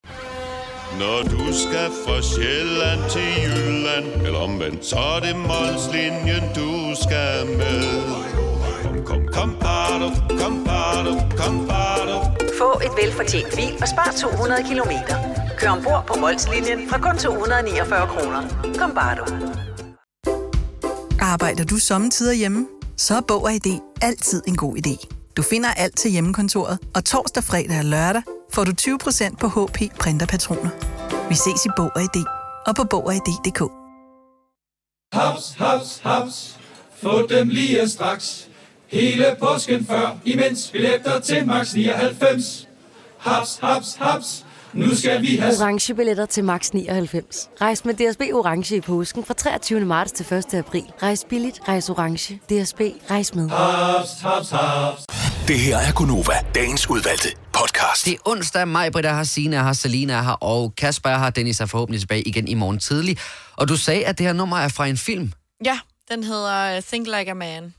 [SPEAKER 22] Når du skal fra Sjælland til Jylland, eller omvendt, så er det Molslinjen, du skal med. Kom, kom, kom, bado, kom, bado, kom, bado.
[SPEAKER 23] Få et velfortjent bil og spar 200 kilometer. Kør ombord på Molslinjen fra kun 249 kroner. Kom bare du.
[SPEAKER 24] Arbejder du sommetider hjemme? så er Bog og ID altid en god idé. Du finder alt til hjemmekontoret, og torsdag, fredag og lørdag får du 20% på HP printerpatroner. Vi ses i Bog og ID og på Bog og ID.dk.
[SPEAKER 12] Haps, haps, haps. Få dem lige straks. Hele påsken før, imens billetter til max 99. Haps, haps, haps. Nu skal vi have...
[SPEAKER 10] Orange billetter til max 99. Rejs med DSB Orange i påsken fra 23. marts til 1. april. Rejs billigt, rejs orange. DSB, rejs med.
[SPEAKER 12] Haps, haps, haps.
[SPEAKER 6] Det her er Gunova, dagens udvalgte podcast.
[SPEAKER 1] Det er onsdag, mig, Britta har Sina har Selina har og Kasper har Dennis er forhåbentlig tilbage igen i morgen tidlig. Og du sagde, at det her nummer er fra en film.
[SPEAKER 5] Ja, den hedder øh, Think Like a Man.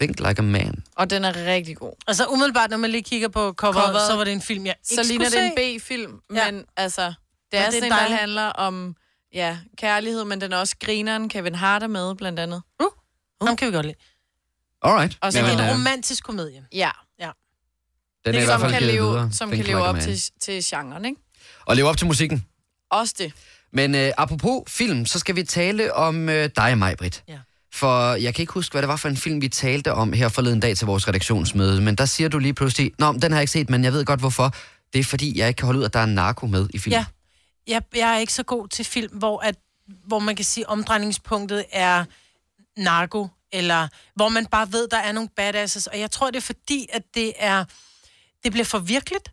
[SPEAKER 1] Think like a man.
[SPEAKER 5] Og den er rigtig god.
[SPEAKER 2] Altså umiddelbart, når man lige kigger på coveret,
[SPEAKER 5] Coveret.
[SPEAKER 2] så var det en film, jeg ikke
[SPEAKER 5] så ligner det
[SPEAKER 2] skulle
[SPEAKER 5] en
[SPEAKER 2] se.
[SPEAKER 5] B-film, ja. men altså, det
[SPEAKER 2] Men
[SPEAKER 5] er,
[SPEAKER 2] det
[SPEAKER 5] det
[SPEAKER 2] er
[SPEAKER 5] sådan en, der
[SPEAKER 2] dejligt.
[SPEAKER 5] handler om ja, kærlighed, men den er også grineren. Kevin Hart er med, blandt andet.
[SPEAKER 2] Uh, uh. Ham kan vi godt lide.
[SPEAKER 1] Alright.
[SPEAKER 5] Og så
[SPEAKER 1] Jamen,
[SPEAKER 5] en
[SPEAKER 1] øh,
[SPEAKER 2] Romantisk komedie.
[SPEAKER 5] Ja.
[SPEAKER 2] ja.
[SPEAKER 1] Den er i hvert
[SPEAKER 5] som
[SPEAKER 1] fald
[SPEAKER 5] kan
[SPEAKER 1] givet
[SPEAKER 5] leve,
[SPEAKER 1] videre.
[SPEAKER 5] som
[SPEAKER 1] Think
[SPEAKER 5] kan leve
[SPEAKER 1] like a
[SPEAKER 5] op
[SPEAKER 1] man.
[SPEAKER 5] til, til genren, ikke?
[SPEAKER 1] Og leve op til musikken.
[SPEAKER 5] Også det.
[SPEAKER 1] Men øh, apropos film, så skal vi tale om øh, dig, Majbrit. Ja. For jeg kan ikke huske, hvad det var for en film, vi talte om her forleden dag til vores redaktionsmøde. Men der siger du lige pludselig, Nå, men den har jeg ikke set, men jeg ved godt hvorfor. Det er fordi, jeg ikke kan holde ud, at der er narko med i filmen.
[SPEAKER 2] Ja. Jeg, jeg er ikke så god til film, hvor, at, hvor man kan sige, at omdrejningspunktet er narko, eller hvor man bare ved, der er nogle badasses. Og jeg tror, det er fordi, at det er... Det bliver for virkeligt.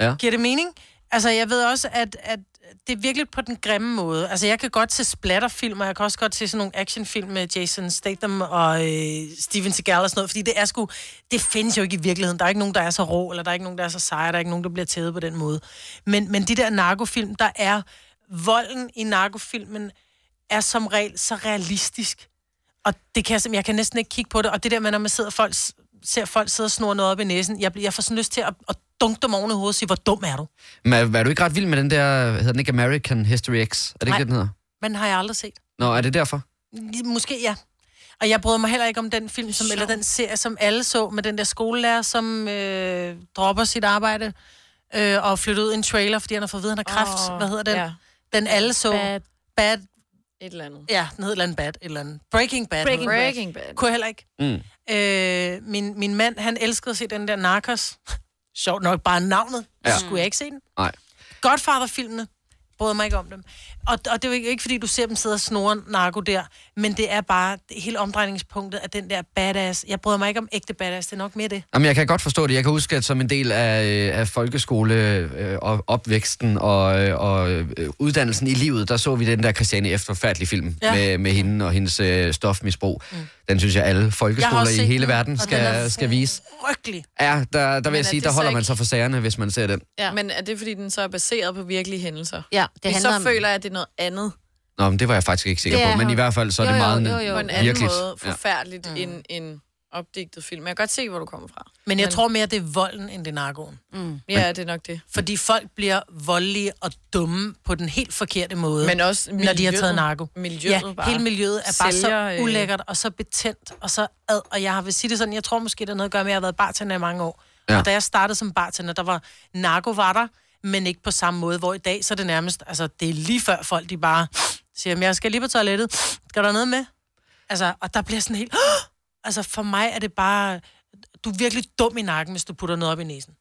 [SPEAKER 1] Ja.
[SPEAKER 2] Giver det mening? Altså, jeg ved også, at, at det er virkelig på den grimme måde. Altså, jeg kan godt se splatterfilm, og jeg kan også godt se sådan nogle actionfilm med Jason Statham og øh, Steven Seagal og sådan noget, fordi det er sgu... Det findes jo ikke i virkeligheden. Der er ikke nogen, der er så rå, eller der er ikke nogen, der er så seje, der er ikke nogen, der bliver tædet på den måde. Men, men de der narkofilm, der er... Volden i narkofilmen er som regel så realistisk. Og det kan jeg, simpelthen- jeg kan næsten ikke kigge på det. Og det der med, når man sidder folk, ser folk sidde og snurre noget op i næsen, jeg, bliver- jeg får sådan lyst til at, at dunke dem oven i hovedet og sige, hvor dum er du?
[SPEAKER 1] Men er, er du ikke ret vild med den der, hedder den ikke American History X? Er det ikke
[SPEAKER 2] Nej.
[SPEAKER 1] det, den hedder?
[SPEAKER 2] Men har jeg aldrig set.
[SPEAKER 1] Nå, er det derfor?
[SPEAKER 2] Måske ja. Og jeg bryder mig heller ikke om den film, som, eller den serie, som alle så, med den der skolelærer, som øh, dropper sit arbejde øh, og flytter ud i en trailer, fordi han har fået at vide, at han har kræft.
[SPEAKER 5] Åh,
[SPEAKER 2] Hvad hedder den?
[SPEAKER 5] ja.
[SPEAKER 2] Den alle så.
[SPEAKER 5] Bad.
[SPEAKER 2] bad.
[SPEAKER 5] Et eller andet.
[SPEAKER 2] Ja, den hedder et eller andet bad. Et eller andet. Breaking Bad.
[SPEAKER 5] Breaking
[SPEAKER 2] hedder den.
[SPEAKER 5] Breaking Bad.
[SPEAKER 2] Kunne jeg heller ikke.
[SPEAKER 1] Mm.
[SPEAKER 2] Øh, min, min mand, han elskede at se den der Narcos. Sjovt nok, bare navnet.
[SPEAKER 1] Ja.
[SPEAKER 2] Ja. Skulle jeg ikke se den?
[SPEAKER 1] Nej.
[SPEAKER 2] Godfather-filmene, bryder mig ikke om dem. Og, og det er jo ikke, ikke, fordi du ser dem sidde og snore narko der, men det er bare det hele omdrejningspunktet af den der badass. Jeg bryder mig ikke om ægte badass, det er nok mere det.
[SPEAKER 1] Jamen, jeg kan godt forstå det. Jeg kan huske, at som en del af, øh, af folkeskole øh, og opvæksten og, øh, og øh, uddannelsen i livet, der så vi den der Christiane F. forfærdelige film ja.
[SPEAKER 2] Ja.
[SPEAKER 1] med, med hende og hendes øh, stofmisbrug. Mm. Den synes jeg, alle
[SPEAKER 2] Jeg har
[SPEAKER 1] folkeskoler
[SPEAKER 2] også
[SPEAKER 1] i
[SPEAKER 2] set
[SPEAKER 1] hele
[SPEAKER 2] den,
[SPEAKER 1] verden
[SPEAKER 2] og
[SPEAKER 1] skal,
[SPEAKER 2] den er
[SPEAKER 1] skal vise.
[SPEAKER 2] Frygtelig.
[SPEAKER 1] Ja, der, der vil
[SPEAKER 5] Men er
[SPEAKER 1] jeg sige,
[SPEAKER 5] det
[SPEAKER 1] der
[SPEAKER 5] så
[SPEAKER 1] holder man
[SPEAKER 5] ikke-
[SPEAKER 1] sig for sagerne, hvis man ser den.
[SPEAKER 5] Ja. Men er det, fordi den så er baseret på virkelige hændelser?
[SPEAKER 4] Ja,
[SPEAKER 5] det handler så om... føler jeg, at det er noget andet.
[SPEAKER 1] Nå, men det var jeg faktisk ikke sikker
[SPEAKER 5] Det
[SPEAKER 1] på,
[SPEAKER 5] er
[SPEAKER 1] men
[SPEAKER 5] hun.
[SPEAKER 1] i hvert fald så er det meget
[SPEAKER 5] På en anden
[SPEAKER 1] virkeligt.
[SPEAKER 5] måde
[SPEAKER 1] Ja.
[SPEAKER 5] forfærdeligt ja. end en opdigtet film. Jeg kan godt se, hvor du kommer fra.
[SPEAKER 2] Men jeg tror mere, det er volden, end det er narkoen. Mm.
[SPEAKER 5] Ja, det er nok det.
[SPEAKER 2] Fordi folk bliver voldelige og dumme på den helt forkerte måde.
[SPEAKER 5] Men også
[SPEAKER 2] når de har
[SPEAKER 5] miljøet.
[SPEAKER 2] taget narko.
[SPEAKER 5] Miljøet
[SPEAKER 2] ja,
[SPEAKER 5] bare.
[SPEAKER 2] hele miljøet er bare
[SPEAKER 5] Sælger, øh.
[SPEAKER 2] så ulækkert og så betændt og så ad. Og jeg har vil sige det sådan, jeg tror måske, det har noget at gøre med, at jeg har været bartender i mange år.
[SPEAKER 1] Ja.
[SPEAKER 2] Ja. Og da jeg startede som bartender, der var narko var der, men ikke på samme måde, hvor i dag, så er det nærmest, altså det er lige før folk, de bare siger, "Men jeg skal lige på toilettet, skal der noget med? Altså, og der bliver sådan helt, altså for mig er det bare, du er virkelig dum i nakken, hvis du putter noget op i næsen.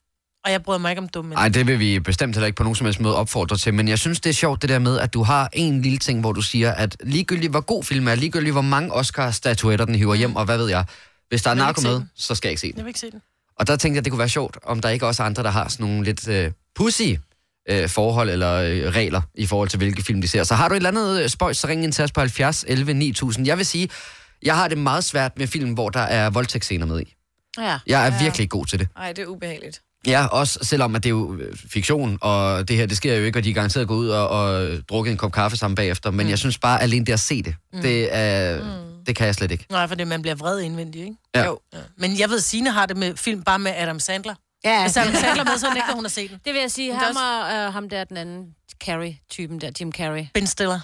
[SPEAKER 2] Og jeg bryder mig ikke om dumme
[SPEAKER 1] Nej, det vil vi bestemt heller ikke på nogen som helst måde opfordre til, men jeg synes, det er sjovt det der med, at du har en lille ting, hvor du siger, at ligegyldigt hvor god film er, ligegyldigt hvor mange Oscar-statuetter den hiver hjem, og hvad ved jeg, hvis der er
[SPEAKER 2] Jeg vil
[SPEAKER 1] narko
[SPEAKER 2] ikke se
[SPEAKER 1] med,
[SPEAKER 2] den.
[SPEAKER 1] så skal jeg ikke se den.
[SPEAKER 2] Jeg vil ikke se den.
[SPEAKER 1] Og der tænkte jeg, det kunne være sjovt, om der ikke også er andre, der har sådan nogle lidt øh, pussy øh, forhold eller øh, regler i forhold til, hvilke film de ser. Så har du et eller andet øh, spøjs, så ring ind til os på 70 11 9000. Jeg vil sige, jeg har det meget svært med film, hvor der er voldtægtsscener med i.
[SPEAKER 5] Ja.
[SPEAKER 1] Jeg er virkelig ikke god til det.
[SPEAKER 5] Nej, det er ubehageligt.
[SPEAKER 1] Ja, også selvom at det er jo øh, fiktion, og det her, det sker jo ikke, og de er garanteret gået ud og, og øh, drukket en kop kaffe sammen bagefter, men mm. jeg synes bare, alene det at se det, mm. det, er, mm. det kan jeg slet ikke.
[SPEAKER 2] Nej, for det, man bliver vred indvendigt, ikke?
[SPEAKER 1] Ja. Jo.
[SPEAKER 2] Ja. Men jeg ved, Signe har det med film bare med Adam Sandler. Ja. Hvis Adam Sandler er med, så nægter hun at se den.
[SPEAKER 4] Det vil jeg sige, ham og øh, ham der, den anden Carrey-typen der, Jim Carrey.
[SPEAKER 2] Ben Stiller.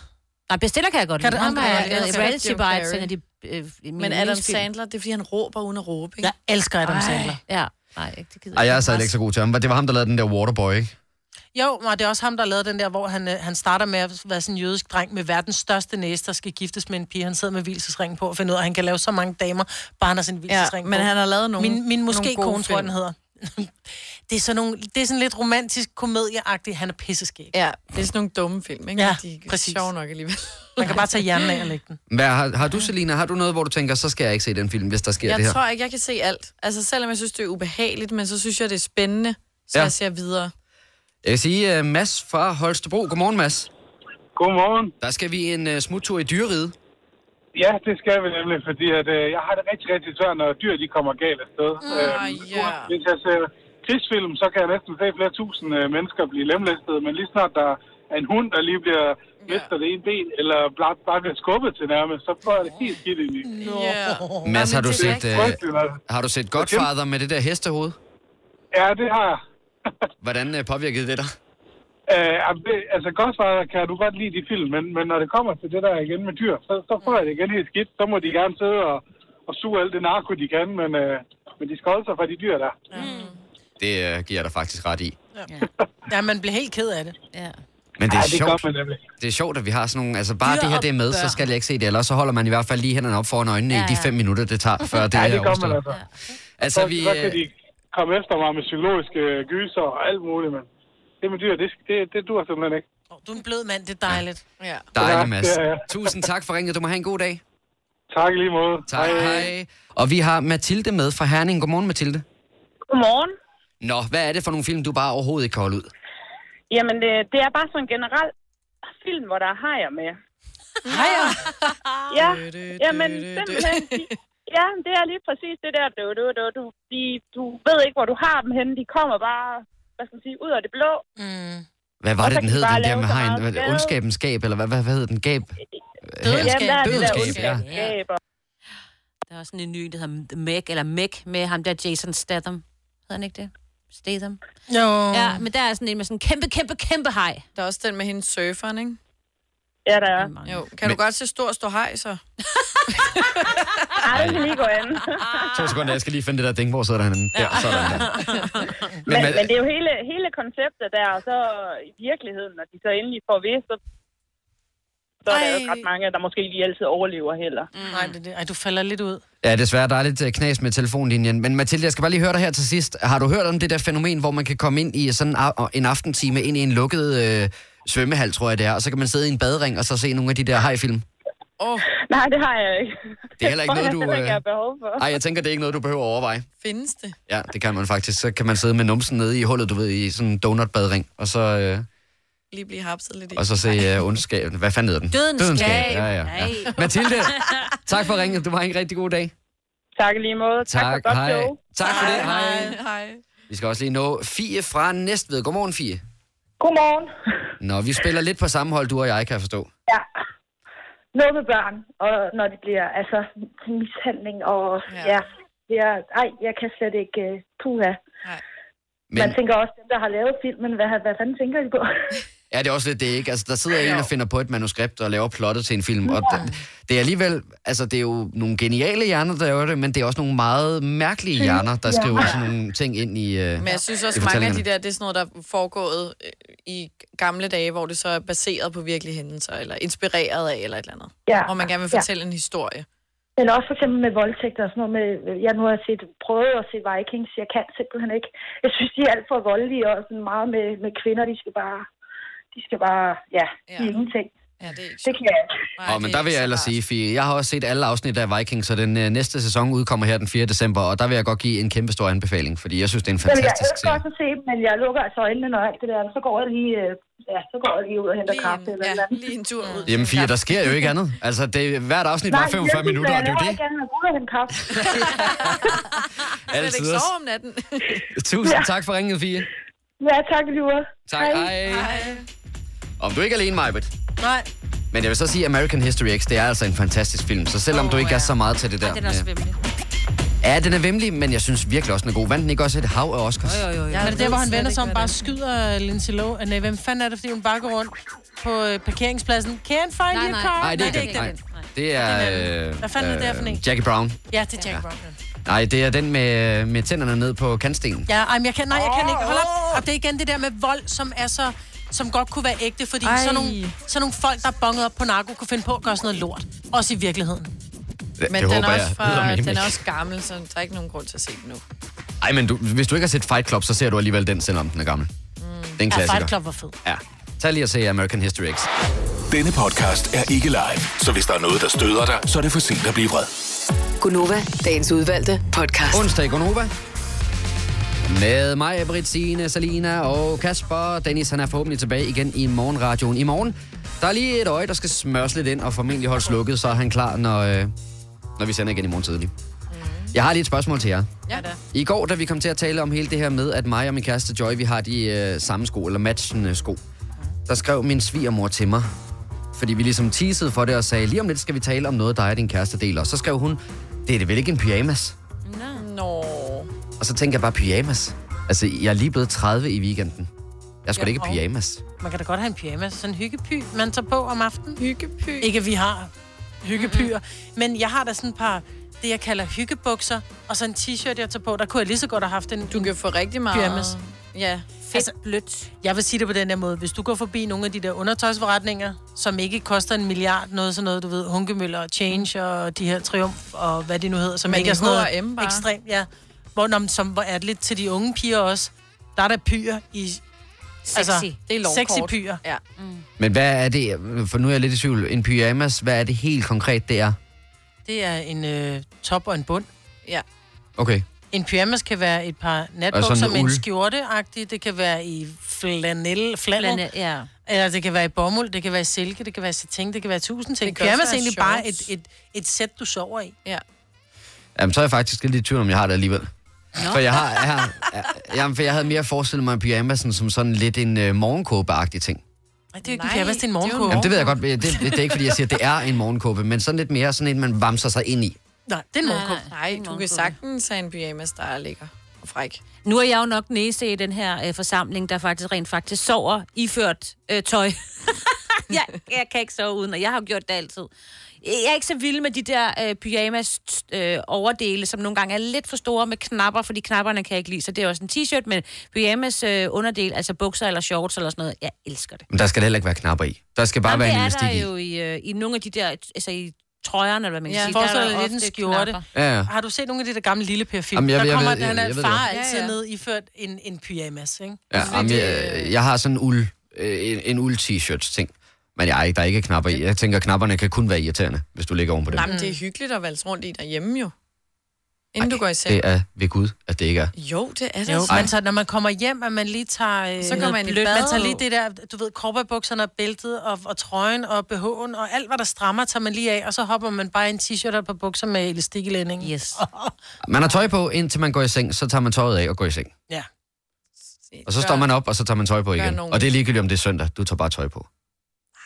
[SPEAKER 4] Nej, Ben Stiller kan jeg godt
[SPEAKER 5] Kan
[SPEAKER 4] lide.
[SPEAKER 5] du-
[SPEAKER 4] Ham
[SPEAKER 5] ham
[SPEAKER 4] er
[SPEAKER 5] kan jeg godt
[SPEAKER 4] øh,
[SPEAKER 5] lide.
[SPEAKER 4] reality
[SPEAKER 5] Jim
[SPEAKER 4] bites,
[SPEAKER 5] Carrey.
[SPEAKER 4] han er de øh, mine
[SPEAKER 5] Men Adam
[SPEAKER 4] yndlingsfilm.
[SPEAKER 5] Sandler, det er, fordi han råber uden at råbe, ikke?
[SPEAKER 4] Jeg
[SPEAKER 2] elsker Adam
[SPEAKER 5] Ej.
[SPEAKER 2] Sandler.
[SPEAKER 4] Ja, nej, ikke det gider
[SPEAKER 1] Ej, jeg er
[SPEAKER 4] ikke.
[SPEAKER 1] særlig ikke så god til ham. Det var ham, der lavede den der Waterboy, ikke?
[SPEAKER 2] Jo, og det er også ham, der lavede den der, hvor han, øh, han starter med at være sådan en jødisk dreng med verdens største næse, der skal giftes med en pige. Han sidder med hvilsesringen på og finder ud af, at han kan lave så mange damer, bare han har sin hvilsesring
[SPEAKER 5] Ja,
[SPEAKER 2] på.
[SPEAKER 5] men han har lavet nogle-
[SPEAKER 2] Min, min
[SPEAKER 5] nogle
[SPEAKER 2] måske
[SPEAKER 5] gode
[SPEAKER 2] kone, tror jeg,
[SPEAKER 5] film.
[SPEAKER 2] den hedder. det, er sådan nogle, det er sådan lidt romantisk komedieagtigt. Han er pisseskæg.
[SPEAKER 5] Ja, det er sådan nogle dumme film, ikke?
[SPEAKER 2] Ja,
[SPEAKER 5] de er
[SPEAKER 2] præcis.
[SPEAKER 5] sjove nok alligevel.
[SPEAKER 2] Man kan bare tage hjernen af og lægge den.
[SPEAKER 1] Hvad, har, har du, Selina, har du noget, hvor du tænker, så skal jeg ikke se den film, hvis der sker
[SPEAKER 5] Jeg
[SPEAKER 1] det her?
[SPEAKER 5] tror ikke, jeg kan se alt. Altså, selvom jeg synes, det er ubehageligt, men så synes jeg, det er spændende, så
[SPEAKER 1] Ja.
[SPEAKER 5] ja. jeg ser videre.
[SPEAKER 1] Jeg vil sige uh, Mads fra Holstebro. Godmorgen, Mads.
[SPEAKER 25] Godmorgen.
[SPEAKER 1] Der skal vi en uh, smuttur i dyreriget.
[SPEAKER 25] Ja, det skal vi nemlig, fordi at, øh, jeg har det rigtig, rigtig svært, når dyr de kommer galt afsted.
[SPEAKER 5] Mm, ja.
[SPEAKER 25] Hvis jeg ser krigsfilm, så kan jeg næsten se flere tusind øh, mennesker blive lemlæstet, men lige snart der er en hund, der lige bliver mister det ene ben, eller bare, bare bliver skubbet til nærmest, så får jeg det helt skidt ind i.
[SPEAKER 5] Yeah.
[SPEAKER 1] Mads, har du, set,
[SPEAKER 25] rigtigt. Frygteligt, altså.
[SPEAKER 1] uh, har du set Godfather med det der hestehoved?
[SPEAKER 25] Ja, det har jeg.
[SPEAKER 1] Hvordan uh, påvirkede det dig?
[SPEAKER 25] Øh, jamen, det- altså, Godfather kan du godt lide de film, men, men når det kommer til det der igen med dyr, så, så får jeg det igen helt skidt. Så må de gerne sidde og, og suge alt det narko, de kan, men, øh, men de skal holde sig fra de dyr der.
[SPEAKER 1] Det uh, giver jeg dig faktisk ret i.
[SPEAKER 2] Ja, man bliver helt ked af det.
[SPEAKER 4] Ja.
[SPEAKER 1] Men det er
[SPEAKER 25] Ej, det gør
[SPEAKER 1] sjovt.
[SPEAKER 25] man nemlig.
[SPEAKER 1] det er sjovt, at vi har sådan nogle... Altså, bare
[SPEAKER 25] Dyr
[SPEAKER 1] det her, det er med,
[SPEAKER 25] opgør.
[SPEAKER 1] så skal jeg ikke se det. Ellers så holder man i hvert fald lige hænderne op foran øjnene
[SPEAKER 25] Ja,
[SPEAKER 1] ja, ja. i de
[SPEAKER 25] ja.
[SPEAKER 1] fem minutter, det tager, før det,
[SPEAKER 25] ja, det
[SPEAKER 1] er
[SPEAKER 25] gør man
[SPEAKER 1] overstået.
[SPEAKER 25] altså.
[SPEAKER 1] Altså,
[SPEAKER 25] så,
[SPEAKER 1] vi,
[SPEAKER 25] så kan
[SPEAKER 1] øh,
[SPEAKER 25] de komme efter mig med psykologiske øh, gyser og alt muligt, men det med dyr, det, det, det dur simpelthen ikke.
[SPEAKER 2] Du er en blød mand, det er dejligt.
[SPEAKER 5] Ja.
[SPEAKER 1] Dejligt, Mads.
[SPEAKER 25] Ja, ja.
[SPEAKER 1] Tusind tak for ringet. Du må have en god dag.
[SPEAKER 25] Tak i lige måde.
[SPEAKER 1] Tak, hej. hej. Og vi har Mathilde med fra Herning. Godmorgen, Mathilde.
[SPEAKER 26] Godmorgen.
[SPEAKER 1] Nå, hvad er det for nogle film, du bare overhovedet ikke kan holde ud?
[SPEAKER 26] Jamen, det, det er bare sådan en generel film, hvor der er hajer med. Hajer? ja, jamen, simpelthen. de- Ja, det er lige præcis det der. Du, du, du, du, de, du ved ikke, hvor du har dem henne. De kommer bare, hvad skal man sige, ud af det blå. Mm.
[SPEAKER 1] Hvad var
[SPEAKER 26] Og
[SPEAKER 1] det,
[SPEAKER 26] så
[SPEAKER 1] den
[SPEAKER 26] kan
[SPEAKER 1] hed,
[SPEAKER 26] de bare
[SPEAKER 1] den der
[SPEAKER 26] lave
[SPEAKER 1] med
[SPEAKER 26] så
[SPEAKER 1] hegn?
[SPEAKER 26] meget
[SPEAKER 1] Hvad-
[SPEAKER 26] skade.
[SPEAKER 1] Ondskabens gab, eller hvad, hvad, hvad hed den? Gab?
[SPEAKER 26] Jamen, der er det der
[SPEAKER 1] Dødens gab, ja.
[SPEAKER 26] ondskab.
[SPEAKER 4] Der er sådan en ny, der hedder The Meg, eller Meg, med ham der Jason Statham. Hedder han ikke det? Statham.
[SPEAKER 2] Jo.
[SPEAKER 4] Ja, men der er sådan en med sådan en kæmpe, kæmpe, kæmpe hej.
[SPEAKER 5] Der er også den med hendes surferen, ikke?
[SPEAKER 26] Ja, der er.
[SPEAKER 5] Jo, kan men... du godt se stor stå hej, så?
[SPEAKER 26] Ej, det kan lige gå an.
[SPEAKER 1] To sekunder, jeg skal lige finde det der ding, hvor sidder han henne. Der, sådan der.
[SPEAKER 26] Men, men,
[SPEAKER 1] Men-
[SPEAKER 26] men det er jo hele, hele konceptet der, og så i virkeligheden, når de så endelig får ved, så, så er der jo ikke ret mange, der måske lige altid overlever heller.
[SPEAKER 2] Mm. Nej, det, er det, ej, du falder lidt ud.
[SPEAKER 1] Ja, desværre, der er lidt øh, knas med telefonlinjen. Men Mathilde, jeg skal bare lige høre dig her til sidst. Har du hørt om det der fænomen, hvor man kan komme ind i sådan a- en aftentime, ind i en lukket øh, svømmehal, tror jeg det er, og så kan man sidde i en badering og så se nogle af de der hajfilm?
[SPEAKER 5] Oh.
[SPEAKER 26] Nej, det har jeg ikke.
[SPEAKER 1] Det er heller
[SPEAKER 26] Tror
[SPEAKER 1] ikke noget,
[SPEAKER 26] jeg
[SPEAKER 1] du...
[SPEAKER 26] heller ikke,
[SPEAKER 1] øh,
[SPEAKER 26] jeg har behov for.
[SPEAKER 1] Ej, jeg tænker, det er ikke noget, du behøver at overveje.
[SPEAKER 5] Findes det?
[SPEAKER 1] Ja, det kan man faktisk. Så kan man sidde med numsen nede i hullet, du ved, i sådan en donutbadring, og så, øh,
[SPEAKER 5] Lige blive hapset lidt i.
[SPEAKER 1] og så se øh, ondskab. Hvad fanden hedder den?
[SPEAKER 5] Dødens
[SPEAKER 1] Dødenskab.
[SPEAKER 5] gab.
[SPEAKER 1] Ja, ja, ja.
[SPEAKER 5] Nej.
[SPEAKER 1] Mathilde, tak for ringet. Du har en rigtig god dag.
[SPEAKER 26] Tak i lige måde.
[SPEAKER 1] Tak, tak for godt hej. show. Tak for det. Hej.
[SPEAKER 5] Hej.
[SPEAKER 1] Vi skal også lige nå Fie fra Næstved. Godmorgen, Fie.
[SPEAKER 26] Godmorgen.
[SPEAKER 1] Nå, vi spiller lidt på samme hold, du og jeg, kan jeg forstå.
[SPEAKER 26] Ja. Noget med børn, og når det bliver altså til mishandling, og ja, ja jeg, ej, jeg kan slet ikke uh, puha. Men... Man tænker også, dem der har lavet filmen, hvad, hvad fanden tænker de på?
[SPEAKER 1] Ja, det er også lidt det, ikke? Altså, der sidder en og finder på et manuskript og laver plottet til en film, og det, det er alligevel, altså, det er jo nogle geniale hjerner, der gør det, men det er også nogle meget mærkelige hjerner, der
[SPEAKER 5] Ja.
[SPEAKER 1] skriver sådan nogle ting ind i øh,
[SPEAKER 5] Men jeg synes også,
[SPEAKER 1] i
[SPEAKER 5] mange af de
[SPEAKER 1] fortællingerne.
[SPEAKER 5] der, det er sådan noget, der er foregået øh, i gamle dage, hvor det så er baseret på virkelige hændelser, eller inspireret af, eller et eller andet.
[SPEAKER 26] Ja.
[SPEAKER 5] Hvor man gerne vil
[SPEAKER 26] Ja.
[SPEAKER 5] fortælle en historie.
[SPEAKER 26] Men også for eksempel med voldtægter og sådan noget. Med, øh, jeg nu har set, prøvet at se Vikings, jeg kan simpelthen ikke. Jeg synes, de er alt for voldelige, og sådan meget med, med kvinder, de skal bare, de skal bare, ja, ja. De er ingenting.
[SPEAKER 5] Ja, det, er
[SPEAKER 26] det kan jeg ikke.
[SPEAKER 1] Og, men der vil jeg ellers sige, Fie, jeg har også set alle afsnit af Vikings, så den øh, næste sæson udkommer her den 4. december, og der vil jeg godt give en kæmpe stor anbefaling, fordi jeg synes, det er en
[SPEAKER 26] Jamen, jeg
[SPEAKER 1] fantastisk
[SPEAKER 26] elsker
[SPEAKER 1] serie.
[SPEAKER 26] også at se dem, men jeg lukker altså øjnene, når alt det der, så går jeg lige, øh, ja, så går jeg lige ud og henter kaffe eller ja, noget.
[SPEAKER 5] lige en tur ud.
[SPEAKER 1] Jamen Fie, der sker jo ikke andet. Altså, det, hvert afsnit var 45 minutter, og det er jo det.
[SPEAKER 26] Jeg vil ud og hente kaffe.
[SPEAKER 1] Alle tiders.
[SPEAKER 5] om natten.
[SPEAKER 1] Tusind tak for ringet, Fie.
[SPEAKER 26] ja, tak, Lure.
[SPEAKER 1] Tak, hej. Om du ikke er alene, Majbet.
[SPEAKER 5] Nej.
[SPEAKER 1] Men jeg vil så sige, American History X, det er altså en fantastisk film. Så selvom oh, du ikke ja. er så meget til det der...
[SPEAKER 4] Ej, den er også
[SPEAKER 1] med-
[SPEAKER 4] vimmelig.
[SPEAKER 1] ja, den er vemmelig, men jeg synes virkelig også, den er god. Vandt den ikke også et hav af Oscars?
[SPEAKER 4] Jo, jo, jo.
[SPEAKER 2] Ja, men det er der, hvor han
[SPEAKER 4] ved
[SPEAKER 2] vender
[SPEAKER 4] slet
[SPEAKER 2] sig om,
[SPEAKER 4] ikke,
[SPEAKER 2] bare skyder øh, Lindsay Lohan. Nej, hvem fanden er det, fordi hun bare går rundt på øh, parkeringspladsen? Can't find your car.
[SPEAKER 1] Nej, det er ikke den. Nej. Det er...
[SPEAKER 2] Hvad fanden er det der for en?
[SPEAKER 1] Jackie Brown.
[SPEAKER 2] Ja, det er Jack Brown.
[SPEAKER 1] Nej, det er den med, med tænderne ned på kantstenen.
[SPEAKER 2] Ja, ej, men jeg kan, nej, jeg kan ikke. Hold op. Og det er igen det der med vold, som er så som godt kunne være ægte, fordi
[SPEAKER 5] Ej.
[SPEAKER 2] sådan nogle, sådan nogle folk, der er bonget op på narko, kunne finde på at gøre sådan noget lort. Også i virkeligheden.
[SPEAKER 1] Det,
[SPEAKER 5] Men
[SPEAKER 1] det
[SPEAKER 5] den,
[SPEAKER 1] håber
[SPEAKER 5] er også
[SPEAKER 1] jeg.
[SPEAKER 5] fra,
[SPEAKER 1] eddermame
[SPEAKER 5] den er
[SPEAKER 1] ikke.
[SPEAKER 5] også gammel, så der er ikke nogen grund til at se den nu.
[SPEAKER 1] Ej, men du, hvis du ikke har set Fight Club, så ser du alligevel den, selvom den er gammel. Mm. Det er en klassiker.
[SPEAKER 2] var fed.
[SPEAKER 1] Ja. Tag lige og se American History X.
[SPEAKER 6] Denne podcast er ikke live, så hvis der er noget, der støder dig, så er det for sent at blive vred.
[SPEAKER 1] Gunova, dagens udvalgte podcast. Onsdag i Gunova. Med mig, Britt, Signe, Salina og Kasper. Dennis, han er forhåbentlig tilbage igen i morgenradioen i morgen. Der er lige et øje, der skal smøres lidt ind og formentlig holdes lukket, så er han klar, når, øh, når vi sender igen i morgen tidlig. Jeg har lige et spørgsmål til jer.
[SPEAKER 5] Ja, da.
[SPEAKER 1] I går, da vi kom til at tale om hele det her med, at mig og min kæreste Joy, vi har de øh, samme sko, eller matchende sko, der skrev min svigermor til mig, fordi vi ligesom teasede for det og sagde, lige om lidt skal vi tale om noget, dig og din kæreste deler. Og så skrev hun, det er det vel ikke en pyjamas?
[SPEAKER 5] Nå.
[SPEAKER 1] Og så tænker jeg bare, pyjamas? Altså, jeg er lige blevet 30 i weekenden. Jeg skulle da ikke
[SPEAKER 2] Ja,
[SPEAKER 1] i
[SPEAKER 2] og-
[SPEAKER 1] pyjamas.
[SPEAKER 2] Man kan da godt have en pyjamas. Sådan en hyggepy, man tager på om aftenen. Hyggepy. Ikke, at vi har hyggepyer. Men jeg har da sådan et par, det jeg kalder hyggebukser, og så en t-shirt, jeg tager på. Der kunne jeg lige så godt have haft en Du
[SPEAKER 5] kan få rigtig meget-
[SPEAKER 2] Pyjamas.
[SPEAKER 5] Ja,
[SPEAKER 2] fedt altså, blødt. Jeg vil sige det på den her måde. Hvis du går forbi nogle af de der undertøjsforretninger, som ikke koster en milliard, noget sådan noget, du ved, Hunkemøller og
[SPEAKER 5] Mm.
[SPEAKER 2] Change og de her Triumf og hvad de nu hedder, som
[SPEAKER 5] Men
[SPEAKER 2] ikke
[SPEAKER 5] i
[SPEAKER 2] er sådan
[SPEAKER 5] H&M
[SPEAKER 2] noget
[SPEAKER 5] bare.
[SPEAKER 2] ekstremt, ja. Hvor, når, som hvor er det lidt til de unge piger også, der er der pyr i... altså,
[SPEAKER 5] Sexy. Det er lovkort.
[SPEAKER 2] Sexy pyr. Mm.
[SPEAKER 5] Ja.
[SPEAKER 1] Men hvad er det, for nu er jeg lidt i tvivl, en pyjamas, hvad er det helt konkret, det er?
[SPEAKER 2] Det er en øh, top og en bund.
[SPEAKER 5] Ja.
[SPEAKER 1] Okay.
[SPEAKER 2] En pyjamas kan være et par
[SPEAKER 1] Og
[SPEAKER 2] natbukser
[SPEAKER 1] sådan
[SPEAKER 2] med en
[SPEAKER 1] uld.
[SPEAKER 2] skjorte -agtig. Det kan være i flanel, flanel.
[SPEAKER 4] Flanel, ja.
[SPEAKER 2] Eller det kan være i bomuld, det kan være i silke, det kan være i satin, det kan være i tusind ting.
[SPEAKER 5] Det kan også
[SPEAKER 2] Pyjamas er
[SPEAKER 5] være
[SPEAKER 2] egentlig bare
[SPEAKER 5] shorts.
[SPEAKER 2] et, et, et sæt, du sover i.
[SPEAKER 5] Ja.
[SPEAKER 1] Jamen, så er jeg faktisk lidt i tvivl, om jeg har det alligevel.
[SPEAKER 2] Nå.
[SPEAKER 1] For jeg har, jeg har jeg, jamen, for jeg havde mere forestillet mig pyjamasen som sådan lidt en øh, morgenkåbe-agtig ting.
[SPEAKER 2] Ej, det er jo ikke en pyjamas, det er en morgenkåbe.
[SPEAKER 1] Jamen, det ved jeg godt, det, det, det er ikke fordi, jeg siger, at det er en morgenkåbe, men sådan lidt mere sådan en, man vamser sig ind i.
[SPEAKER 2] Nej, det er en
[SPEAKER 5] morgenkåb. Nej, du kan sagtens have en pyjamas, der er lækker og fræk.
[SPEAKER 4] Nu er jeg jo nok den eneste i den her øh, forsamling, der faktisk rent faktisk sover iført øh, tøj. jeg, jeg kan ikke sove uden, og jeg har jo gjort det altid. Jeg er ikke så vild med de der øh, pyjamas øh, overdele, som nogle gange er lidt for store med knapper, fordi knapperne kan jeg ikke lide. Så det er også en t-shirt, men pyjamas øh, underdel, altså bukser eller shorts eller sådan noget, jeg elsker det.
[SPEAKER 1] Men der skal da heller ikke være knapper i. Der skal bare
[SPEAKER 4] Jamen,
[SPEAKER 1] Jamen, være en
[SPEAKER 4] det er
[SPEAKER 1] elastik
[SPEAKER 4] der
[SPEAKER 1] i.
[SPEAKER 4] jo i, øh, i nogle af de der, altså i trøjerne, eller hvad man kan
[SPEAKER 2] Ja,
[SPEAKER 4] sige.
[SPEAKER 2] forestil
[SPEAKER 4] der
[SPEAKER 2] dig
[SPEAKER 4] der
[SPEAKER 2] lidt en
[SPEAKER 4] ofte
[SPEAKER 2] skjorte.
[SPEAKER 4] knapper.
[SPEAKER 1] Ja, ja.
[SPEAKER 2] Har du set nogle af de der gamle lille per film?
[SPEAKER 1] Jamen, jeg
[SPEAKER 2] der
[SPEAKER 1] ved- jeg
[SPEAKER 2] kommer,
[SPEAKER 1] ved- jeg
[SPEAKER 2] han
[SPEAKER 1] ved-
[SPEAKER 2] er
[SPEAKER 1] jeg ved det
[SPEAKER 2] far
[SPEAKER 1] godt.
[SPEAKER 2] altid
[SPEAKER 1] Ja, ja.
[SPEAKER 2] ned iført en, en pyjamas, ikke?
[SPEAKER 1] Ja,
[SPEAKER 4] Altså,
[SPEAKER 1] jamen, jeg, jeg har sådan en uld, øh, en, en uld t-shirt ting. Men jeg, er ikke- der er ikke knapper i. Jeg tænker, knapperne kan kun være irriterende, hvis du ligger oven på dem.
[SPEAKER 5] Nej, men det
[SPEAKER 2] Mm.
[SPEAKER 5] er hyggeligt at valse rundt i derhjemme jo. Inden Ej, du går i seng.
[SPEAKER 1] Det er ved Gud, at det ikke er.
[SPEAKER 5] Jo, det er det.
[SPEAKER 2] Jo,
[SPEAKER 5] altså.
[SPEAKER 2] men så når man kommer hjem, at man lige tager... Øh,
[SPEAKER 5] Så går man i
[SPEAKER 2] blødt-
[SPEAKER 5] bad.
[SPEAKER 2] Man tager lige det der, du ved, korperbukserne og bæltet og, og trøjen og BH'en og alt, hvad der strammer, tager man lige af, og så hopper man bare i en t-shirt og et par bukser med elastik i lændingen.
[SPEAKER 4] Yes.
[SPEAKER 1] Man har tøj på, indtil man går i seng, så tager man tøjet af og går i seng.
[SPEAKER 2] ja.
[SPEAKER 1] Og så står man op, og så tager man tøj på
[SPEAKER 2] gør
[SPEAKER 1] igen.
[SPEAKER 2] nogen.
[SPEAKER 1] Og det er ligegyldigt, om det er søndag. Du tager bare tøj på.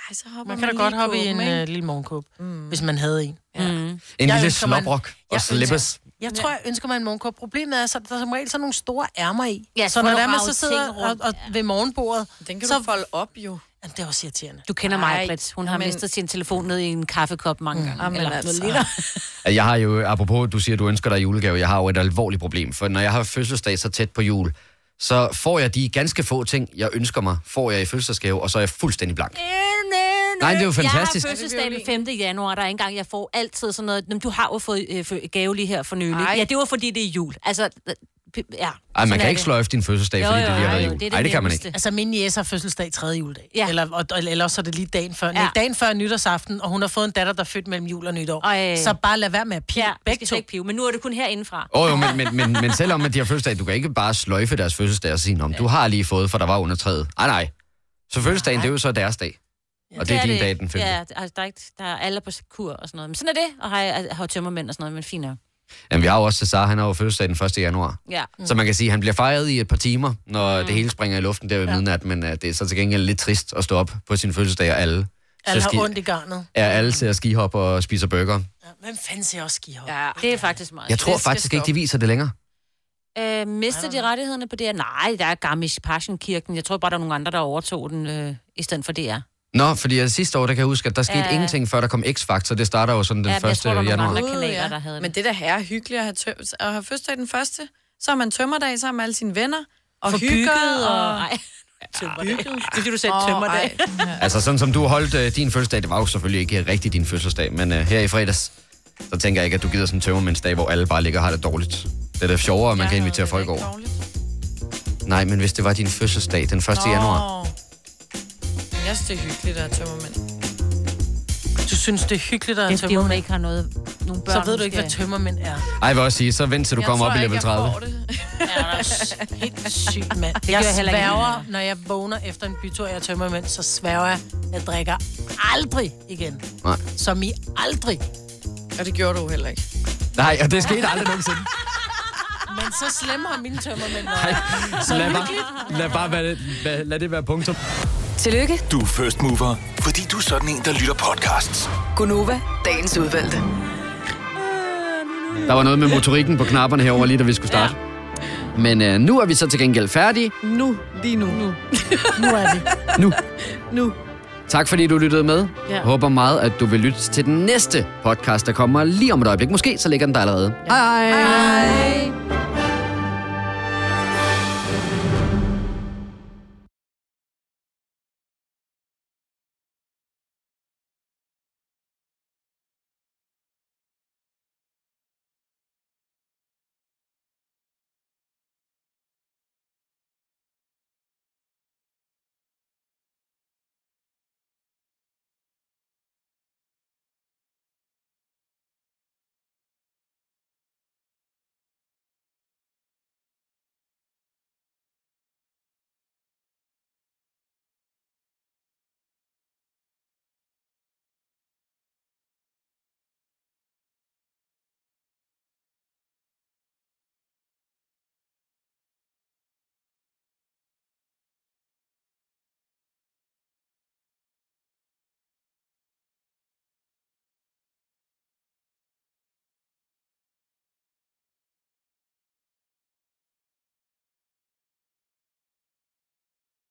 [SPEAKER 5] Ej, så hopper
[SPEAKER 2] Man kan da
[SPEAKER 5] lige
[SPEAKER 2] godt hoppe i
[SPEAKER 5] på
[SPEAKER 2] en
[SPEAKER 5] dem, ikke?
[SPEAKER 2] øh, lille morgenkåb, mm. hvis man havde en. Ja. Mm.
[SPEAKER 1] En lille snobrok og slippers.
[SPEAKER 2] Jeg tror, jeg ønsker mig en morgenkåb. Problemet er, så der er som regel sådan nogle store ærmer i.
[SPEAKER 4] Ja, så
[SPEAKER 2] så
[SPEAKER 4] får
[SPEAKER 2] når
[SPEAKER 4] du
[SPEAKER 2] der man
[SPEAKER 4] ravet
[SPEAKER 2] så sidder
[SPEAKER 4] ting
[SPEAKER 2] og,
[SPEAKER 4] rundt.
[SPEAKER 2] og ved morgenbordet...
[SPEAKER 5] Den kan
[SPEAKER 2] så...
[SPEAKER 5] du folde op jo.
[SPEAKER 2] Jamen, det er også irriterende.
[SPEAKER 4] Du kender
[SPEAKER 2] Ej,
[SPEAKER 4] mig, Britt. Hun har
[SPEAKER 2] men-
[SPEAKER 4] men... mistet sin telefon ned i en kaffekop mange gange.
[SPEAKER 5] Jamen, altså.
[SPEAKER 1] Jeg har jo, apropos, du siger, du ønsker dig julegave, jeg har jo et alvorligt problem, for når jeg har fødselsdag så tæt på jul, så får jeg de ganske få ting, jeg ønsker mig, får jeg i fødselsdagsgave, og så er jeg fuldstændig blank. Nej, det er jo fantastisk.
[SPEAKER 4] Jeg har fødselsdag den 5. januar, der er ikke engang, jeg får altid sådan noget, "Nå, men du har jo fået øh, fø- gave lige her for nylig. Ej. Ja, det var fordi, det er jul. Altså, øh, p- ja.
[SPEAKER 1] Ej, man
[SPEAKER 4] Sådan
[SPEAKER 1] kan
[SPEAKER 4] er
[SPEAKER 1] ikke
[SPEAKER 4] det.
[SPEAKER 1] sløjfe din fødselsdag,
[SPEAKER 4] Jo,
[SPEAKER 1] fordi
[SPEAKER 4] jo,
[SPEAKER 1] det lige har
[SPEAKER 4] jo,
[SPEAKER 1] været
[SPEAKER 4] jo,
[SPEAKER 1] jul.
[SPEAKER 4] det er
[SPEAKER 1] Nej, det
[SPEAKER 4] det
[SPEAKER 1] kan man
[SPEAKER 4] nemmeste.
[SPEAKER 1] ikke.
[SPEAKER 2] Altså, min jæs har fødselsdag tredje juledag. Ja. Eller, og, og- eller også er det lige dagen før. Ja. Dagen før nytårsaften, og hun har fået en datter, der er født mellem jul og nytår.
[SPEAKER 4] Ej.
[SPEAKER 2] Så bare lad være med at pive. Ja, begge to.
[SPEAKER 4] Ikke pive, men nu er det kun herindefra.
[SPEAKER 1] Åh oh, jo, men, men, men, men selvom at de har fødselsdag, du kan ikke bare sløjfe deres fødselsdag og sige, om du har lige fået, for der var under træet. Ej, nej. Så fødselsdagen, det er jo så deres dag. Og det er din dag, den 5.
[SPEAKER 4] Ja, altså, der er, ikke, der er alle på kur og sådan noget. Men sådan er det, og har, jeg har tømmermænd og sådan noget, men fint nok.
[SPEAKER 1] Jamen, vi har jo også Cesar, han har jo fødselsdag den 1. januar.
[SPEAKER 4] Ja.
[SPEAKER 1] Mm. Så man kan sige, at han bliver fejret i et par timer, når mm. det hele springer i luften der ved ja. midnat, men uh, det er så til gengæld lidt trist at stå op på sin fødselsdag, og alle,
[SPEAKER 2] Alle
[SPEAKER 1] ser
[SPEAKER 2] har ondt i garnet.
[SPEAKER 1] Ja, alle ser skihop og spiser burger.
[SPEAKER 2] Ja, Hvem fanden ser også skihop?
[SPEAKER 5] Ja,
[SPEAKER 4] det er faktisk meget.
[SPEAKER 1] Jeg tror faktisk ikke, de viser det længere.
[SPEAKER 4] Øh, mister de rettighederne på DR? Nej, der er Garmisch Passion-kirken. Jeg tror bare, der er nogle andre, der overtog den øh, i stedet for DR.
[SPEAKER 1] Nå, fordi øh, sidste år, der kan jeg huske, at der skete
[SPEAKER 5] Ja.
[SPEAKER 1] ja. ingenting, før der kom X-Factor. Det starter jo sådan den 1. januar.
[SPEAKER 5] kanaler, der havde Men det der herre hyggeligt at have, tø- at have fødselsdag den første. Så har man tømmerdag sammen med alle sine venner. Og
[SPEAKER 4] For
[SPEAKER 5] hygger.
[SPEAKER 4] bygget og-
[SPEAKER 5] og...
[SPEAKER 4] Ej.
[SPEAKER 5] Tømmerdag. Det er
[SPEAKER 4] fordi, du sagde tømmerdag.
[SPEAKER 1] Altså sådan som du holdt øh, din fødselsdag, det var jo selvfølgelig ikke øh, rigtig din fødselsdag, men øh, her i fredags, så tænker jeg ikke, at du gider sådan en tømmermændsdag, hvor alle bare ligger og har det dårligt. Det er da sjovere, at man kan invitere folk over. Nej, men hvis det var din fødselsdag den 1.
[SPEAKER 5] Nå.
[SPEAKER 1] januar.
[SPEAKER 5] Jeg synes, det er hyggeligt at have tømmermænd.
[SPEAKER 2] Du synes, det er hyggeligt at have
[SPEAKER 4] Det er fordi, hun ikke har noget, nogle børn.
[SPEAKER 2] Så ved du ikke, hvad tømmermænd er.
[SPEAKER 1] Ej, jeg vil også sige, så vent til du
[SPEAKER 2] Jeg
[SPEAKER 1] kommer
[SPEAKER 2] tror
[SPEAKER 1] op i
[SPEAKER 2] ikke,
[SPEAKER 1] level
[SPEAKER 2] jeg
[SPEAKER 1] 30.
[SPEAKER 2] får det. Ja, helt sygt,
[SPEAKER 4] Det
[SPEAKER 2] mand. Jeg,
[SPEAKER 4] gør
[SPEAKER 2] jeg
[SPEAKER 4] jeg heller ikke.
[SPEAKER 2] sværger, når jeg vågner efter en bytur, og jeg tømmer mænd, så sværger jeg, jeg drikker aldrig igen.
[SPEAKER 1] Nej.
[SPEAKER 2] Som i aldrig.
[SPEAKER 5] Og det gjorde du heller ikke.
[SPEAKER 1] Nej, og det skete aldrig nogensinde.
[SPEAKER 2] Men så slemme har mine tømmermænd
[SPEAKER 1] Ej,
[SPEAKER 2] været. Så
[SPEAKER 1] lad bare,
[SPEAKER 2] hyggeligt.
[SPEAKER 1] lad bare være, lad, lad det være punktum.
[SPEAKER 23] Tillykke.
[SPEAKER 6] Du er first mover, fordi du er sådan en, der lytter podcasts.
[SPEAKER 23] Gunova, dagens udvalgte.
[SPEAKER 1] Der var noget med motorikken på knapperne herover lige da vi skulle starte. Ja. Men øh, nu er vi så til gengæld færdige.
[SPEAKER 13] Nu, lige nu. Nu,
[SPEAKER 2] nu er vi.
[SPEAKER 1] Nu.
[SPEAKER 13] nu.
[SPEAKER 1] Tak fordi du lyttede med.
[SPEAKER 13] Ja.
[SPEAKER 1] Ja. Håber meget, at du vil lytte til den næste podcast, der kommer lige om et øjeblik. Måske så ligger den der allerede.
[SPEAKER 13] Hej. Hej.